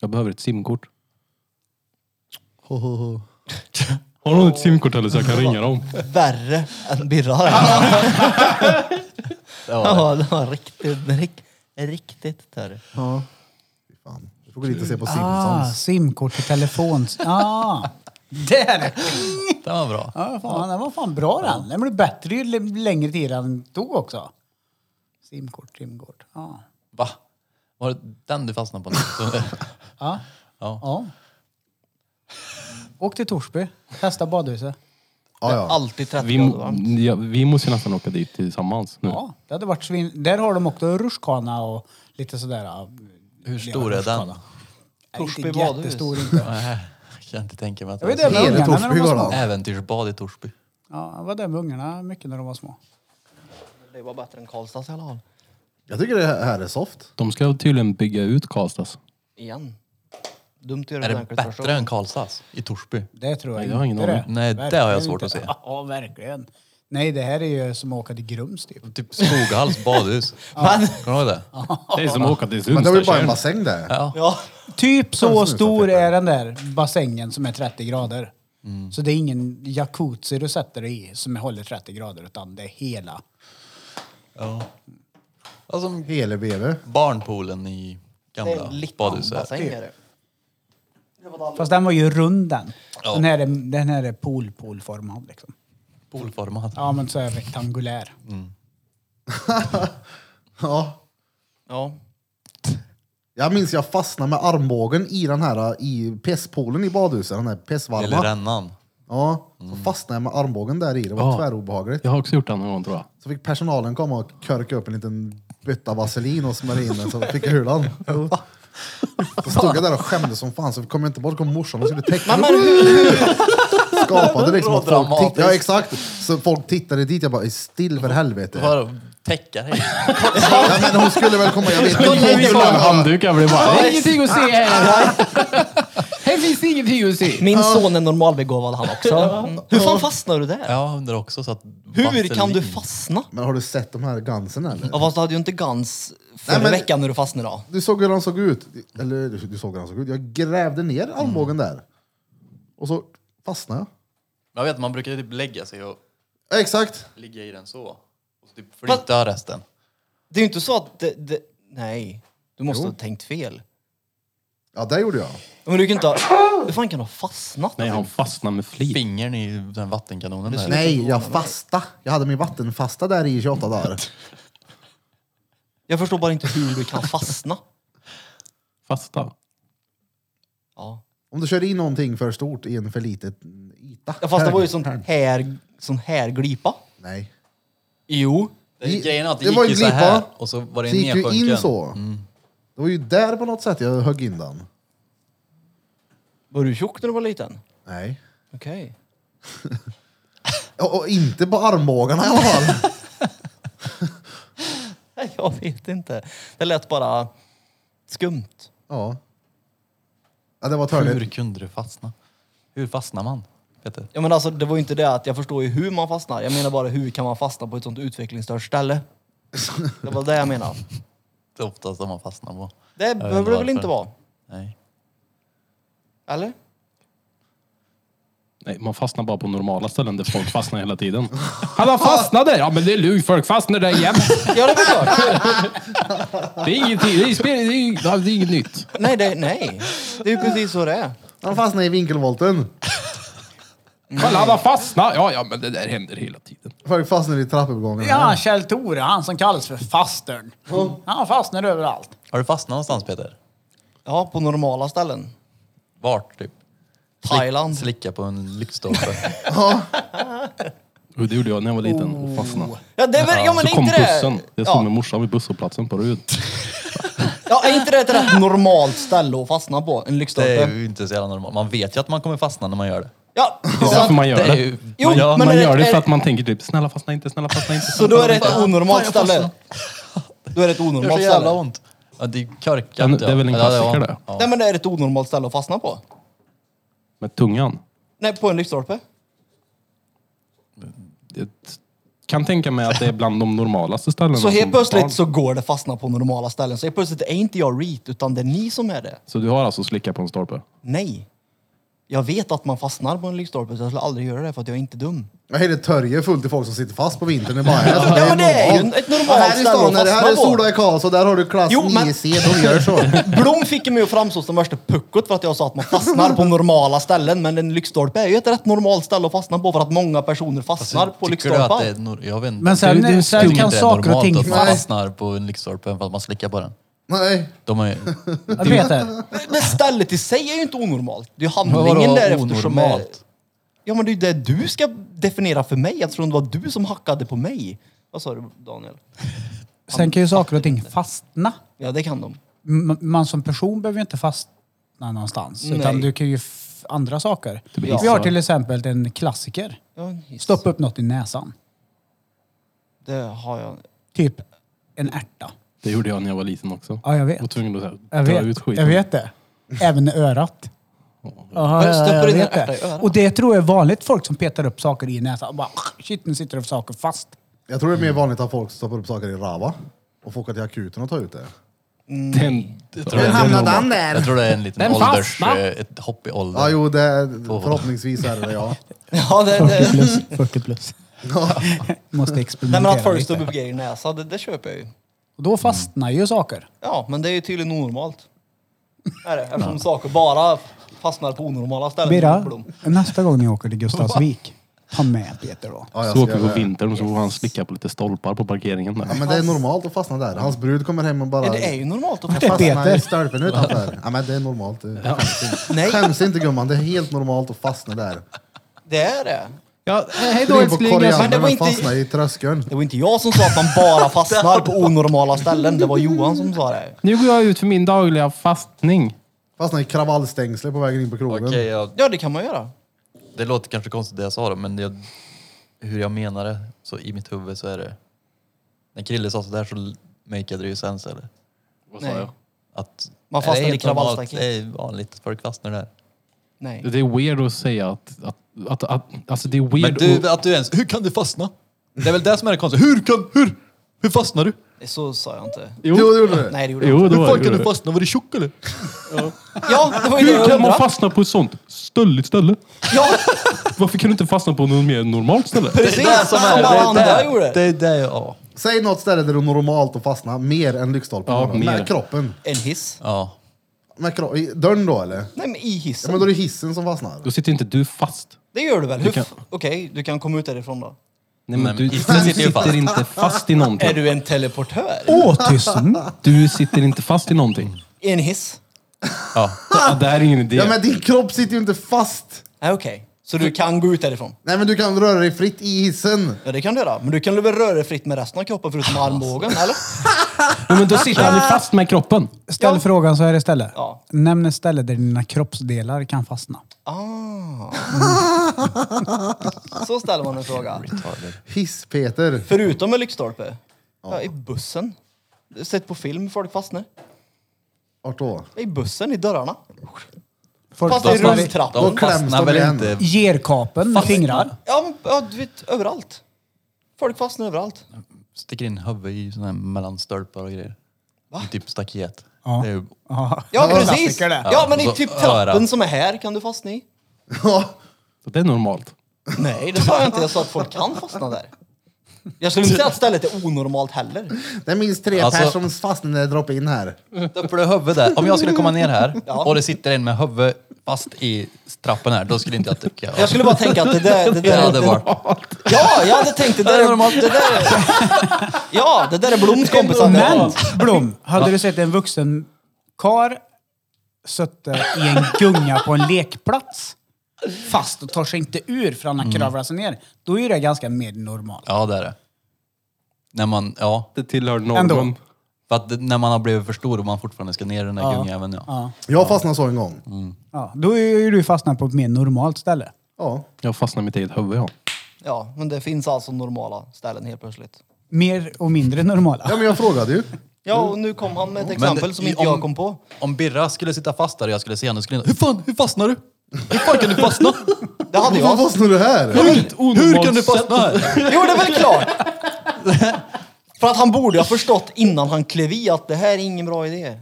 Jag behöver ett simkort. *laughs* Har någon ett simkort eller så jag kan ringa dem?
Värre än Birra. *laughs* ja, det var riktigt, rikt, riktigt törr.
Ja. Fy fan. Du får gå dit och se på
Ah,
Simpsons.
simkort till telefon. *laughs* Ah, där!
Det var bra.
Ja, fan, den var fan bra den. Den blev bättre ju l- längre tid den tog också. Simkort, simkort. Ja.
Va? Var det den du fastnade
*laughs*
på? nu?
Ja.
Ja.
Åk till Torsby. Testa badhuset.
Ja, ja.
Alltid 30
Vi,
grader varmt.
ja, vi måste ju nästan åka dit tillsammans nu.
Ja, det hade varit svin... Där har de också rutschkana och lite sådär. ja,
Hur stor är den?
Torsby
inte
badhus.
jättestor inte.
Nej, jag kan inte tänka mig att
Jag vet
det är
inte,
så.
men
Är det
ungarna när
Torsby
de var
var
små.
det?
Äventyrsbad i Torsby.
Ja, jag var där med ungarna mycket när de var små.
Det var bättre än Karlstads i alla fall.
Jag tycker det här är soft.
De ska tydligen bygga ut Karlstads.
Igen. Dumt att göra
Är
en
det
enkel
bättre
station.
än Karlstads i Torsby?
Det tror jag
Nej, det har jag
inte
ingen
det.
aning.
Nej, det har jag
Verkligen
svårt att
inte.
se.
Ja, verkligen. Nej, det här är ju som att åka till Grums typ.
Typ
*laughs*
Skogahalls badhus.
Men,
Kommer du ihåg det?
Det är som att åka till
Men det var ju bara en
Sundstrakärn.
bassäng där.
ja.
Typ
Kanske
så
nu,
stor
Peter.
är den där bassängen som är 30 grader. Så det är ingen jacuzzi du sätter dig i som håller 30 grader utan det är hela.
Ja, som
Hele bebe.
Alltså, barnpoolen i
Det är
gamla
en liten
badhuset.
bassäng är det.
Fast den var ju rund den.
Ja.
Den här är, den här är pool, poolformad liksom.
Poolformad.
Ja men så är rektangulär.
Ja.
Ja.
Jag minns jag fastnade med armbågen i den här i pisspoolen i badhuset, den här
Eller
pissvarma.
rännan.
Ja, så fastnade jag med armbågen där i, det var
Ja.
tvärobehagligt.
Jag har också gjort det någon gång tror jag.
Så fick personalen komma och körka upp en liten bytta vaselin och smörja in den så fick jag *laughs* hulan. Så stod jag där och skämdes som fan så kom jag inte bort, så kom morsan och skulle täcka
Men,
upp.
men hur?
Skapade liksom att folk
Dramatiskt.
tittade. Ja exakt! Så folk tittade dit, jag bara "Är still för helvete.
Vadå? Täcka dig?
Ja, men hon skulle väl komma, jag vet
Men
inte.
det finns
Hon
bara en
skulle-
handduk här blir bara...
Ja.
ingenting att se här! Här finns ingenting att se!
Min son är normalbegåvad han också. Mm. Hur fan fastnar du där?
Jag undrar också så att...
Hur kan
vaselin-
du fastna?
Men har du sett de här gansen eller?
Ja, fast du hade ju inte Gans förra
Nej, men-
veckan när du fastnade då.
Du såg hur han såg ut. Eller du såg hur han såg ut. Jag grävde ner armbågen där. Och så fastnade jag.
Jag vet, man brukar typ lägga sig och
Ja, Exakt!
ligga i den så. Och så typ flytta resten.
Det är ju inte så att det, det, Nej, du måste ha tänkt fel.
Ja, det gjorde jag.
Men du kan inte ha... Hur fan kan du ha fastnat?
Nej, han fastnar med flit.
Fingern i den vattenkanonen där.
Nej, jag fasta. Jag hade min vattenfasta där i 28 dagar.
Jag förstår bara inte hur du kan fastna.
Fasta.
Ja.
Om du kör in någonting för stort i en för litet yta.
Ja, Fast det var ju sån här, sån här glipa.
Nej.
Jo.
Det, grejen är att det,
Det
gick
var
ju
ju
så
glipa.
här och så var det
Så gick ju
nedsjunken.
in så. Det var ju där på något sätt jag högg in den.
Var du tjock när du var liten?
Nej.
Okej.
Och, och inte på armbågarna i alla fall.
Nej, Jag vet inte. Det lät bara skumt.
ja. ja. Det var
Hur
törligt.
kunde du fastna? Hur fastnar man? Peter?
Ja men alltså det var ju inte det att jag förstår ju hur man fastnar. Jag menar bara hur kan man fastna på ett sånt utvecklingsstört ställe? Det var det jag menade.
Det är oftast de man fastnar på.
Det
vet
behöver det
inte
väl inte
varför.
vara?
Nej.
Eller?
Nej, man fastnar bara på normala ställen där folk fastnar hela tiden. Han har fastnat där! Ja, men det är lugnt. Folk fastnar där jämt.
Ja det är väl klart.
Det är inget, det är, det är, inget- det är inget nytt.
Nej, det, nej. det är ju precis så det är.
Han fastnade i vinkelvolten.
Kolla, han har fastnat! Ja, ja, men det där händer hela tiden.
Folk fastnade i trappuppgången.
Ja, Kjell Tore, han som kallas för fastern. Han fastnar överallt.
Har du fastnat någonstans Peter?
Ja, på normala ställen.
Vart typ?
Thailand.
Slicka på
*laughs*
en lyktstolpe.
Och det gjorde jag när jag var liten. Och fastnade.
Ja, det är väl, ja men
Så
är
kom
inte
bussen.
det...
Jag stod
Oh. Ja,
med morsan vid busshållplatsen på Rud.
ja, är inte det ett rätt normalt ställe att fastna på? En
Det är
lyktstolpe?
ju inte så jävla normalt. Man vet ju att man kommer fastna när man gör det.
Ja,
Det är därför man gör
Det är
det.
ju,
Jo,
man gör,
men-
Man
är det-
gör det
är
för
det-
att man tänker typ, snälla fastna inte, snälla fastna inte.
så
snälla
då är
fastna
det ett onormalt ställe. Då är det ett
det gör
onormalt
så jävla
ställe.
ont. Ja, det är korkat.
Ja, men det är väl en
Ja, var-
klassiker det.
Ja.
Nej men det är ett onormalt ställe att fastna på.
inte." Med tungan.
Nej, på en lyktstolpe.
Jag kan tänka mig att det är bland de normalaste ställena.
Så
som
helt
barn.
plötsligt så går det fastna på normala ställen. Så helt plötsligt är inte jag reet, utan det är ni som är det.
Så du har alltså slickat på en stolpe?
Nej. Jag vet att man fastnar på en lyktstolpe, så jag skulle aldrig göra det för att jag är inte dum.
Ja, Hela Törje är fullt av folk som sitter fast på vintern. Det är bara, här,
Ja, men det är ju ett normalt
här i
ställe
stan,
att
är det här är
fastna på.
Sola i Karlstad, där har du klass
Jo, men-
9C, de gör så.
Blom fick mig att framstå som värsta puckot för att jag sa att man fastnar på normala ställen. Men en lyktstolpe är ju ett rätt normalt ställe att fastna på för att många personer
Alltså,
fastnar på
tycker du att det är
lyktstolpar.
nor- jag vet inte.
Men sen-
Det är ju- det är ju
sen
skumt
kan
det är
saker och
normalt
ting-
att man
Nej.
fastnar på en lyktstolpe även fast man slickar på den.
Nej,
De är ju...
Ja, Peter,
Men stället i sig är ju inte onormalt. Det är ju
Men vadå
handlingen därefter som är...
onormalt?
Ja men det är ju det du ska definiera för mig eftersom det var du som hackade på mig. Vad sa du Daniel?
sen kan ju saker och ting fastna.
Ja det kan de.
M- Man som person behöver ju inte fastna någonstans. Utan
Nej.
du kan ju f- andra saker.
blir
Vi har
hissad.
till exempel en klassiker.
Ja, en hiss.
Stoppa upp något i näsan.
Det har jag. *laughs*
Typ en ärta.
Det gjorde jag när jag var liten också.
Ja, jag vet.
Var tvungen att så här,
Jag
dra
vet,
ut skiten.
jag vet det. Även i örat. Aha,
Jag stoppar in en
vet
ärta
det.
i örat.
Och det tror jag är vanligt folk som petar upp saker i näsan. Och Bara, shit, nu sitter det saker fast.
jag tror det är mer vanligt att folk stoppar upp saker i Rava och får åka till akuten och ta ut det.
Den,
Jag tror det är-
hamnade han
Jag
där?
tror det är en liten
Den
ålders...
fastnar.
eh, Ett hopp i ålder.
Ja, jo, det, förhoppningsvis är det det, ja.
Ja det...
*laughs*
det.
40 plus. *laughs* Måste
Nej men
experimentera
att folk
lite.
stoppar upp grejer i näsan, det, det köper jag ju.
Och då fastnar ju saker.
Ja men det är ju tydligen onormalt. *laughs* Är det? Eftersom saker bara fastnar på onormala ställen.
Birra, nästa gång ni åker till Gustavsvik, ta med Peter då.
ja jag
så
ska
åker vi
göra
på
det.
vintern och så får han slicka på lite stolpar på parkeringen där.
Ja, men det är normalt att fastna där. Hans brud kommer hem och bara...
Ja, det är ju normalt att
är
*laughs* fastna.
Fastna
Peter.
i stolpen utanför. Ja, men det är normalt. Skäms inte. Skäms inte gumman, det är helt normalt att fastna där.
Det är det.
Ja, hej
Spring på
Men det
koriandern
var
och
inte-
fastna i tröskeln.
Det var inte jag som sa att man bara fastnar på onormala ställen. Det var Johan som sa det.
Nu går jag ut för min dagliga fastning.
Fastna i kravallstängslet på vägen in på krogen.
Okej, ja,
Ja det kan man göra.
det låter kanske konstigt det jag sa då, men jag, hur jag menar det, så i mitt huvud så är det... När Krille sa sådär så l- makeade det ju sens, eller?
Vad
sa Nej. jag?
Att,
Man
Nej, det är
fastnar i
helt normalt,
kravallstaket.
Det är vanligt att folk fastnar där.
Nej.
Det är weird att säga att... att, att, att alltså det är
Men
weird
du,
att...
att du ens... Hur kan du fastna? Det är väl det som är det konstiga. Hur kan... Hur? Hur fastnar du?
Så sa jag inte.
Jo, det gjorde det.
Nej det gjorde jag
Jo,
inte.
det
Hur
var
fan kan
det.
du fastna? Var du tjock eller?
Ja det var ju det
Hur
jag
kan man
undrade.
fastna på ett sånt stölligt ställe?
Ja
*laughs* Varför kan du inte fastna på något mer normalt ställe?
precis! Som alla andra gjorde.
Det är det, ja.
Säg något ställe där det är normalt att fastna mer än lyktstolpen.
Ja,
med
mer.
kroppen.
En hiss?
ja.
Med kro i dörren då eller?
Nej men i
Ja,
hissen.
men då är det hissen som fastnar.
Då sitter inte du fast.
Det gör du väl? Hur
kan-
f- Okej, du kan komma ut därifrån då.
Nej,
Nej,
men du,
men
du
hissen sitter ju
sitter
fast.
inte fast i någonting.
Är du en teleportör?
Åh, Mm. tysten!
Du sitter inte fast i någonting.
I en hiss?
ja.
Ja, det här är ingen idé.
Ja men din kropp sitter ju inte fast!
Nej okej. Så du kan gå ut därifrån?
Nej men du kan röra dig fritt i hissen.
Ja, det kan du göra. Men du kan väl röra dig fritt med resten av kroppen förutom armbågen, eller?
Ja, men då sitter han ju fast med kroppen.
Ställ frågan så här istället.
Ja.
Nämn ett ställe där dina kroppsdelar kan fastna.
Ah. Så ställer *laughs* man en fråga.
Hiss-Peter.
Förutom med lyktstolpe? Ja, i bussen. Jag har Sett på film folk fastnar.
Vart då?
I bussen, i dörrarna.
Folk
Fast i
fastnar i
rulltrappan.
Då
De
kläms
fastnar
de
väl
igen.
inte?
gerkapen med fingrar.
Ja, men, ja, du vet, överallt. Folk fastnar överallt.
Sticker in huvudet i sån här mellan stolpar och grejer. I typ staket.
Ja.
Det är ju-
Ja.
Ja,
Det är en
precis!
klassiker det.
Ja, men i
Och så
typ trappen
örat.
som är här kan du fastna i.
*laughs* Ja.
Så det är normalt.
Nej, det sa jag inte. Jag sa att folk kan fastna där. Jag skulle inte säga att stället är onormalt heller.
Det är minst tre
Alltså-
pers som fastnar när jag droppar in här.
Stoppar du huvudet där? Om jag skulle komma ner här
Ja.
och det sitter en med huvudet fast i trappen här, då skulle inte jag tycka...
Jag skulle bara tänka att det där... Det
Det
där
hade varit...
Ja, jag hade tänkt det där är normalt. Det där är, ja, det där är Bloms kompisar.
Men Blom, hade du sett en vuxen kar sitta i en gunga på en lekplats fast och tar sig inte ur för han har kravlat sig ner, då är det ganska mer normalt.
Ja, det är det. När man, ja,
Det tillhör någon.
Ändå.
för att det- när man har blivit för stor och man fortfarande ska ner i den där gungjäveln, ja.
Ja.
Jag fastnade så en gång.
Ja, då är ju du fastnat på ett mer normalt ställe.
Ja.
Jag fastnar i mitt eget huvud, ja.
Ja, men det finns alltså normala ställen helt plötsligt.
Mer och mindre normala.
ja men jag frågade ju.
Ja, och nu kom han med ett
Men
exempel
det-
som inte
om-
jag kom på.
Om Birra skulle sitta fast där och jag skulle se henne skulle jag hur fan, hur fastnar du? Hur fan kan du fastna?
Det hade
Varför
jag.
fastnar du här?
Hur kan du fastna här?
Jo, det är väl *laughs* klart! För att han borde ha förstått innan han klev i att det här är ingen bra idé.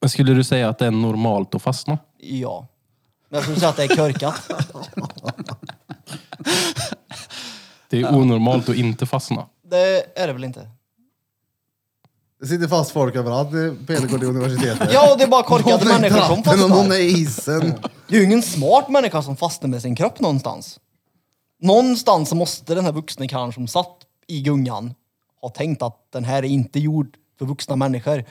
Men skulle du säga att det är normalt att fastna?
Ja. Men jag skulle säga att det är körkat.
Det är onormalt att inte fastna.
*laughs* Det är det väl inte?
Det sitter fast folk överallt när Pelle går till universitetet.
Ja, och det är bara
Någon
korkade
är i
människor som
trappen och någon är
fastnar.
i isen.
Det är ju ingen smart människa som fastnar med sin kropp någonstans. Någonstans så måste den här vuxna karln som satt i gungan ha tänkt att den här är inte gjord för vuxna människor.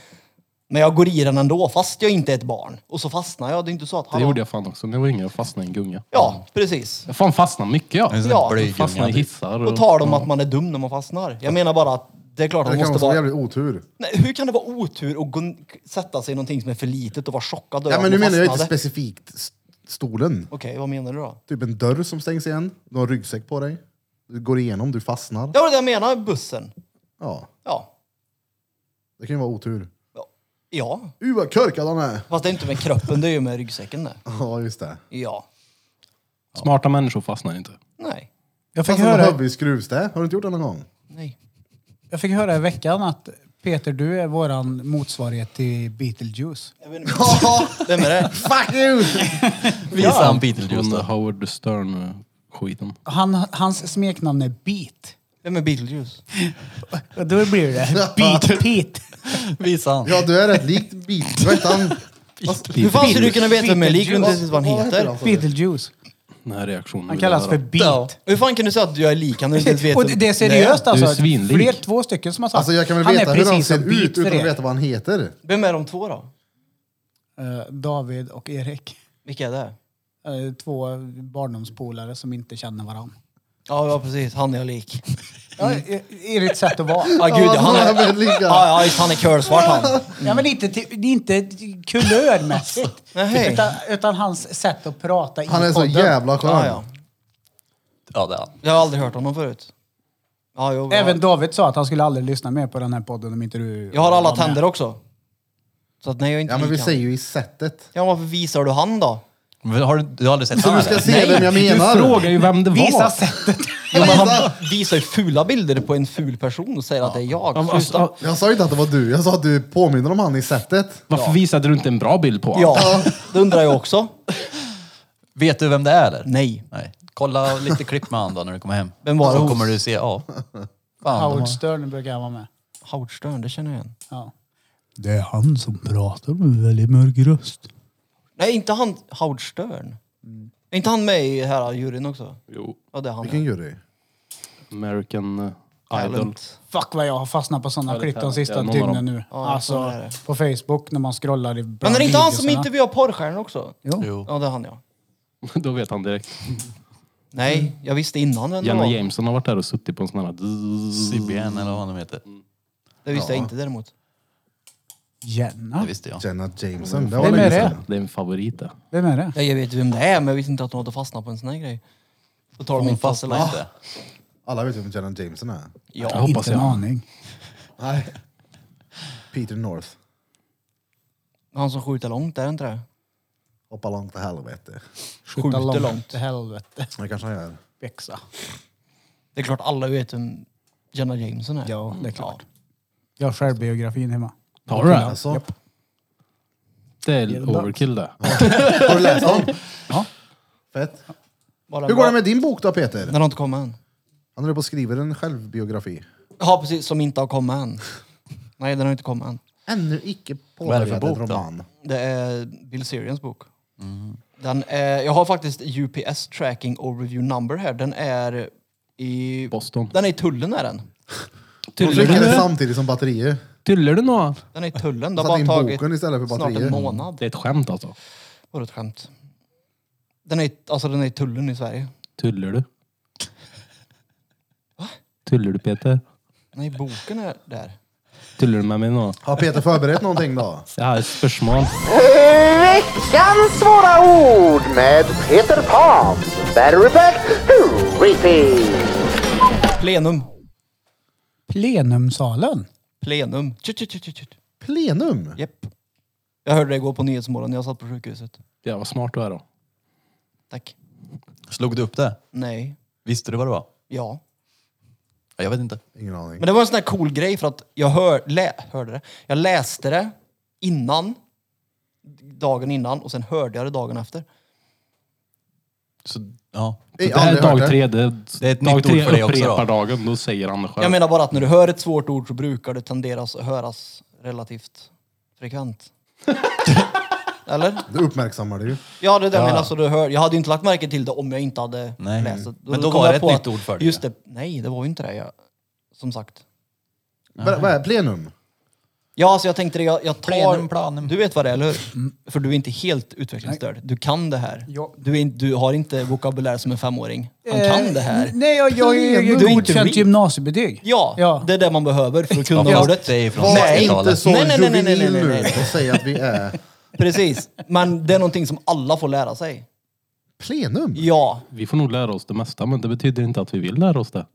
Men jag går i den ändå, fast jag inte är ett barn. Och så fastnar jag. Det är inte så att...
Det gjorde jag fan också när jag var yngre. Jag fastnade i en gunga.
Ja, precis.
Jag fan fastnade mycket, ja.
En sån
Ja,
där blyg
Fastnade i
gunga.
hissar.
Då tar de att man är dum när man fastnar. Jag menar bara att det är klart att
Det
man
kan
måste
också vara
vara...
jävligt otur.
Nej, hur kan det vara otur att gå, sätta sig i någonting som är för litet och vara chockad över
Ja,
att
men nu
man
menar jag inte
fastnade?
specifikt st- stolen.
Okej, vad menar du då?
Typ en dörr som stängs igen. Du har en ryggsäck på dig. Du går igenom, du fastnar.
Ja, det är det jag menar. Bussen.
Ja,
Ja.
det kan ju vara otur.
Ja.
Uh vad körkad han är!
Fast det är inte med kroppen, det är ju med ryggsäcken det.
Ja just det.
Ja.
Smarta människor fastnar inte.
Nej.
Jag fick,
Fast med
höra,
huvudet i skruvstäd. Har du inte gjort det någon gång?
Nej.
jag fick höra i veckan att Peter, du är våran motsvarighet till Beetlejuice.
Jag vet inte. Vem är det?
Fuck you!
Visa han
Från
Beetlejuice då.
Howard Stern-skiten.
Han, hans smeknamn är Beat.
Vem är Beetlejuice?
Och då blir
*laughs*
det Beat-Pete.
Visa han.
Ja du är rätt likt Beat... Vad hette
*laughs*
han?
Alltså, Hur fan skulle du kunna veta vem jag är lik
Beetlejuice.
om du inte vet vad han heter?
han? alltså? sa du?
Beetlejuice.
Den här reaktionen
Han
vill
kallas
jag
för
höra.
Ja.
Beat.
Hur fan kan du säga att jag är lik? Han inte ens
*laughs*
vet
Och det är seriöst
är
alltså.
svinlik.
Fler två stycken som har sagt
Alltså jag kan väl
han
veta
är
hur
precis
han ser
som Beat
ut
för
utan att
er.
veta vad han heter.
Vem är de två då?
Eh, David och Erik.
Vilka är det?
Eh, två barndomspolare som inte känner Mm. varandra.
Ja, ja precis. Han är jag lik.
Ja, i- i ditt sätt att vara.
Ja, gud.
Ja,
Han
de
är...
väldigt lika.
Ja, ja, just, han är curlsvart han.
Ja, men inte, till- det är inte kulörmässigt.
Nej.
utan, utan hans sätt att prata
Han
i
är så
podden.
jävla
Ja,
skön.
ja.
Ja, det är han.
Jag har aldrig hört honom förut. Ja, jo, jag,
Även David sa att han skulle aldrig lyssna mer på den här podden om inte du...
jag har alla
var med.
tänder också. Så att nej, jag är inte
Ja men vi
lik han.
säger ju i sättet.
Ja, varför visar du han då?
Men Har du, du har aldrig sett
Så
han
du ska
eller?
se vem jag
Du
menar.
frågar ju vem det var.
Visa sättet.
Jo, men han visar ju fula bilder på en ful person och säger att det är jag.
Ja, men alltså,
Sluta.
ja,
Jag sa ju inte att det var du, jag sa att du påminner om han i sättet.
varför visade du inte en bra bild på honom?
Ja, det undrar jag också.
Vet du vem det är eller?
Nej.
Nej. Kolla lite klipp med han då när du kommer hem.
Vem var det
Så
hos?
kommer du se, ja. Fan, de har-
Howard Stern brukar jag vara med.
Howard Stern, det känner jag igen.
Ja. Det är han som pratar med väldigt mörk röst.
Nej, inte han Howard Stern.
Mm.
Är inte han med i här juryn också?
Jo.
Ja, det är han.
Vilken jury?
American eh, Idol.
Talent.
Fuck vad jag har fastnat på sådana
Ja, det
klipp
kan-
de
det är
sista
någon av
dygnen
dem.
nu.
Ja, så är
alltså
det.
på Facebook när man scrollar i
Men är det inte han som
videorna.
intervjuar porrstjärnor också?
Jo.
Jo.
Ja, det är han ja.
*laughs* Då vet han direkt.
Nej, jag visste innan vem det
Jenna
var.
Jameson har varit där och suttit på en sån här... dzz.
Sibben eller vad han heter.
Det visste jag inte däremot.
Det
Jenna?
visste jag.
Jenna Jameson. Det var
Vem är
länge
det?
sedan.
Det är en favorit det.
Vem är det?
Ja, jag vet vem det är, men jag visste inte att hon hade fastnat på en sån här grej. På tal om
Hon
inte fastnat.
fastnade inte.
Alla vet ju vem Jenna Jameson är.
Jag
Ja,
hoppas
inte en
jag.
aning.
Nej. Peter North.
han som skjuter långt, är det inte det?
Hoppa långt till helvete.
Skjuter långt.
till helvete.
Det kanske han gör.
Växa.
Det är klart alla vet vem Jenna Jameson är.
Ja, det är klart. Jag har självbiografin hemma.
Har du det?
Alltså,
Det är overkill det.
Har du läst dem?
Ja.
Fett.
Bara
Hur går det
bra-
med din bok då Peter?
Den har inte kommit än.
Han håller på och skriver en självbiografi.
Ja, precis. Som inte har kommit än. Nej, den har inte kommit än.
Ännu icke
är det för
påbörjad
bok då?
roman.
Det är Bill Serians bok.
Mm.
Den är, jag har faktiskt UPS Tracking Overview Number här. Den är i,
Boston.
den är i tullen. Är den.
De
Tyllar
skickade
du?
samtidigt som batterier.
Tyllar du nå?
den är i tullen. Det
Satt
har bara
in
tagit
boken istället för
snart
batterier.
en månad.
Det är ett skämt alltså.
Var det ett skämt? Den är, i- alltså, den är i tullen i Sverige.
Tullar du? Tullar du Peter?
Nej, boken är där.
Tullar du med mig nå?
Har Peter förberett någonting
*laughs*
då?
Jag har ett spörsmål.
Veckans svåra ord med Peter Pan. Battleback Repeat.
Plenum.
Plenumsalen?
Plenum. Tjut, tjut, tjut, tjut, tjut.
Plenum?
Japp. Jag hörde det igår på Nyhetsmorgon när jag satt på sjukhuset.
Ja, vad smart du är då.
Tack.
Slog du upp det?
Nej.
Visste du vad det var?
Ja.
Ja, jag vet inte.
Ingen aning.
Men det var en sån här cool grej för att jag hör, lä, hörde det. Jag läste det innan, dagen innan och sen hörde jag det dagen efter.
Så, ja.
Det
Jag har
är
aldrig hört
dag
det.
tre. Det,
Det är ett
dag
nytt
tre
ord för dig också
upprepar
då.
dagen. Då säger han det själv.
Jag menar bara att när du hör ett svårt ord så brukar det tenderas att höras relativt frekvent. *laughs* Eller?
Du uppmärksammar det ju.
Ja, det är det jag menar. Så du hör, jag hade ju inte lagt märke till det om jag inte hade
Nej.
läst det.
Men då
kom
var
jag
det ett
på
nytt
att-
ord för dig.
Just det. Nej, det var ju inte det. Jag, som sagt.
Vad vad är plenum?
Ja, alltså jag tänkte det. Jag, jag tar...
Plenum, planum. Mm.
Du vet vad det är, eller hur? För du är inte helt utvecklingsstörd. Du kan det här.
Ja.
Du, är, inte- du har inte vokabulär som en femåring. Han kan det
Eh,
här.
Nej, jag, jag, jag,
Plenum.
jag
Du är
är
inte
godkänt
read.
gymnasiebetyg.
Ja,
ja.
det är det man behöver för att kunna
Ja, fast
ordet.
det är från
Var
Nej,
60-talet.
inte så
Nej, nej, nej, nej, nej,
juvenil
nej, nej.
nu och säg att vi är
precis. Men det är någonting som alla får lära sig.
plenum.
Ja,
Vi får nog lära oss det mesta, men det betyder inte att vi vill lära oss det.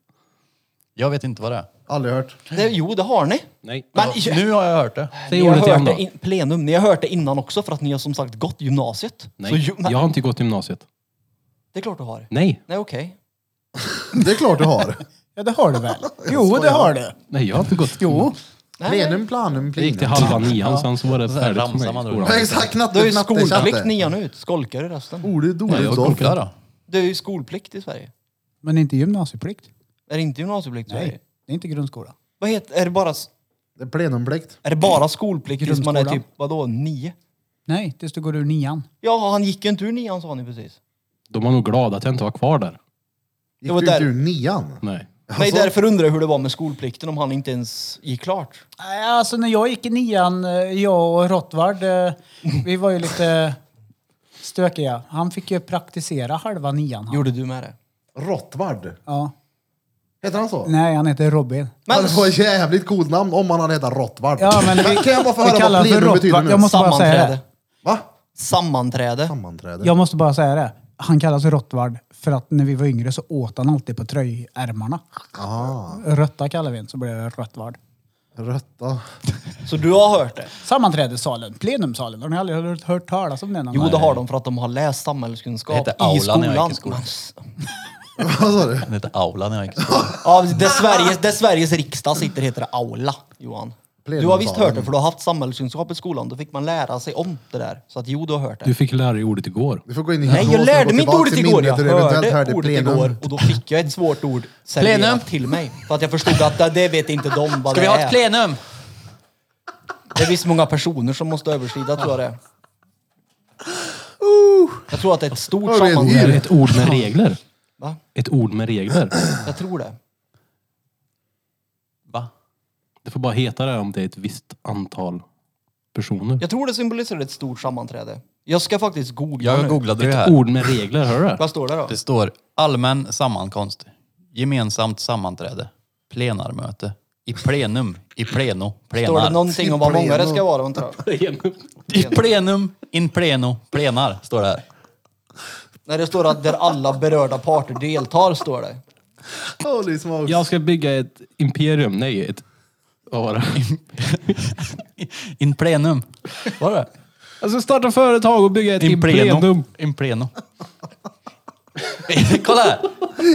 Jag vet inte vad det är.
Aldrig hört.
det, jo det har ni.
Nej.
Men
Ja, nu har jag hört det.
Säg
ni har
ordet igen
hört det
då.
in, plenum. Ni har hört det innan också för att ni har som sagt gått gymnasiet. Så,
Nej,
ju, men,
jag har inte gått gymnasiet.
Det är klart du
Mm.
har.
Nej,
Nej, okej.
Det är klart du har.
Ja, det har du
*laughs*
väl? Jo, det har du.
nej jag har inte gått. Jo.
Plenum, planum,
Jag gick till
plenum.
halva nian, sen så var det
Så här
färdigt
ramsar
för mig
man
i
då.
skolan.
Ja, Exakt,
Du
knatte,
har ju
knatte,
skolplikt
knatte.
nian ut. Skolkar du resten?
Orde, dore,
Nej, jag
dolk.
skolkar då.
Det är ju skolplikt i Sverige.
Men inte gymnasieplikt.
Är det inte gymnasieplikt i Sverige?
Nej, det är inte grundskola.
Vad heter, är det bara,
Det är Plenumplikt.
är det bara skolplikt tills man är
Grundskolan.
typ, vadå, nio?
Nej, tills du går ur nian.
Ja, han gick ju inte ur nian sa ni precis.
De var nog glada att jag inte var kvar där.
Gick
Det var
du
där-
ut ur nian?
Nej.
Nej, därför undrar jag hur det var med skolplikten om han inte ens gick klart.
Nej, Alltså när jag gick i nian, eh, jag och Rottvard, eh, vi var ju lite stökiga. Han fick ju praktisera halva nian. Han.
Gjorde du med det?
Rottvard.
Ja.
Heter han så?
Nej, han heter Robin.
Men... Det var ett jävligt coolt namn om han hade hetat Rottvard.
Ja, men vi-
kan jag bara få
vi
höra
kallar
vad
honom för
plenum betyder
Rottvard.
nu?
Jag måste- bara säga
Sammanträde.
Va?
Sammanträde.
Sammanträde.
Jag måste bara säga det. Han kallas Rottvard för att när vi var yngre så åt han alltid på tröjärmarna.
Aha.
Rötta kallar vi honom, så blev det Rottvard.
Rötta.
Så du har hört det?
Sammanträdessalen, plenumsalen. Har ni aldrig hört, hört talas om den?
Jo, det har de för att de har läst samhällskunskap
Det hette
i
aula när jag gick
skolan.
i skolan.
Men-
Vad sa du?
Den heter Aula när jag gick i skolan.
Ja, där Sveriges, där Sveriges riksdag sitter heter det aula, Johan. Du har visst hört det, för du har haft samhällskunskap i skolan. Då fick man lära sig om det där. Så att jo, du har hört det.
Du fick lära dig ordet igår.
Du får gå in i
Nej,
hypnos
jag
och gå
lärde mig inte
tillbaka
ordet
till
igår.
minnet
Jag
hur du eventuellt
hörde
hörde
ordet
plenum.
igår och då fick jag ett svårt ord serverat till mig. För att jag förstod att det- det vet inte de vad det är.
plenum?
Det är visst många personer som måste överskrida, tror jag det är. Jag tror att det är ett stort
Ja, det är en
Det
sammanträde.
är ett ord med regler.
Va?
Ett ord med regler.
Jag tror det.
Va?
Det får bara heta det om det är ett visst antal personer.
Jag tror det symboliserar ett stort sammanträde. Jag ska faktiskt googla nu.
Jag googlade det
Ett
här.
ord med regler, hör du det?
Vad står det då?
Det står allmän sammankomst, gemensamt sammanträde, plenarmöte, i plenum, i pleno,
Står det
plenar.
någonting om vad många det ska vara? antar jag?
I plenum, in pleno, plenar, står det här.
Nej, det står att där alla berörda parter deltar, står det.
Holy smokes.
Jag ska bygga ett imperium, nej ett... Vad var det?
In plenum. Var det?
Jag ska starta företag och bygga ett
In pleno.
imperium.
In pleno. *laughs* Kolla här!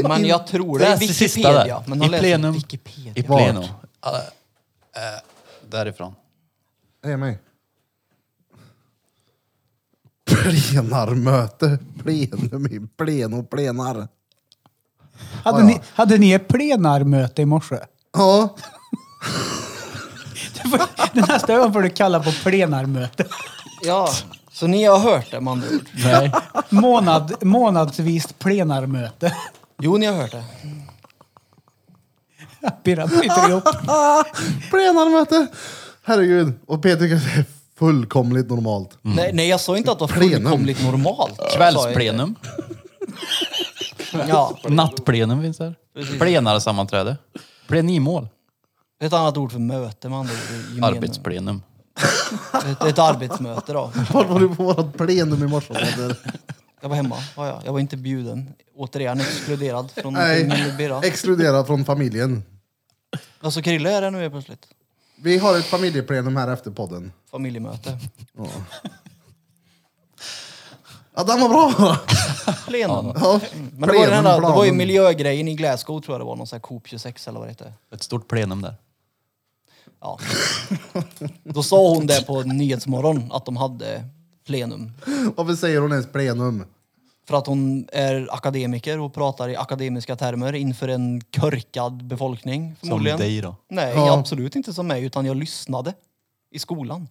Men jag tror det
Det
är
är sista
Wikipedia.
där.
Men de
I
läser
plenum. I
Wikipedia.
pleno. eh, Uh, därifrån.
Hej mig. Plenarmöte. Plenum i pleno plenar.
Hade,
Ja, ja.
Ni, hade ni ett plenarmöte i morse? *laughs*
Ja.
Det får- det nästa gång får du kalla på plenarmöte.
Ja, så ni har hört det med andra ord.
Nej.
Månad, månadsvis plenarmöte. *laughs*
Jo, ni har hört det.
Mm.
Birra bryter ihop.
Plenarmöte. Herregud. Och Peter tycker att det är fullkomligt normalt.
Nej, nej, jag sa inte att det var
Plenum.
fullkomligt normalt.
Kvällsplenum.
Sa jag inte. Ja,
Nattplenum finns där. Plenarsammanträde. Plenimål.
det är ett annat ord för möte med andra ord. i gemen-
Arbetsplenum.
Ett, ett arbetsmöte då.
Vart var du på vårat plenum i morse
Mm.
Peter?
Jag var hemma, ja, ja. Jag var inte bjuden. Återigen exkluderad från min
Nej.
birra.
Exkluderad från familjen.
Alltså Krille är det nu helt plötsligt.
Vi har ett familjeplenum här efter podden.
Familjemöte.
Ja, den var bra!
Plenum.
Ja,
Mm. Men det var, den här, det var ju
planen.
miljögrejen i Glasgow tror jag det var, någon sån här Coop 26 eller vad det hette.
Ett stort plenum där.
Ja. Då sa hon det på Nyhetsmorgon, att de hade plenum.
Varför säger hon ens plenum?
För att hon är akademiker och pratar i akademiska termer inför en körkad befolkning.
Som
Förmodligen.
dig då.
Nej,
Ja.
absolut inte som mig, utan jag lyssnade i skolan.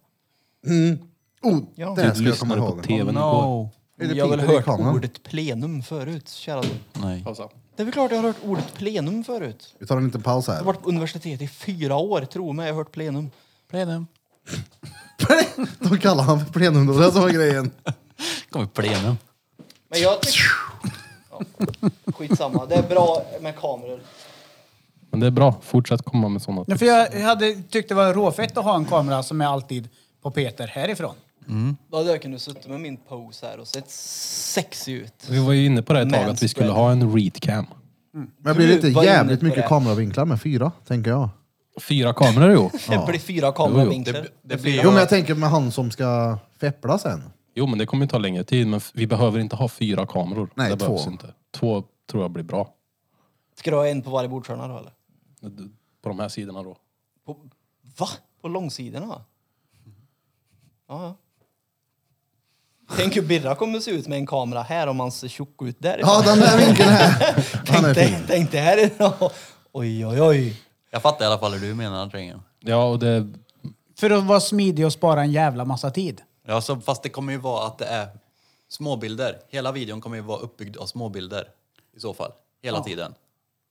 Oh,
Ja.
det här
Du
ska jag komma
lyssnade på
ihåg.
tvn igår.
Är det
Jag har väl
Peter i
hört
kameran?
ordet plenum förut, kära du.
Nej.
Det är väl klart jag har hört ordet plenum förut.
Vi tar en liten paus här.
Jag har varit på universitet i fyra år, tro mig, jag har hört plenum.
Plenum.
De kallar han för plenum, det var det som var grejen.
kommer plenum.
Men jag tycker... Ja, skitsamma, det är bra med kameror.
Men det är bra, fortsätt komma med sådana
Ja,
tips.
för jag hade tyckt det var råfett att ha en kamera som är alltid på Peter härifrån.
Då hade jag kunnat sitta med min pose här och sett sexig ut.
Vi var ju inne på det ett tag, att vi
Manspread.
skulle ha en readcam.
Men blir det
Du
inte
var inne
jävligt
på
mycket
det.
kameravinklar med fyra, tänker jag?
Fyra kameror *laughs* jo.
Det blir fyra
Det,
kameravinklar.
det blir
Jo, men jag tänker med han som ska feppla sen.
Jo men det kommer ju ta längre tid, men f- vi behöver inte ha fyra kameror.
Nej,
det behövs
två.
inte. Två tror jag blir bra.
Ska du ha en på varje bordshörna då eller?
På de här sidorna då.
På, va? På långsidorna? Ja, ja. Tänk hur Birra kommer se ut med en kamera här om han ser tjock ut därifrån.
Ja, den där vinkeln här! Han är
tänk,
fin.
dig, tänk dig härifrån. Oj, oj, oj.
jag fattar i alla fall hur du menar Drängen.
Ja och det...
För att vara smidig och spara en jävla massa tid.
Ja, så, fast det kommer ju vara att det är småbilder. Hela videon kommer ju vara uppbyggd av småbilder. I så fall. Hela tiden.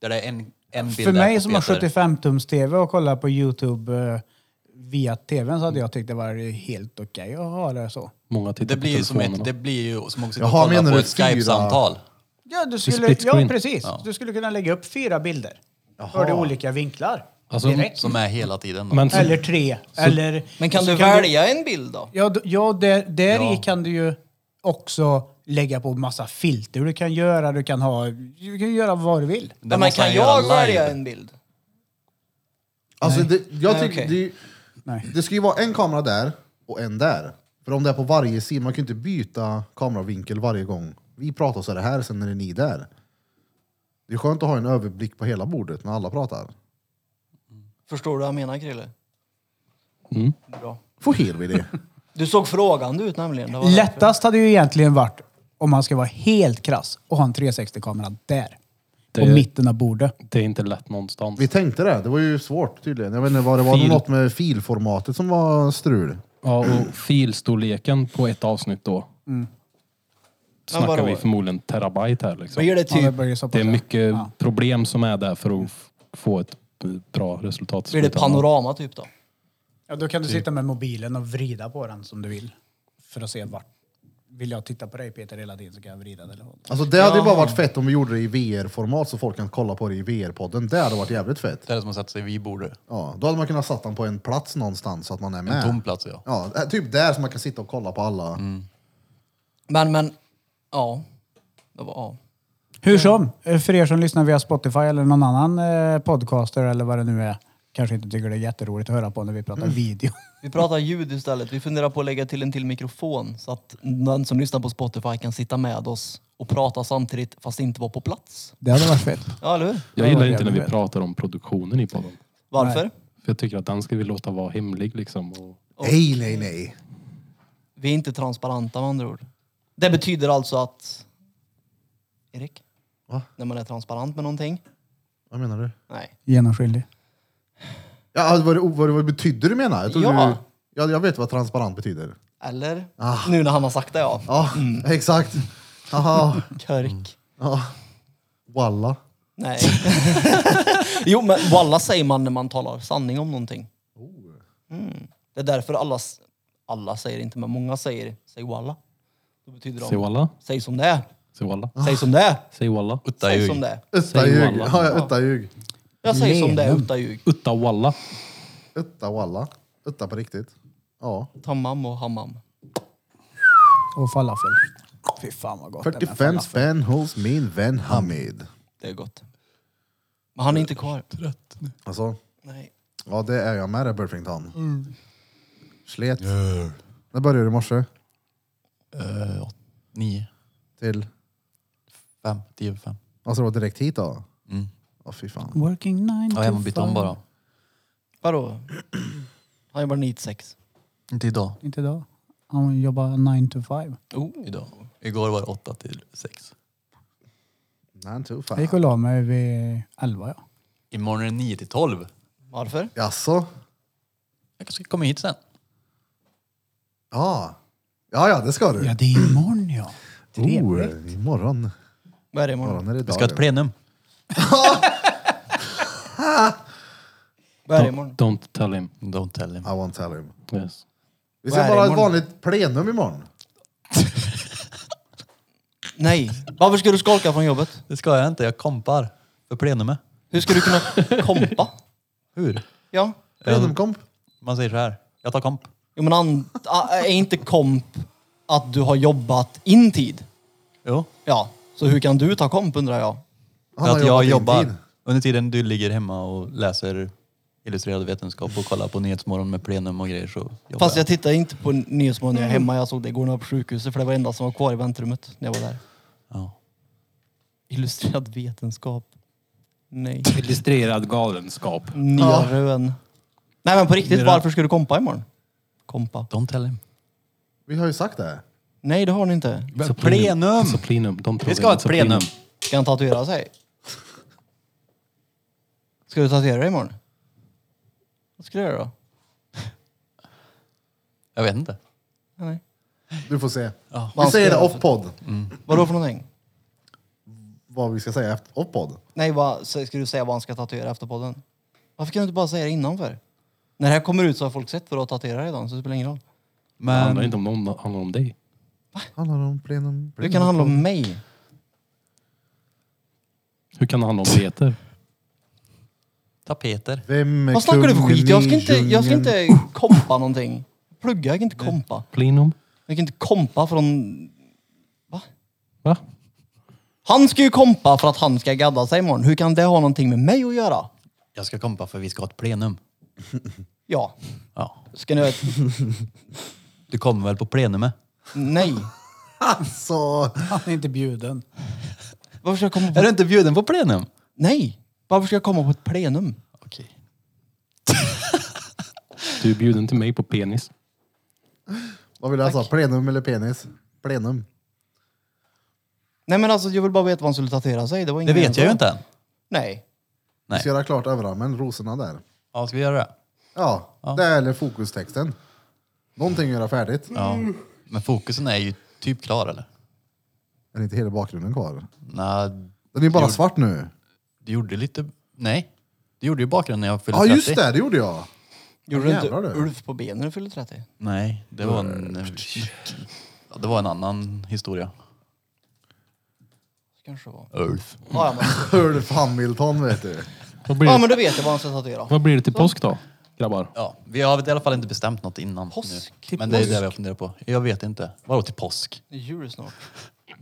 Där det är en, en bild
För
där
mig
på
som har
Peter.
75-tums-tv och kollar på Youtube eh, via tvn så hade jag tyckt det var helt okej att ha det så.
Många tittar
Det blir, ju
på
som
telefonerna.
ett, det blir ju som att sitta
Jaha,
och kolla
menar
på
du
ett
fyra?
Skype-samtal.
Ja, du
split
skulle, ja
screen.
precis.
Ja.
Du skulle kunna lägga upp fyra bilder. För det är olika vinklar.
Alltså,
direkt.
Som är hela tiden. Då.
Men så,
Eller tre. eller,
Men kan
så
du välja en bild då?
Ja, d- ja där, där i
Ja.
kan du ju också lägga på massa filter. Du kan göra, du kan ha, du kan göra vad du vill.
Det
Ja, men
måste
kan
han göra
jag välja
live.
en bild?
Alltså, det, jag
Nej,
tycker,
okej.
det,
Nej.
det ska ju vara en kamera där och en där. För om det är på varje sida, man kan ju inte byta kameravinkel varje gång. Vi pratar så är det här, sen är det ni där. Det är skönt att ha en överblick på hela bordet när alla pratar.
Förstår du vad jag menar Krille?
Mm.
Bra.
Får hel vi det.
Du såg frågande ut nämligen. Det var därför.
Lättast hade ju egentligen varit, om man ska vara helt krass, att ha en 360-kamera där.
Det-
På mitten av bordet.
det är inte lätt någonstans.
Vi tänkte det, det var ju svårt tydligen. Jag vet inte vad det var,
Fil.
något med filformatet som var strul.
Ja, och filstorleken på ett avsnitt då.
Mm.
Snackar
vadå?
vi förmodligen terabyte här liksom.
Blir det
Ja, det
typ,
blir ju så pass-
Det är mycket problem som är där för att f- få ett bra resultat.
blir det panorama typ då?
typ.
Ja, då kan du sitta med mobilen och vrida på den som du vill. För att se vart vill jag titta på dig Peter hela tiden så kan jag vrida telefonen.
Alltså det hade ju bara varit fett om vi gjorde det i VR-format så folk kan kolla på det i VR-podden. Det hade varit jävligt fett.
Det är det som att sätta sig vid bordet.
Ja, då hade man kunnat sätta den på en plats någonstans så att man är
En
med.
tom plats ja.
Ja, eh, typ där som man kan sitta och kolla på alla.
Men, men, ja. Det var, ja.
Hur som, eh, för er som lyssnar via Spotify eller någon annan eh, podcaster eller vad det nu är, kanske inte tycker det är jätteroligt att höra på när vi pratar video.
Vi pratar ljud istället. Vi funderar på att lägga till en till mikrofon så att den som lyssnar på Spotify kan sitta med oss och prata samtidigt fast inte vara på plats.
*laughs* Det hade varit fett.
Ja, eller hur?
Jag
Det var
gillar inte när vi
jävligt.
pratar om produktionen i podden.
Varför?
För jag tycker att den ska vi låta vara hemlig liksom. Och
Nej, nej, nej.
Vi är inte transparenta med andra ord. Det betyder alltså att... Erik?
Va?
När man är transparent med någonting?
Vad menar du?
Nej.
Genomskinlig.
Ja, alltså, vad, det- vad, det- vad betyder du menar? Jag, tror
Ja.
du, ja, jag vet vad transparent betyder.
Eller?
Ah.
Nu när han har sagt det ja.
Ja, *laughs* exakt. Haha,
Körk.
ja. Walla.
Nej. *laughs* jo men walla säger man när man talar sanning om någonting. Mm. Det är därför alla, s- alla säger inte, men många säger säg walla. Då betyder
säg
det
walla,
säg som det är.
säg walla,
Säg som det är.
säg walla.
Utta
Säg
ljug.
som det är.
Utta
Säg
ljug.
walla.
Ja, ja, utta ljug.
Jag säger som det är,
Lenum.
utta ljug.
Utta walla.
Utta walla. Utta på riktigt. Ja.
Tamam och hammam.
Och falafel. Fy fan vad gott det är med
45
falafel.
spänn hos min vän Hamid.
Det är gott. Men han är inte kvar.
Alltså,
Nej.
ja det är jag med det Burfington.
Mm.
Slet. När började du i morse?
Eh, åt- Nio,
Till?
fem, tio, fem.
Alltså det var direkt hit då?
Mm.
Ja fy fan.
Working nine
Ja, jag har bytt om bara.
Vadå? Han jobbar 9 sex.
Inte idag.
Inte idag. Han jobbar nine to five.
Oh.
idag. Igår var det åtta till sex.
Nine to
Jag gick
five.
och la mig vid elva ja.
Imorgon är det nio till tolv.
Varför?
Jaså?
Jag kanske ska komma hit sen.
Ja. Ja, ja det ska du.
Ja det är imorgon ja. Trevligt.
Oh, imorgon.
Vad är det imorgon?
Imorgon är det
Vi ska ha ett
dagen.
plenum.
Vad är det imorgon?
Don't, don't tell him.
Don't tell him.
I won't tell him.
Yes.
Vi
Vad
ska
är
bara
det
ha ett
imorgon?
vanligt plenum
Ehm,
imorgon.
Nej. Varför ska du skolka från jobbet?
Det ska jag inte. Jag kompar för plenumet.
Hur ska du kunna kompa?
Hur?
Ja.
Plenumkomp.
Man säger så här. Jag tar komp.
Jo men an, a, är inte komp att du har jobbat in tid?
Jo.
Ja. Så hur kan du ta komp undrar jag?
Han
För
har
att
jobbat
jag
in
jobbar.
tid.
Under tiden du ligger hemma och läser illustrerad vetenskap och kollar på Nyhetsmorgon med plenum och grejer så jobbar
Fast jag tittar inte på Nyhetsmorgon när jag är hemma. Jag såg det igår när jag var på sjukhuset för det var det enda som var kvar i väntrummet när jag var där.
Ja.
Illustrerad vetenskap. Nej.
Illustrerad galenskap.
Nya rön. Nej men på riktigt, varför ska du kompa imorgon? Kompa.
Don't tell him.
Vi har ju sagt det.
Nej det har ni inte.
Så plenum!
Så plenum. Don't tell
Vi
him.
ska ha ett
Så plenum.
plenum.
Ska han tatuera sig? Ska du tatuera dig imorgon? Vad ska du göra då?
Jag vet inte.
Nej.
Du får se. Vi
Vad
säger
ska
det
jag göra
off-podd.
Vadå för någonting?
Vad vi ska säga efter off-podd.
Nej, vad, så ska du säga vad han ska tatuera efter podden? Varför kan du inte bara säga det innan för? När det här kommer ut så har folk sett vad du har tatuerat redan, så det spelar ingen roll.
Det
Men
handlar inte om någon, det handlar om dig.
Handlar det om plenum?
Det kan handla om mig.
Hur kan det handla om Peter?
tapeter.
Vem är
Vad snackar du för
kungen
skit? Jag ska
i
inte, jag ska
djungeln?
inte kompa någonting. Plugga, jag kan inte kompa.
Plenum.
Jag kan inte kompa från...
Va?
Han ska ju kompa för att han ska gadda sig imorgon. Hur kan det ha någonting med mig att göra?
Jag ska kompa för vi ska ha ett plenum.
Ja.
Ja.
Ska ni...
Du kommer väl på plenumet?
Nej.
Alltså,
Han är inte bjuden.
Varför ska jag komma
Är
på...
du inte bjuden på plenum?
Nej. Varför ska jag komma på ett plenum?
Okej.
Du är bjuden till mig på penis.
vad vill jag säga? Plenum eller penis? Plenum.
Nej men alltså, jag vill bara veta vad han skulle tatuera sig. Det, var
Det
ingen
vet jag ju inte än.
Nej.
Vi ska göra klart överarmen, rosorna där.
Ja, ska vi göra det?
Ja, det eller fokustexten. Någonting att göra färdigt.
Ja. Mm. Men fokusen är ju typ klar eller?
Är inte hela bakgrunden kvar?
Nej,
Den är ju bara svart nu.
du gjorde lite... Nej. Du gjorde ju bakgrunden när jag fyllde
Ja
30.
just det, det gjorde jag.
Gjorde du inte
Jävlar du.
Ulf på benen när du fyllde 30?
Nej, det var en... Ja, det var en annan historia.
Kanske det var.
Ulf.
Ja, ja, men,
Ulf Hamilton vet du.
Vad blir,
ja, men då vet jag vad han ska tatuera.
vad blir det till påsk då, grabbar?
Ja, vi har i alla fall inte bestämt något innan.
Påsk?
Nu. Men det är det vi har funderat på. Jag vet inte. Vadå till påsk?
Det är jul snart.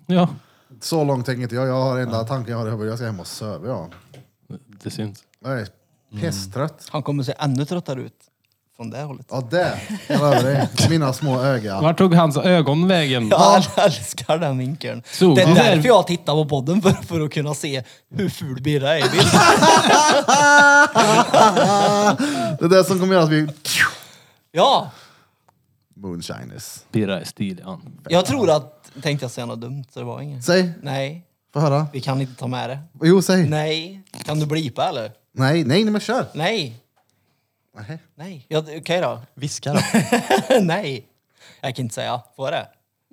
Ja,
Så långt tänker inte jag. Jag har enda tanken jag har i huvudet. Jag ska hem och söva jag.
det syns.
Jag är
Mm.
pesstrött.
Han kommer se ännu tröttare ut. Från det hållet.
Ja, det. Jag lovar dig.
*laughs*
Mina små ögon.
Var tog hans ögon vägen?
Ja, jag älskar den vinkeln.
Såg
det är
du där-
därför jag tittar på podden, för, för att kunna se hur ful Birra är i bild.
Det är det som kommer göra att vi...
Ja,
Moonshiners.
Birra är stilig han.
jag tror att... Tänkte jag säga något dumt, så det var inget.
Säg.
Nej,
Få höra.
vi kan inte ta med det.
Jo, säg. Nej,
Nej. Kan du blipa eller?
nej, nej men kör.
Nej.
Nej.
Nej. Ja, Okej då. *laughs*
Viska då.
Nej. Jag kan inte säga. Får jag det?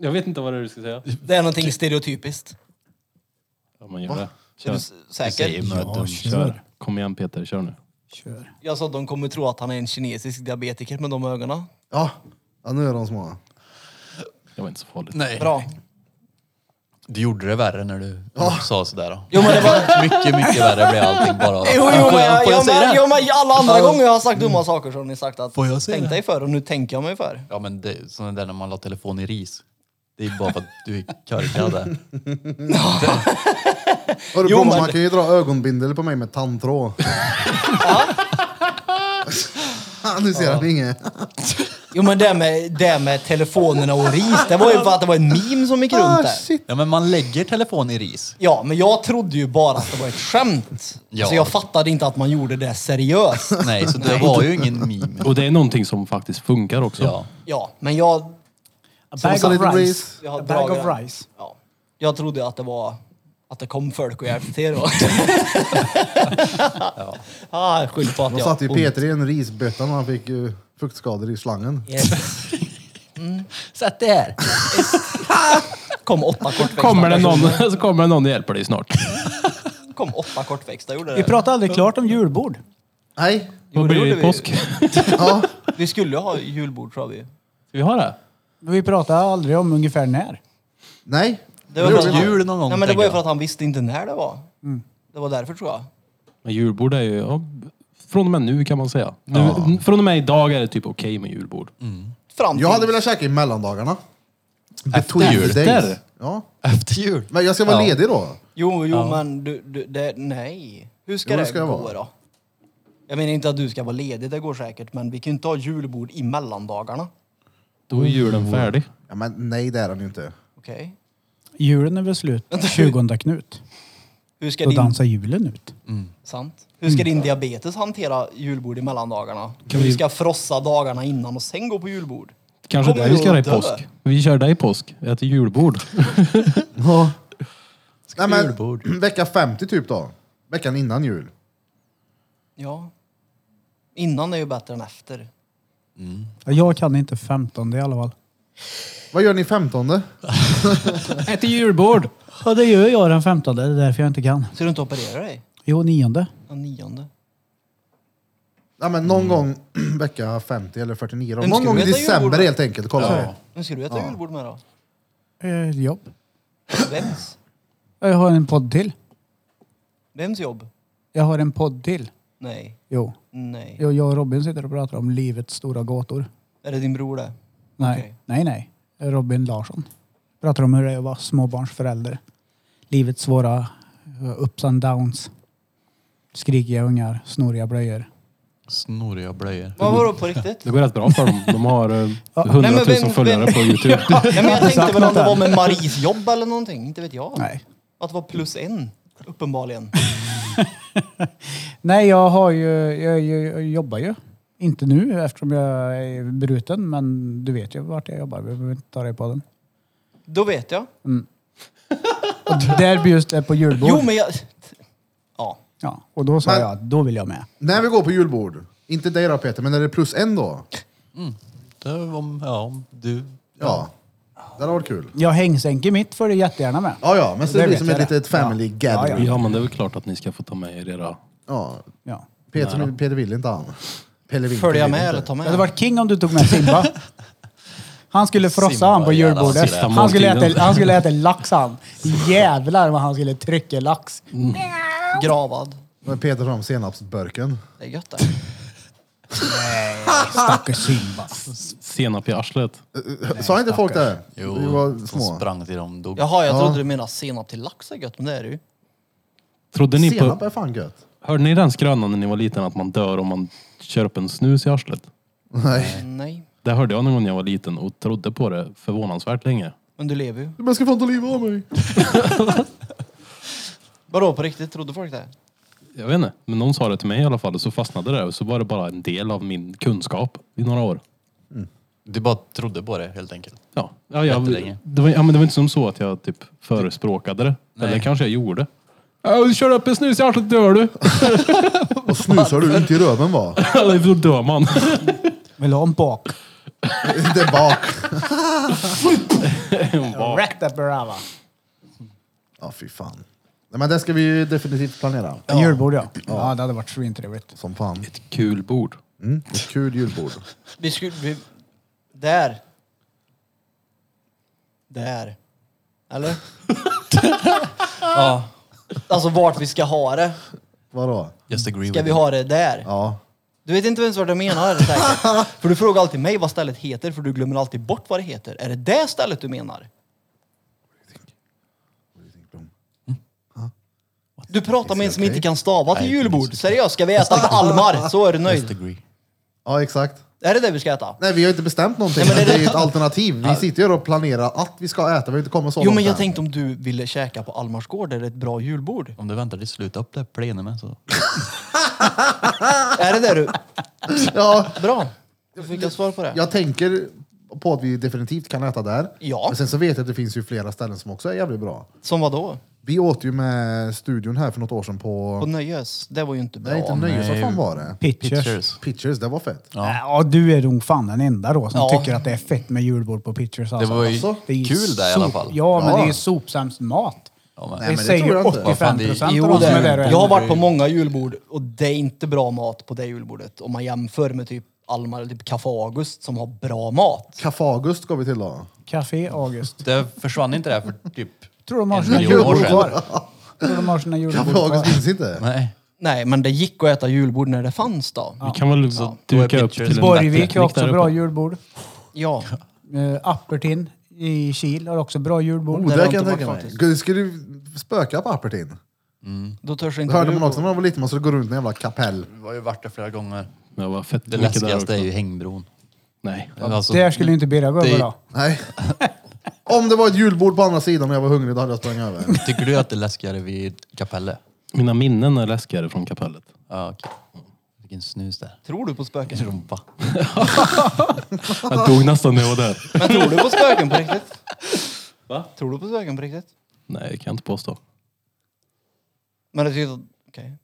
Jag vet inte vad det är du ska säga.
Det är någonting stereotypiskt.
Ja, man gör det.
Är du
Kör.
s- säker?
Ja, kör.
Kom igen Peter, kör nu.
kör.
Jag sa att de kommer tro att han är en kinesisk diabetiker med de ögonen.
Ja. ja, nu är de små.
Det var inte så
*laughs*
farligt.
Nej.
Bra.
Du gjorde det värre när du sa sådär. Då.
Jo men det *laughs* var...
Mycket, mycket värre blev allting bara.
Jo, jo, men,
Får jag-
jag,
får jag
jag,
säga det
men,
här?
jo, men alla andra gånger jag har sagt dumma saker så har ni sagt att
Får jag säga
tänk
det?
dig för och nu tänker jag mig för.
Ja men det är sådana där när man la telefon i ris. Det är bara för att du är körkad där.
Hör du
Jo,
på, mig,
men-
Man kan ju dra ögonbindel på mig med tandtråd. Ja, nu ser han inget.
Jo men det med, det med telefonerna och ris, det var ju för att det var en meme som gick
Ah,
runt där.
Ja men man lägger telefon i ris.
Ah, Ja, men jag trodde ju bara att det var ett skämt.
Ja.
Så jag fattade inte att man gjorde det *laughs* seriöst.
Nej, så det var ju ingen *laughs* meme.
Och det är någonting som faktiskt funkar också.
Ja.
Ja, men jag...
A
Som
bag
sa
of
Little
rice.
jag
A
har
bag of
dragit den.
rice.
Ja. Jag trodde att det var... Att det kom folk och hjälpte till *laughs* då. *laughs* ah, skyll på att
Då
jag...
satt ju Peter i en risbötta när han fick eh, fuktskador i slangen.
*laughs* Yes.
Sätt det här.
*laughs* Kom åtta kortväxta
Kommer det,
personer.
någon, *laughs* så kommer det någon och hjälper dig snart.
kom åtta kortväxta, gjorde det.
Vi pratade aldrig klart om julbord.
Nej.
Jo,
Vad
det
blir det
gjorde
i
vi.
påsk?
Ja.
Vi skulle ju ha julbord tror jag vi.
Vi har det?
Men vi pratade aldrig om ungefär när.
Nej.
Det
Det
för
var
att han-
jul någon gång,
Nej men det
tänker
var ju
jag.
för att han visste inte när det var. Det var därför tror jag.
Men julbord är ju... Ja, från och med nu kan man säga. Nu, Från och med idag är det typ okej med julbord.
Fram till...
Jag hade velat käka i mellandagarna.
Efter
the
jul.
days. Ja.
Efter jul.
Men jag ska vara
Ja.
ledig då.
Jo, jo men du, du det, nej. Hur ska
Jo, det
det
ska jag
gå
vara.
då? Jag menar inte att du ska vara ledig, det går säkert, men vi kan ju inte ha julbord i mellandagarna.
Då är julen färdig.
Ja, men nej, det är han ju inte.
Okej?
Julen är väl slut 20 Knut.
Hur ska
Då
din...
dansar julen ut.
Sant. Hur ska din diabetes hantera julbord i mellandagarna?
Kan
du
vi-
ska frossa dagarna innan och sen gå på julbord?
Kanske
Kommer
det vi ska göra i
du att dö?
påsk. Vi kör det i påsk. Vi äter julbord.
Nej,
julbord.
men, vecka 50 typ då. Veckan innan jul.
Ja. Innan är ju bättre än efter.
Ja, Jag kan inte 15 i alla fall.
Vad gör ni 15?
Äter julbord!
Ja, det gör jag den 15. Det är därför jag inte kan.
Så du inte opererar dig?
Jo, nionde.
Den nionde.
Ja, men någon gång *clears throat* vecka 50 eller 49. Då.
Men
Någon
skulle
gång i
vi äta
december
julbord?
helt enkelt. Kolla.
Vem ska du äta julbord med då?
Eh, jobb.
Vems?
Jag har en podd till.
Vems jobb?
Jag har en podd till.
Nej.
Jo.
Nej.
Jo, Jag och Robin sitter och pratar om livets stora gator.
Är det din bror det?
Nej,
Okej.
nej, nej. Robin Larsson. Pratar om hur det är att vara småbarnsförälder. Livets svåra eh, ups and downs. Skrikiga ungar, snoriga blöjor.
Snoriga blöjor.
Vad var det på riktigt?
Det går rätt bra för dem. De har
*laughs*
eh,
Nej, men
100 000
vem-
följare
vem-
på
*laughs*
Youtube.
Ja, nej, men
*laughs*
jag tänkte
sagt
väl om
något
det
där.
var med Maries jobb eller någonting, inte vet jag.
Nej.
Att det var plus en, uppenbarligen.
Nej, jag, har ju, jag, jag, jag jobbar ju. Inte nu eftersom jag är bruten, men du vet ju vart jag jobbar. Vi behöver inte ta det på den.
Då vet jag.
Och där bjuds det på julbord.
*laughs* Jo, men jag... Ja.
ja, och då sa
Men-
jag, då vill jag med.
När vi går på julbord. Inte dig då Peter, men är det plus en då?
Det var om, ja, om du.
Ja. Det hade varit kul.
Jag hängsänker mitt för det jättegärna med.
Ja, ja, men så
Det
det blir
vet
som
jag
ett
det.
litet family
Ja. Ja,
gathering. Ja,
Ja, men det är väl klart att ni ska få ta med er era...
Ja.
Peter, Peter vill inte han. Pelle vill
Följer jag
vill
med
inte.
eller tar
Det
med?
hade varit king om du tog med Simba. Han skulle frossa
Simma
han på
jävla
julbordet.
sista
Han skulle,
måltiden.
äta, han skulle äta lax han. Jävlar vad han skulle trycka lax.
Gravad.
Men Peter fram senapsburken.
Det är gött det.
Stackars Simba.
Senap i arslet.
Sa inte folk det?
Jo,
Vi var
som
små.
sprang till dem dog.
Jaha, jag
Ja.
trodde du menade senap till lax är gött, men det är det ju.
Trodde ni
Senap
på,
är fan gött.
hörde ni den skrönan när ni var liten att man dör om man kör upp en snus i arslet?
Nej.
Nej.
Det hörde jag någon gång när jag var liten och trodde på det förvånansvärt länge.
Men du lever ju.
Man ska fan ta livet av mig.
Vadå, på riktigt? Trodde folk det?
Jag vet inte, men någon sa det till mig i alla fall och så fastnade det och så var det bara en del av min kunskap i några år.
Du bara trodde på det helt enkelt.
Ja, ja, jag,
Jättelänge.
det, var, ja men det var inte som så att jag typ förespråkade det. Eller kanske jag gjorde. Ja, du kör upp en snus i arslet dör du.
Och snusar du inte i röven va?
*laughs* Eller då
*laughs*
dör man.
Vill du ha en bak?
Inte bak.
Rätt där brava.
Ja fy fan. Nej men det ska vi ju definitivt planera.
En julbord ja. Ja, det hade varit svintrevligt.
Som fan.
Kul bord.
Mm. Ett kul julbord.
Vi skulle... Vi, där. Där. Eller? ja. Alltså vart vi ska ha det.
Vadå?
Just agree
Ska
with
vi
it.
ha det där?
Ja.
Du vet inte ens vad jag menar säkert. För du frågar alltid mig vad stället heter för du glömmer alltid bort vad det heter. Är det det stället du menar? Du pratar med en som inte kan stava till
Nej,
julbord.
precis.
Seriöst, ska vi äta almar så är du
Just
nöjd.
agree.
Ja exakt.
Är det det vi ska äta?
Nej vi har ju inte bestämt någonting.
Nej, men
men
är
det är
det-
ju ett alternativ. Vi sitter ju här och planerar att vi ska äta. Vi har inte kommit så
Jo
långt
men jag
än.
tänkte om du ville käka på Almars gård, är det ett bra julbord?
Om du väntar till sluta upp det här plenumet så.
Är det det du...
Ja.
Bra. Då fick jag svar på det.
Jag tänker på att vi definitivt kan äta där.
Ja.
Men sen så vet jag att det finns ju flera ställen som också är jävligt bra.
Som vad då?
Vi åt ju med studion här för något år sedan
På
på...
Nöjes? Det var ju inte bra.
Nej inte Nöjes, vad fan var det?
Pitchers.
Cheers.
Pictures, det var fett.
Äh, Ja. du är nog fan den enda då som
Ja.
tycker att det är fett med julbord på Pitchers.
Det
Alltså.
var ju
Alltså,
Det är ju
kul där i alla
sop-
fall.
Ja, men
Ja.
det är ju sopsämst mat.
Ja, men-
det,
Nej, men det
säger
tror jag inte.
85 procent
Jo,
av de
det
som
är
är
Alltså, det.
där.
Jag har
Jag...
varit på många julbord och det är inte bra mat på det julbordet. Om man jämför med typ Almar eller typ Café August som har bra mat.
Kafagust ska vi till då.
Café August.
Det försvann inte där *laughs* för typ...
Tror de har
En
sina
miljon år
julbord
sedan.
kvar. Tror de har sina julbord
Kafagust
kvar.
finns inte.
Nej.
Nej, men det gick att äta julbord när det fanns då.
Vi kan väl
Då
duka
är
upp
pictures
till en
Borgvik
bättre
har
nick
också
där
bra
uppe.
julbord.
Ja.
Eh, Appertin i Kil har också bra julbord.
Oh,
det
det
har
kan jag
inte
tänka
varit
mig.
faktiskt.
Gud, Det skulle spöka på Appertin.
Då törs inte
Det hörde
du
man
gå.
också när man var liten, man skulle gå runt i en jävla kapell.
Vi har ju varit där flera gånger.
Det var fett
Det
mycket där
läskigaste är
uppe.
ju hängbron.
Nej.
Alltså,
Där skulle ju inte Birra gå
Det-
över då.
Nej. *laughs* Om det var ett julbord på andra sidan och jag var hungrig, då hade jag sprungit över.
Tycker du att det är läskigare vid kapellet?
Mina minnen är läskigare från kapellet.
Ja, okej. Vilken snus där.
Tror du på spöken?
Rumpa.
Jag dog nästan när jag var där.
Men tror du på spöken på riktigt? *laughs* Va? Tror du på spöken på riktigt?
Nej, det kan jag inte påstå.
Men det tycker jag... Okej.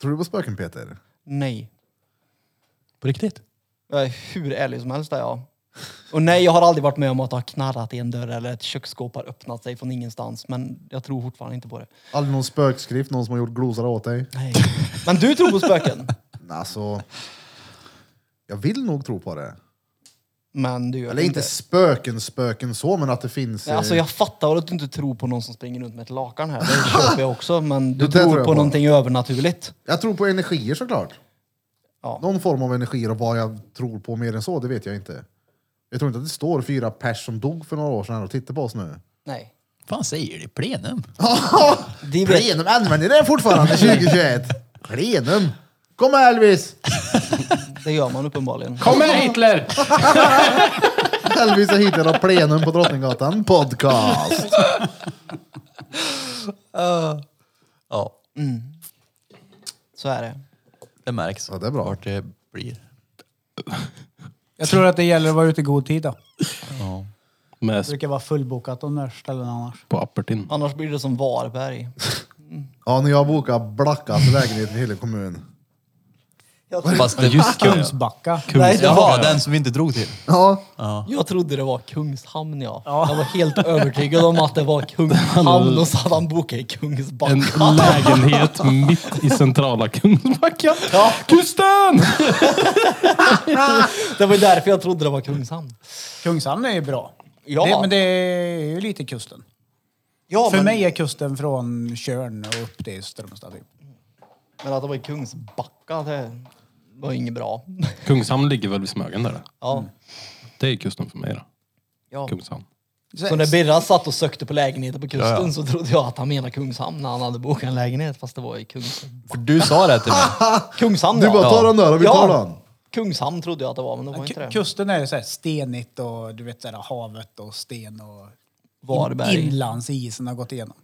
Tror du på spöken Peter?
Nej.
På riktigt?
Jag är hur ärlig som helst där jag. Och nej, jag har aldrig varit med om att ha knarrat i en dörr eller ett köksskåp har öppnat sig från ingenstans. Men jag tror fortfarande inte på det.
Aldrig någon spökskrift, någon som har gjort glosor åt dig?
Nej. Men du tror på spöken?
Nej, Alltså, jag vill nog tro på det.
Men du gör
Eller
det
inte spöken, spöken så, men att det finns...
Nej, Alltså
eh,
jag fattar väl att du inte tror på någon som springer runt med ett lakan här. Det köper jag också. Men du
Det där
tror
tror jag
på
på.
någonting övernaturligt.
jag tror på energier såklart.
Ja.
Någon form av energier och vad jag tror på mer än så, det vet jag inte. Jag tror inte att det står fyra pers som dog för några år sedan här och tittar på oss nu.
Nej.
fan säger du? Plenum?
De vet,
Plenum, använder ni det *laughs* fortfarande 2021? Plenum! Kom här Elvis!
det gör man uppenbarligen.
Kom här Hitler!
Elvis är hit och plenum på Drottninggatan podcast.
Ja,
Så är det.
det märks.
Ja, det är bra.
Vart det blir.
Jag tror att det gäller att vara ute i god tid då.
Med
Det brukar vara fullbokat de där ställena annars.
på Appertin.
Annars blir det som Varberg.
Ja, när jag bokade Blackas lägenhet i hela kommunen.
Jag,
Fast det,
just det.
Kungsbacka.
Nej, det
Jaha,
var
den som vi inte drog till.
Ja,
Jag trodde det var Kungshamn ja. Jag var helt övertygad om att det var Kungshamn och så hade han bokat i *laughs*
En
Kungsbacka.
lägenhet mitt i centrala Kungsbacka.
*laughs*
Kusten!
Det var ju därför jag trodde det var Kungshamn.
Kungshamn är ju bra.
Ja.
Det, men det är ju lite kusten.
Ja,
För
men,
mig är kusten från Tjörn och upp till Strömstad. Typ.
men att det var i Kungsbacka, det var inget bra.
Kungshamn ligger väl vid Smögen där?
Ja.
Det är kusten för mig då.
Ja.
Kungshamn.
Så när Birra satt och sökte på lägenheter på kusten
Ja, ja.
så trodde jag att han menade Kungshamn när han hade bokat en lägenhet fast det var i Kungshamn.
För du sa det till mig.
Kungshamn
du bara
ja.
tar den där och vi tar
Ja.
den.
Kungshamn trodde jag att det var men det var inte
Ku-
det.
Kusten är så här stenigt och du vet så här, havet och sten och
Varberg.
inlandsisen har gått igenom.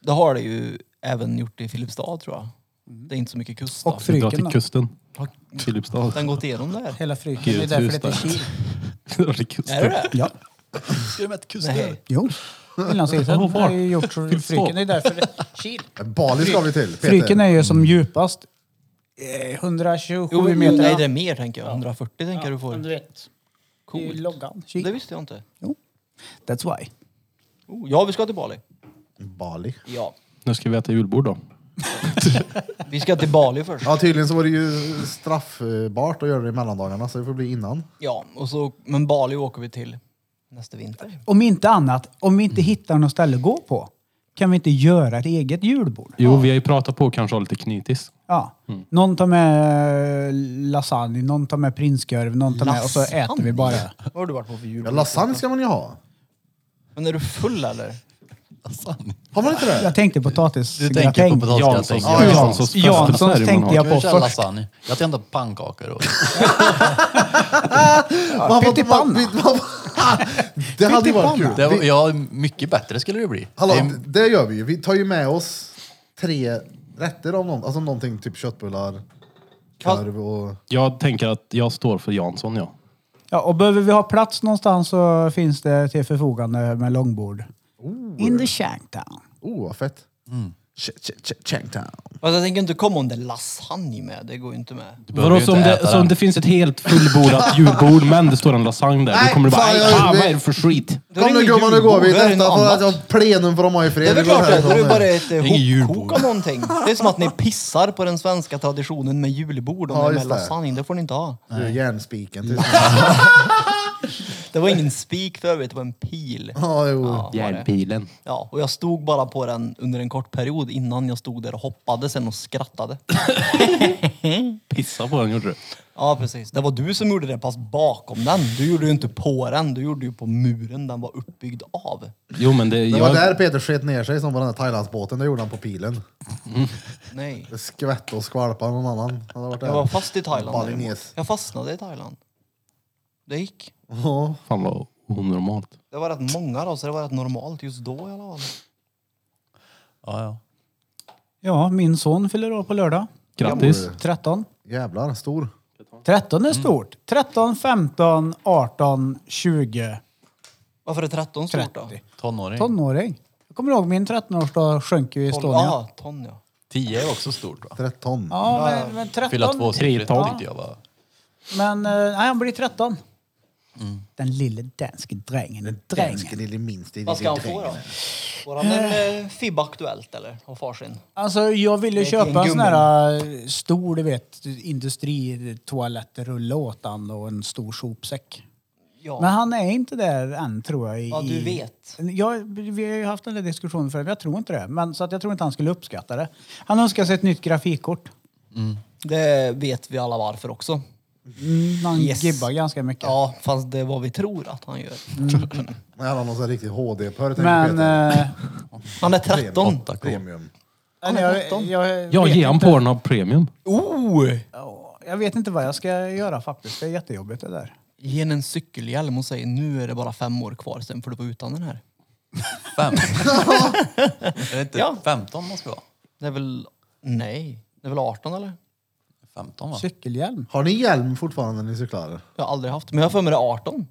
Det har det ju även gjort i Filipstad tror jag.
Mm.
Det är inte så mycket kust. då.
Och
Vi drar till
Fryken då?
kusten. Filipstad.
Den gått igenom där.
Hela Fryken, det är
Gud,
därför det
just
heter
det.
Kil.
*laughs* Vi drar till kusten.
Är det det?
Ja.
Ska du med till kusten?
Nej.
Jo. Inlandsisen
Vad var?
har ju gjort så- Fryken, det är därför det Kil.
Bali ska vi till. Peter.
Fryken är ju som djupast eh, 127
Jo,
meter.
nej det är mer tänker jag. 140 tänker jag du
Men du
får.
vet, det är ju
Coolt.
loggan.
Det
Kil.
visste jag inte.
That's why.
Oh, ja, vi ska till Bali.
Bali.
Ja.
Nu ska vi äta julbord då.
Vi ska till Bali först.
Ja, tydligen så var det ju straffbart att göra det i mellandagarna så det får bli innan.
Ja, och så, men Bali åker vi till nästa vinter.
Om inte annat, om vi inte hittar något ställe att gå på, kan vi inte göra ett eget julbord?
Jo, vi har ju pratat på att kanske ha lite knytis.
Ja. Någon tar med eh, lasagne, någon tar med prinskorv, någon tar med och så äter vi bara.
Vad har du varit på för
Ja,
jul?
lasagne ska man ju ha.
Men är du full eller?
Har man inte det?
Jag tänkte
Du tänker på
potatisgratäng.
potatisgratäng.
Janssons
Ja, ja.
Janssons
Janssons
festdessert i
tänkte jag
Manhattan.
Jag vill
på
köra
först.
lasagne. Jag tänkte på pannkakor.
*laughs*
Och...
Man får-
pyttipanna.
man- man- *laughs* Det hade ju varit kul.
Det var,
Vi-
ja, mycket bättre skulle det bli.
Hallå,
Det är-
det gör vi ju. Vi tar ju med oss tre rätter av någon, alltså någonting typ köttbullar, korv och...
Jag tänker att jag står för Jansson, ja.
Ja, och behöver vi ha plats någonstans så finns det till förfogande med långbord. In the shanktown.
Oh, vad fett.
Mm.
Ch- ch- ch- Changtown.
Fast Alltså, jag tänker inte komma om det är lasagne med. Det går ju inte med.
Du behöver
Vadå,
ju
så
inte
om
äta
det, så om
den.
det finns ett helt fullbordat julbord men det står en lasagne där,
Nej,
då kommer du bara
fan,
"Aj,
jag-
fan,
vi-
vad är det för skit?
Då är det
Kom nu
ingen
gumman, nu går vi.
julbord, då är det
Detta
något
får
annat.
alltså, plenum får de ha i fred.
Det är väl
Vi går
klart det. Då är det
härifrån
bara
nu.
ett eh,
ingen
hopkok
julbord.
av någonting. Det är som att ni pissar på den svenska traditionen med julbord och
Ja,
med
just det.
lasagne. Det får ni inte ha.
Du är järnspiken.
Mm.
till-
Det var ingen spik för övrigt, det var en pil.
*laughs* Ja, jo.
Ja, var det.
Järnpilen.
Ja, och jag stod bara på den under en kort period innan jag stod där och hoppade sen och skrattade.
Pissa på den gjorde du.
Ja, precis. Det var du som gjorde det, fast bakom den. Du gjorde ju inte på den, du gjorde ju på muren den var uppbyggd av.
Jo men det,
Det
jag,
var där Peter sket ner sig som på den där Thailandsbåten. Det gjorde han på pilen.
Nej.
Det skvätte och skvalpade någon annan. Han hade varit
Jag var fast i Thailand.
Balines.
däremot. Jag fastnade i Thailand. Det gick.
Ja.
fan vad onormalt.
Det var rätt många då, så det var rätt normalt just då i alla fall.
Ja, ja.
Ja, min son fyller år på lördag.
Grattis.
13.
Jävlar, stor.
13 är stort. 13, 15, 18, 20,
Varför är 13 stort då?
30.
Tonåring.
Tonåring. Jag kommer ihåg min 13-årsdag sjönk ju i Estonia.
Ja, ton ja.
Tio är också stort va?
13.
Ja, men, men 13.
Fylla tvåsiffrigt
Tre-tolv.
tyckte jag var...
Men eh, nej, han blir 13.
Mm.
Den lille danske drängen.
Danske
drängen.
lille minst i
Vad ska han få
drängen.
då? Får han en eh, FIB Aktuellt eller? Av farsin?
Alltså jag ville
Lek
köpa en
en
sån här eh, stor, du vet, industritoalettrulle åt han och en stor sopsäck.
Ja.
Men han är inte där än tror jag. I,
Ja, du vet.
Jag, vi har ju haft den där diskussionen förut, men jag tror inte det. Men, så att jag tror inte han skulle uppskatta det. Han önskar sig ett nytt grafikkort.
Det vet vi alla varför också.
Mm, han
Yes.
gibbar ganska mycket.
Ja, fast det är vad vi tror att han gör.
Mm.
Nej, Han har någon sån här riktig HD-pörr tänker
Men...
Peter.
Eh,
*laughs* Han är 13.
8K.
Premium.
men jag, jag,
Ja,
vet
ge han
inte.
Pornhub Premium.
Oh!
Ja, Jag vet inte vad jag ska göra faktiskt. Det är jättejobbigt det där.
Ge henne en cykelhjälm och säg nu är det bara fem år kvar, sen får du vara utan den här. *laughs*
Fem. är det inte
Ja.
15 måste vi ha?
Det är väl... Nej. Det är väl 18 eller?
15 va?
Cykelhjälm?
Har ni hjälm fortfarande när ni cyklar?
Jag har aldrig haft. Men jag har för mig det är 18.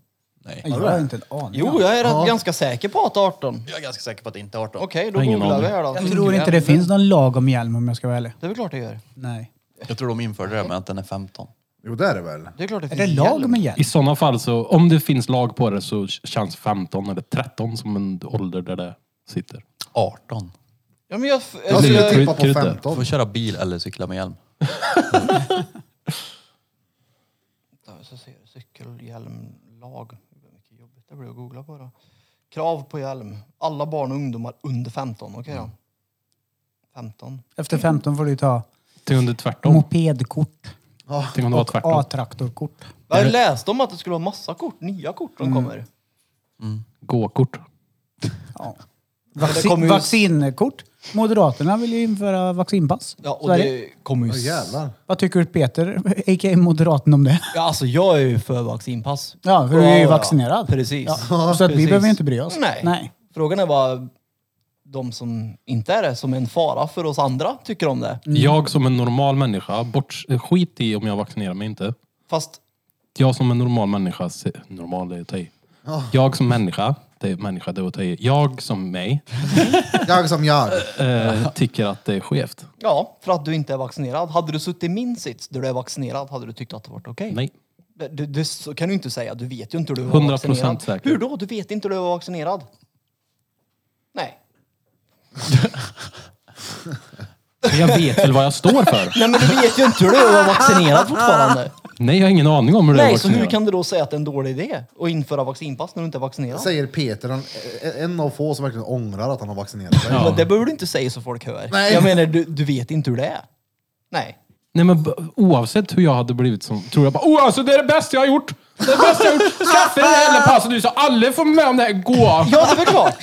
Nej.
Jag har inte en aning.
Jo, jag är rätt ganska säker på att det är 18.
Jag är ganska säker på att det inte är 18.
Okej,
Jag har
då
ingen
googlar vi
aning.
här då.
Jag tror inte det finns någon lag om hjälm om jag ska vara ärlig.
Det är väl klart det gör.
Nej.
Jag tror de införde det här med att den är 15.
Jo, det är det väl.
Det är klart det
Är
finns
det lag
hjälm.
med hjälp?
I sådana fall, så, om det finns lag på det så känns 15 eller 13 som en ålder där det sitter.
18.
Ja, men jag,
Jag
alltså,
skulle
jag,
tippa på
krydda.
15.
Får köra bil eller cykla med hjälm.
Ja, så ser jag cykelhjälmlag. Vad mycket jobbigt det blir att googla på då. Krav på hjälm. Alla barn och ungdomar under 15. Okej då. 15.
Efter 15 får du ta
Tänk om det är tvärtom.
mopedkort
Tänk om det var
och
tvärtom.
A-traktorkort.
Jag läste om att det Mm. skulle vara massa kort. Nya kort som kommer.
Gåkort.
det kommer
Vaccin,
ju-
vaccinkort. Moderaterna vill ju införa vaccinpass.
Ja, och
Så är det.
det kommer ju...
Åh, jävlar.
Vad tycker Peter, *laughs* a.k.a. Moderaten, om det? *laughs*
Ja, alltså jag är ju för vaccinpass.
Ja, för du är ju
Ja, ja.
vaccinerad.
Precis.
Ja. Så att vi
Precis.
behöver ju inte bry oss.
Nej.
Nej.
Frågan är vad de som inte är det, som är en fara för oss andra, tycker om det.
Mm.
Jag som en normal människa, bort, skit i om jag vaccinerar mig inte.
Fast
Jag som en normal människa, se- normal är att ta i. Jag som människa, det är människa det är att ta i. Jag som mig,
Jag som jag.
*laughs*
eh, tycker att det är skevt.
ja, för att du inte är vaccinerad. Hade du suttit i min sits där du är vaccinerad, hade du tyckt att det varit okej?
Nej.
Det, det, det så kan du inte säga. Du vet ju inte hur du var
100%
vaccinerad.
säker.
Hur då? Du vet inte hur du var vaccinerad? Nej.
Men Jag vet väl vad jag står för.
Nej, men du vet ju inte hur du var
*laughs*
vaccinerad fortfarande.
Nej, jag har ingen aning om hur det är
Nej,
att
så hur
vaccinera.
kan du då säga att det är en dålig idé att införa vaccinpass när du inte är vaccinerad?
Säger Peter, en, en av få som verkligen ångrar att han har vaccinerat sig.
Men det behöver du inte säga så folk hör.
Nej.
Jag menar, du, du vet inte hur det är. Nej.
Nej, men b- oavsett hur jag hade blivit som... Tror jag bara Åh, alltså det är det bästa jag har gjort! Det är det bästa jag
*laughs*
har gjort! Skaffa det här jävla passet nu så alla får med om det här. Gå!
Ja, det är väl klart.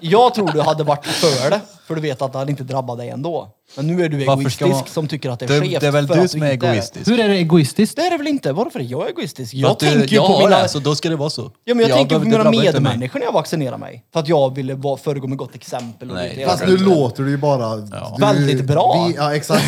Jag tror du hade varit för det, för du vet att det hade inte drabbat dig ändå. Men nu är du
Varför
egoistisk
ska man-
som tycker att det är
Det,
skevt.
det är väl
för
du
att
som är
inte det.
egoistisk?
Hur är det egoistiskt?
Det är det väl inte? Varför är jag egoistisk?
För
Jag
att du- alltså-
tänker ju
jag
på
har
mina...
det, så då ska det vara så.
Ja, men jag tänker på
behöver- det
mina
drabbar inte mig.
medmänniskor när jag vaccinerar mig. För att jag ville vara- föregå med gott exempel. Och
Nej,
lite-
det
Fast
är
nu
det.
låter du ju bara... Du,
Väldigt bra.
Vi, ja, exakt.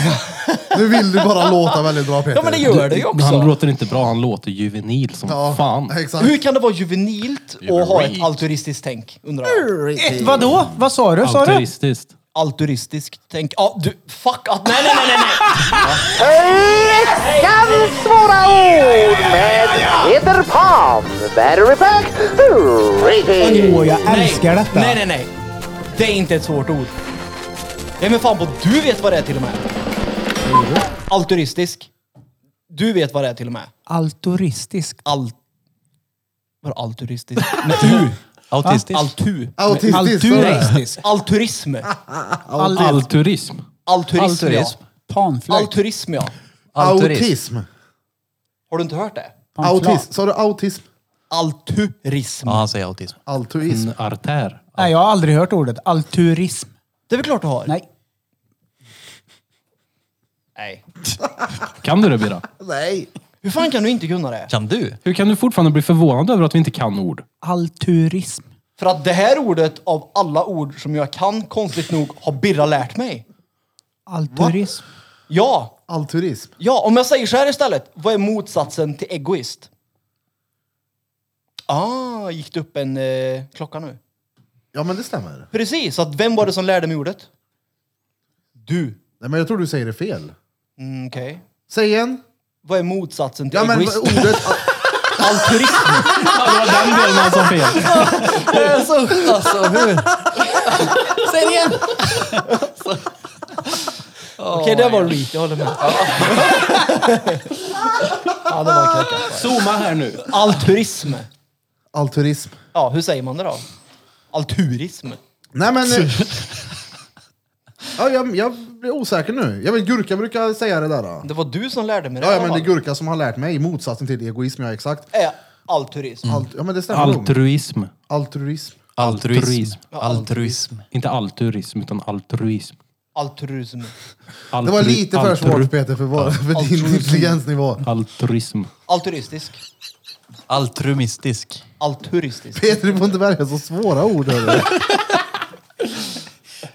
Nu vill du bara låta väldigt bra Peter.
Ja, men det gör det ju
Han
också.
låter inte bra, han låter juvenil som
Ja,
fan.
Exakt.
Hur kan det vara juvenilt och ha ett altruistiskt tänk, undrar jag?
Ett, vadå? Vad sa du? Sa du?
Autoristiskt.
Altruistiskt tänk? Ja, du, fuck att... Nej, nej, nej, nej, nej!
Veckans svåra ord med Peter Pan. Battery pack rating.
Åh, jag älskar
nej.
detta.
Nej, nej, nej. Det är inte ett svårt ord. Nej, men fan på, du vet vad det är till och med. Altruistisk. Du vet vad det är till och med.
Altoristisk.
Al... Vadå altruistisk? Med U.
Autistisk.
Altu.
Autistisk. så är det.
Alturistisk.
Alturism.
Alturism.
Alturism,
Alturism.
ja.
Panflöjt.
Alturism, ja.
Autism.
Autism.
Har du inte hört det?
Autism. Sa du autism?
Alturism.
Ja, han säger autism.
Altruism.
Mm.
En Mm, artär.
Nej, jag har aldrig hört ordet alturism.
Det är väl klart du har?
Nej.
Nej.
Kan du det Bira?
Nej.
Hur fan kan du inte kunna det?
Kan du?
Hur kan du fortfarande bli förvånad över att vi inte kan
*laughs*
ord?
Alturism.
För att det här ordet av alla ord som jag kan, konstigt nog, har Birra lärt mig.
Alturism.
Ja,
Altruism.
Ja, om jag säger så här istället. Vad är motsatsen till egoist? Ah, gick det upp en eh, klocka nu?
Ja, men det stämmer.
Precis, så att vem var det som lärde mig ordet? Du.
Nej, men jag tror du säger det fel.
Mm, Okej.
Säg igen.
Vad är motsatsen till
Ja, men
egoist? *laughs*
ordet... Altruism.
Det var den delen han sa fel.
alltså, alltså, *laughs* hur? Säg det igen! Okej, det var reach. Jag håller med. *laughs* ja, det var knäckat.
Zooma här nu.
Altruism.
Altruism.
Ja, hur säger man det då? Alturism.
Nej, men... eh,
*laughs*
Ja, jag, jag blir osäker nu. Jag vet, Gurka brukar säga det där. Då.
Det var du som lärde mig det
Ja,
i
ja,
alla
men det är
fall.
Gurka som har lärt mig motsatsen till egoism, ja exakt.
är altruism.
Alt, ja men det stämmer nog.
Altruism.
Altruism.
Altruism.
Altruism.
Inte altruism, utan altruism.
Altruism.
Altru-
Det var lite för
altru-
svårt Peter för, vår, för din intelligensnivå.
Altruism.
Altruistisk.
Altruistisk.
Altruistisk.
Peter du får inte välja så svåra ord.
*laughs*
hörru.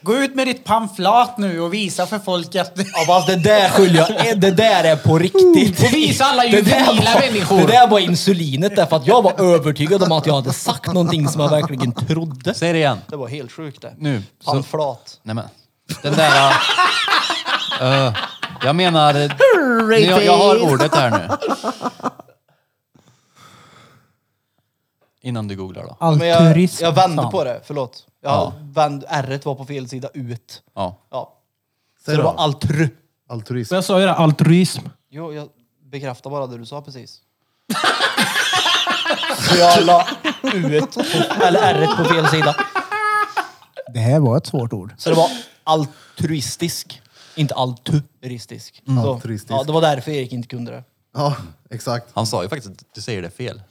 Gå ut med ditt pamflat nu och visa för folk *laughs* att...
Ja, fast det där skyller jag. Det där är på riktigt.
Och visa alla
Det där
juvenila
var-
människor.
Det där var insulinet där, för att jag var övertygad om att jag hade sagt någonting som jag verkligen trodde.
Säg det igen.
Det var helt sjukt det.
Nu. Så,
Fan flat.
*laughs* nej men. Den där... äh, Jag menar... jag, jag har ordet här nu. Innan du googlar då.
Men jag,
Altruism.
jag vände
fan.
på det, förlåt. Jag vände, r var på fel sida ut.
Ja.
Ja. Så
Säg
det var
då.
altru.
Altruism.
Men jag sa ju det, altruism.
Jo, jag bekräftar bara det du sa precis. *laughs* Så jag la ut eller r på fel sida.
Det här var ett svårt ord.
Så det var altruistisk. Inte alturistisk. Så,
Altruistisk.
Ja, det var därför Erik inte kunde det.
Ja, exakt.
Han sa ju faktiskt att du säger det fel.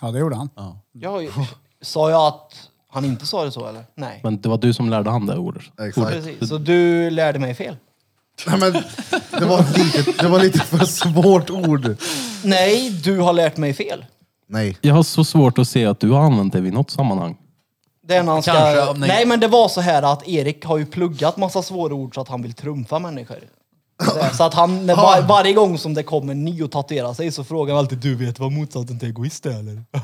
Ja, det gjorde han.
Jag, har ju- *laughs* sa jag att han inte sa det så eller? Nej.
Men det var du som lärde han det ordet.
Exakt.
Precis. Så du lärde mig fel.
Nej, men, det, var lite, det var lite för svårt ord.
Nej, du har lärt mig fel.
Nej.
Jag har så svårt att se att du har använt det vid något sammanhang.
Det är när han ska...
Kanske, om
nej.
ni-
men det var så här att Erik har ju pluggat massa svåra ord så att han vill trumfa människor. Så här, Så att han, när var, varje gång som det kommer en ny och tatuerar sig så frågar han alltid du vet vad motsatsen till egoist är eller? *laughs*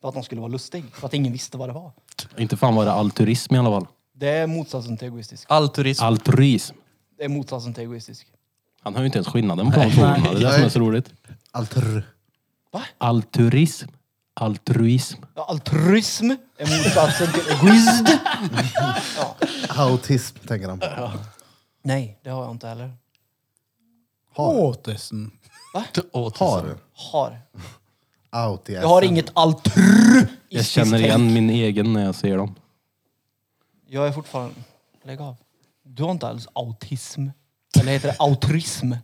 för att han skulle vara lustig, för att ingen visste vad det var.
Inte fan var det altruism i alla fall.
Det är motsatsen till egoistisk.
Altruism.
Altruism.
Det är motsatsen till egoistisk.
Han har ju inte ens skillnaden på de två orden. Det är det som är så roligt.
Altr.
Altruism. Altruism.
Ja, altruism är motsatsen till egoist.
Autism tänker han på.
Nej, det har jag inte heller.
Åtesen.
Har.
Har.
Autism.
Jag
Alltså,
har inget altruistiskt
Jag känner igen
tänk.
min egen när jag ser dem.
Jag är fortfarande... Lägg av. Du har inte alls autism. Eller heter det autrism? Nej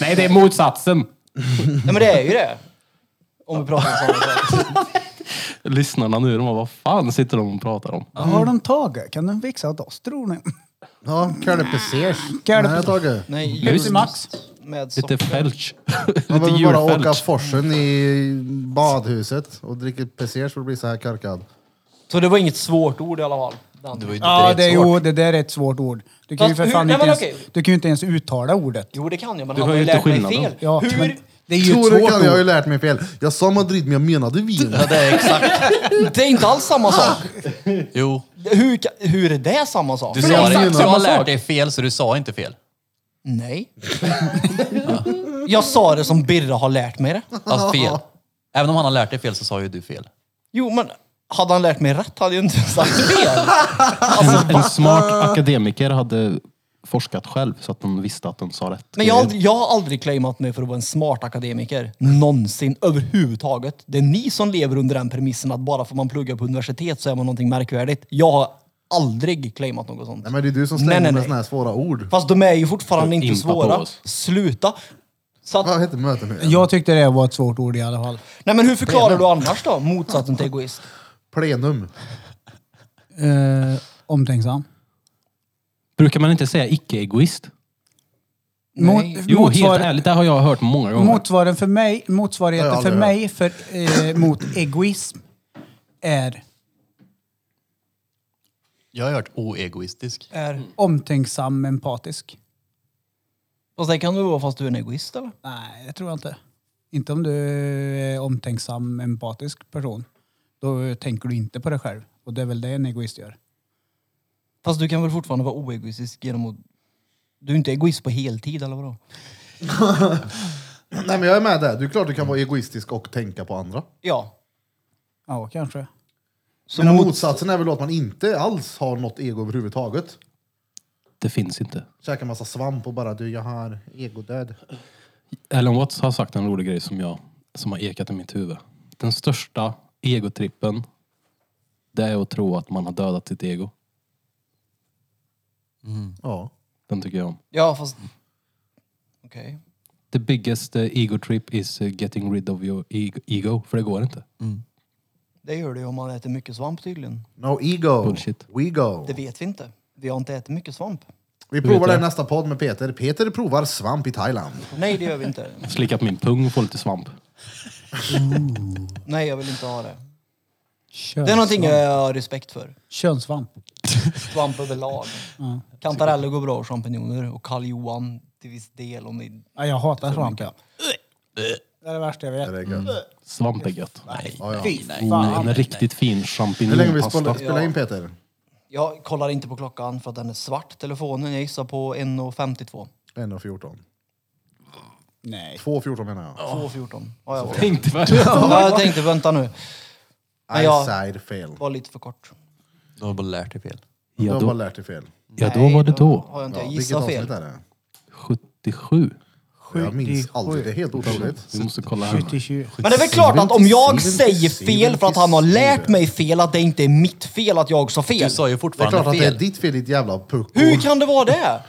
Nej, det är motsatsen!
men det är ju det. Om vi pratar om sådana saker.
Lyssnarna nu, de bara, vad fan sitter de och pratar om?
Alltså,
Vad har de tagit? Kan de fixa åt oss, tror ni?
Ja, curlypessiers.
Curly-
Nej, Tage.
Nej,
Mus.
julmust
Max.
Med
Lite
socker.
fälch.
Man
*laughs* Lite
behöver bara åka
djurfälch.
forsen i badhuset och dricka pesers för att bli så här korkad.
Så det var inget svårt ord i alla fall. Den.
Det var ju
Ja, det, är,
direkt svårt.
jo, det där är ett svårt ord. Du kan, ju
Fast
för
hur-
fan
nej,
inte
men
ens,
okej.
du kan ju inte ens uttala ordet.
Jo det kan jag men
Du hör
han har ju
ju
lärt
inte
mig
skillnaden.
fel.
Ja, men
Hur?
det är ju ett
Tore
svårt
kan jag ju
ord.
lärt mig fel. Jag sa Madrid men jag menade Wien.
Ja, det är exakt.
Det är inte alls samma sak.
Jo.
Hur, ka- hur är det samma sak?
Du, sa
exakt
det, du
samma
har lärt dig fel så du sa inte fel.
Nej. Jag sa det som Birra har lärt mig det.
Alltså fel. Även om han har lärt dig fel så sa ju du fel.
Jo men hade han lärt mig rätt hade jag inte sagt fel.
En smart akademiker hade forskat själv så att de visste att de sa rätt.
Men jag, jag har aldrig claimat mig för att vara en smart akademiker. Någonsin. Överhuvudtaget. Det är ni som lever under den premissen att bara för man pluggar på universitet så är man någonting märkvärdigt. Jag har aldrig claimat något sånt.
Nej, men det är du som slänger
Nej, nej,
med
nej.
såna här svåra ord.
Fast de är ju fortfarande inte
Impa på
svåra.
oss.
Sluta! Så att,
Vad heter mötet nu?
Jag tyckte det var ett svårt ord i alla fall.
nej men hur förklarar du annars då? Motsatsen till egoist.
Plenum.
Eh, omtänksam.
Brukar man inte säga icke-egoist?
Mm. Mot,
Jo, helt
motsvar,
ärligt, det har jag hört många gånger.
motsvaren för mig,
Det har
motsvarigheten
jag aldrig
för mig för, eh, mot egoism är
Jag har hört oegoistisk.
Är,
omtänksam, empatisk.
fast det kan du vara fast du är en egoist eller?
Nej, det tror jag inte. Inte om du är omtänksam, empatisk person. Då tänker du inte på dig själv. Och det är väl det en egoist gör.
Fast du kan väl fortfarande vara oegoistisk genom att... Du är inte egoist på heltid eller vadå?
Nej men jag är med där. Du är klart du kan vara egoistisk och tänka på andra.
Ja.
Ja, kanske.
Så
Men
mot-
motsatsen är väl att man inte alls har något ego överhuvudtaget.
Det finns inte.
Käkar massa svamp och bara du jag har egodöd.
Alan Watts har sagt en rolig grej som, jag, som har ekat i mitt huvud. Den största egotrippen, det är att tro att man har dödat sitt ego.
Ja.
Den tycker jag om.
Ja, fast... Okej.
The biggest eh, ego trip is eh, getting rid of your ego, ego för det går inte.
Det gör det ju om man äter mycket svamp tydligen.
No ego.
Bullshit.
We go.
Det vet vi inte. Vi har inte ätit mycket svamp.
Vi provar
vet
det i
jag.
nästa podd med Peter. Peter provar svamp i Thailand.
Nej, det gör vi inte.
Slickat min pung och få lite svamp.
Nej, jag vill inte ha det.
Köns,
Det är någonting jag har respekt för.
Könssvamp.
Svamp överlag. Kantareller går bra och champinjoner. Och karl johan till viss del. Om ni...
Ja, jag hatar svamp. Ja. Det är det värsta jag
Det
vet.
är
Mm.
gött.
Svamp är gött.
Ja, ja.
Fy
Oh,
fan.
en riktigt fin
Hur länge vi
champinjonpasta.
spelar in Peter?
Jag kollar inte på klockan för att den är svart, telefonen. Jag gissar på 1.52.
1.14.
Nej.
2.14 menar jag.
2.14. Ja,
*laughs*
jag,
Tänkte väl.
ja, jag tänkte vänta nu. Men jag-
Eyesight fel.
var lite för kort.
Du har bara lärt dig fel.
Du
Ja
har bara
då,
lärt dig fel.
ja, då var det då.
Har jag inte. Jag
vilket
gissar
avsnitt
fel.
är det?
77.
Jag minns aldrig, det är helt otroligt.
Vi måste kolla här.
70-20.
Men det är väl klart att om jag säger fel för att han har lärt
77.
mig fel, att det inte är mitt fel att jag sa fel.
Du sa ju
Det är
fortfarande
klart att det är
fel.
ditt fel, ditt jävla pucko.
Hur kan det vara det?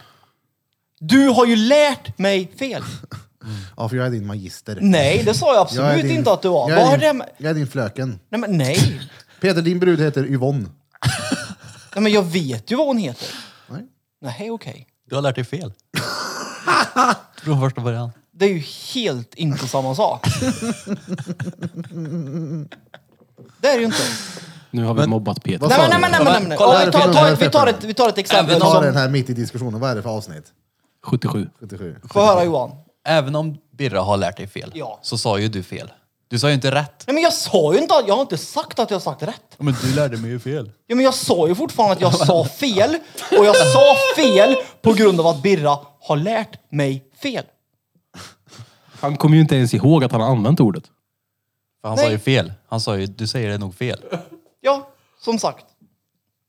Du har ju lärt mig fel.
Ja, för jag är din magister.
Nej, det sa jag
Jag är
absolut
din-
inte att du var.
Jag
Vad har
är,
det
din,
med...
jag är din flöken.
Nej, men nej.
Peter, din brud heter Yvonne.
nej, men jag vet ju vad hon heter.
Nej.
Nej, okej.
Du har lärt dig
*laughs*
fel. Från första början.
Det är ju helt inte samma sak. Det är det ju inte.
Nu har vi mobbat Peter.
Nej,
sa du?
men, nej, men, nej, men, nej, men.
Kolla,
Ja,
här
vi,
finns
tar,
de här
tar,
pepparna.
vi, tar ett, vi tar ett
Vi
exempel
tar den
som...
här mitt i diskussionen. Vad är det för avsnitt?
77.
77.
Få höra Johan.
Även om Birra har lärt dig fel,
Ja.
så sa ju du fel. Du sa ju inte rätt.
Nej, men jag sa ju inte att... Jag har inte sagt att jag sagt rätt.
Men du lärde mig ju fel.
Ja, men jag sa ju fortfarande att jag sa fel. Och jag sa fel på grund av att Birra har lärt mig fel.
Han kommer ju inte ens ihåg att han har använt ordet.
För han
Nej.
sa ju fel. Han sa ju, du säger det nog fel.
Ja, som sagt.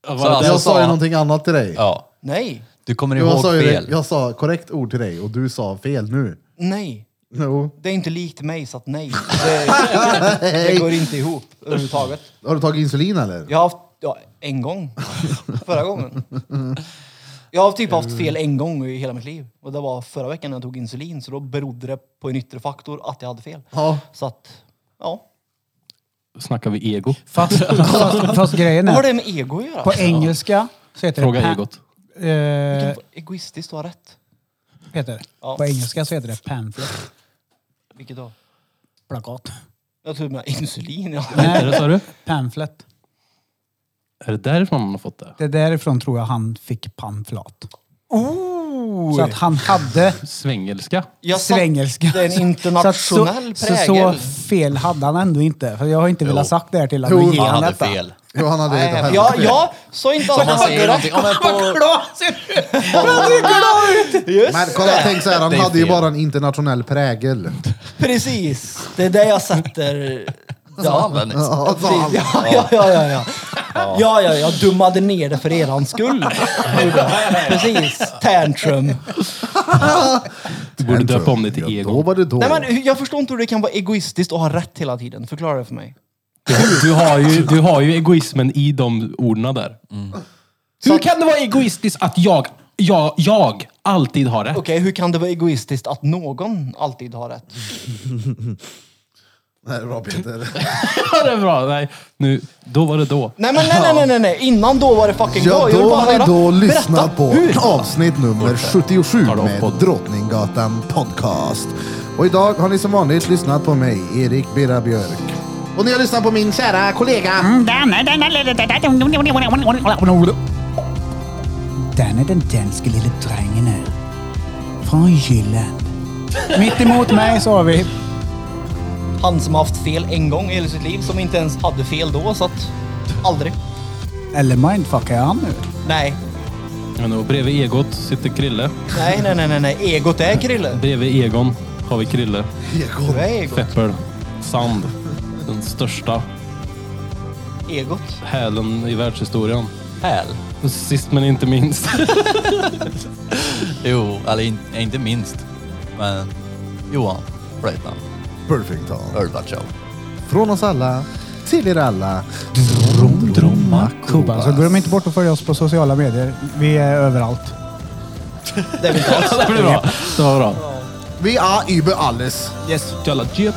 Så alltså,
Jag sa ju
han-
någonting annat till dig.
Ja.
Nej,
Du kommer
Jag
ihåg
sa, ju det,
fel.
jag sa korrekt ord till dig och du sa fel nu.
nej.
No.
Det är inte likt mig, så att nej. Det, det går inte ihop överhuvudtaget.
Har du tagit insulin eller?
Jag har haft, ja, en gång. Förra gången. Jag har typ haft fel en gång i hela mitt liv. Och det var förra veckan när jag tog insulin. Så då berodde det på en yttre faktor att jag hade fel.
Ja.
Så att, ja.
Snackar vi ego?
Fast, fast, fast grejen
Vad har
är,
det med ego att göra?
på engelska så heter
Fråga
det... pan-
*laughs* egot.
Det kan
Eh,
vara Egoistiskt att ha rätt.
Peter,
Ja.
på engelska så heter det pamphlet.
Vilket då?
Plakat.
Jag tror med insulin, ja.
Är det sa du?
Pamphlet.
Är det därifrån han har fått det?
Det är därifrån tror jag han fick pamflat. Så att han hade
Svängelska?
Jag satt-
svängelska.
Det är en
Så att så-
internationell
så,
prägel.
så fel hade han ändå inte. För jag har inte velat sagt det här till honom.
Jo,
Nu ger
Han
han
hade
detta.
fel.
Jo, han hade
Nej,
helt
men jag,
fel.
jag sa inte att
Om man
jag
säger
hade rätt.
någonting. Ja, men på,
Men kolla, tänk så här, han
Det är
hade ju
fel.
bara en internationell prägel.
Precis, det är det jag sätter... Ja,
ja, men,
Ja, sa han.
precis. ja, ja, ja, ja, ja. Ja, ja, jag dummade ner det för erans skull. Precis, tantrum.
Du borde döpa om det till
Då
ego.
var det då.
Nej, men hur- jag förstår inte hur det kan vara egoistiskt att ha rätt hela tiden. Förklara det för mig.
Du- Du har, ju, du har ju egoismen i de orden där. Hur kan det vara egoistiskt att jag, jag, jag alltid har rätt?
Okej, hur kan det vara egoistiskt att någon alltid har rätt?
Nej, bra Peter.
Ja, det är bra. Nej, nu, då var det då.
Nej, men nej, nej, nej, nej, nej. innan då var det fucking
Ja,
bra. Jag vill
då
bara
har ni
höra.
då lyssnat
Berätta,
på
hur?
avsnitt nummer 77
Tar det upp
med
podden.
Drottninggatan Podcast. Och idag har ni som vanligt lyssnat på mig, Erik Birra Björk. Och ni har lyssnat på min kära kollega.
Den är den danske lille drängen här. Från Jylland. Mitt emot mig så har vi...
Han som har haft fel en gång i hela sitt liv, som inte ens hade fel då, så att aldrig.
Eller mindfuckar jag han nu?
Nej,
Men då, bredvid egot sitter Krille.
nej, nej, nej, nej, nej. egot är Krille.
Bredvid egon har vi Krille.
Du är egot.
Pepper. Sand. Den största
Egot.
hälen i världshistorien.
häl.
Och sist men inte minst.
Jo, eller in, inte minst. Men Johan Flöjtnant
Perfect Tom.
Ölbatschow.
Från oss alla, till er alla.
Bromma Kuba. Så glöm inte bort att följa oss på sociala medier. Vi är överallt.
Det är vi inte alls.
Det var bra. Det var bra.
Vi är über alles.
Yes. Jalla jeep.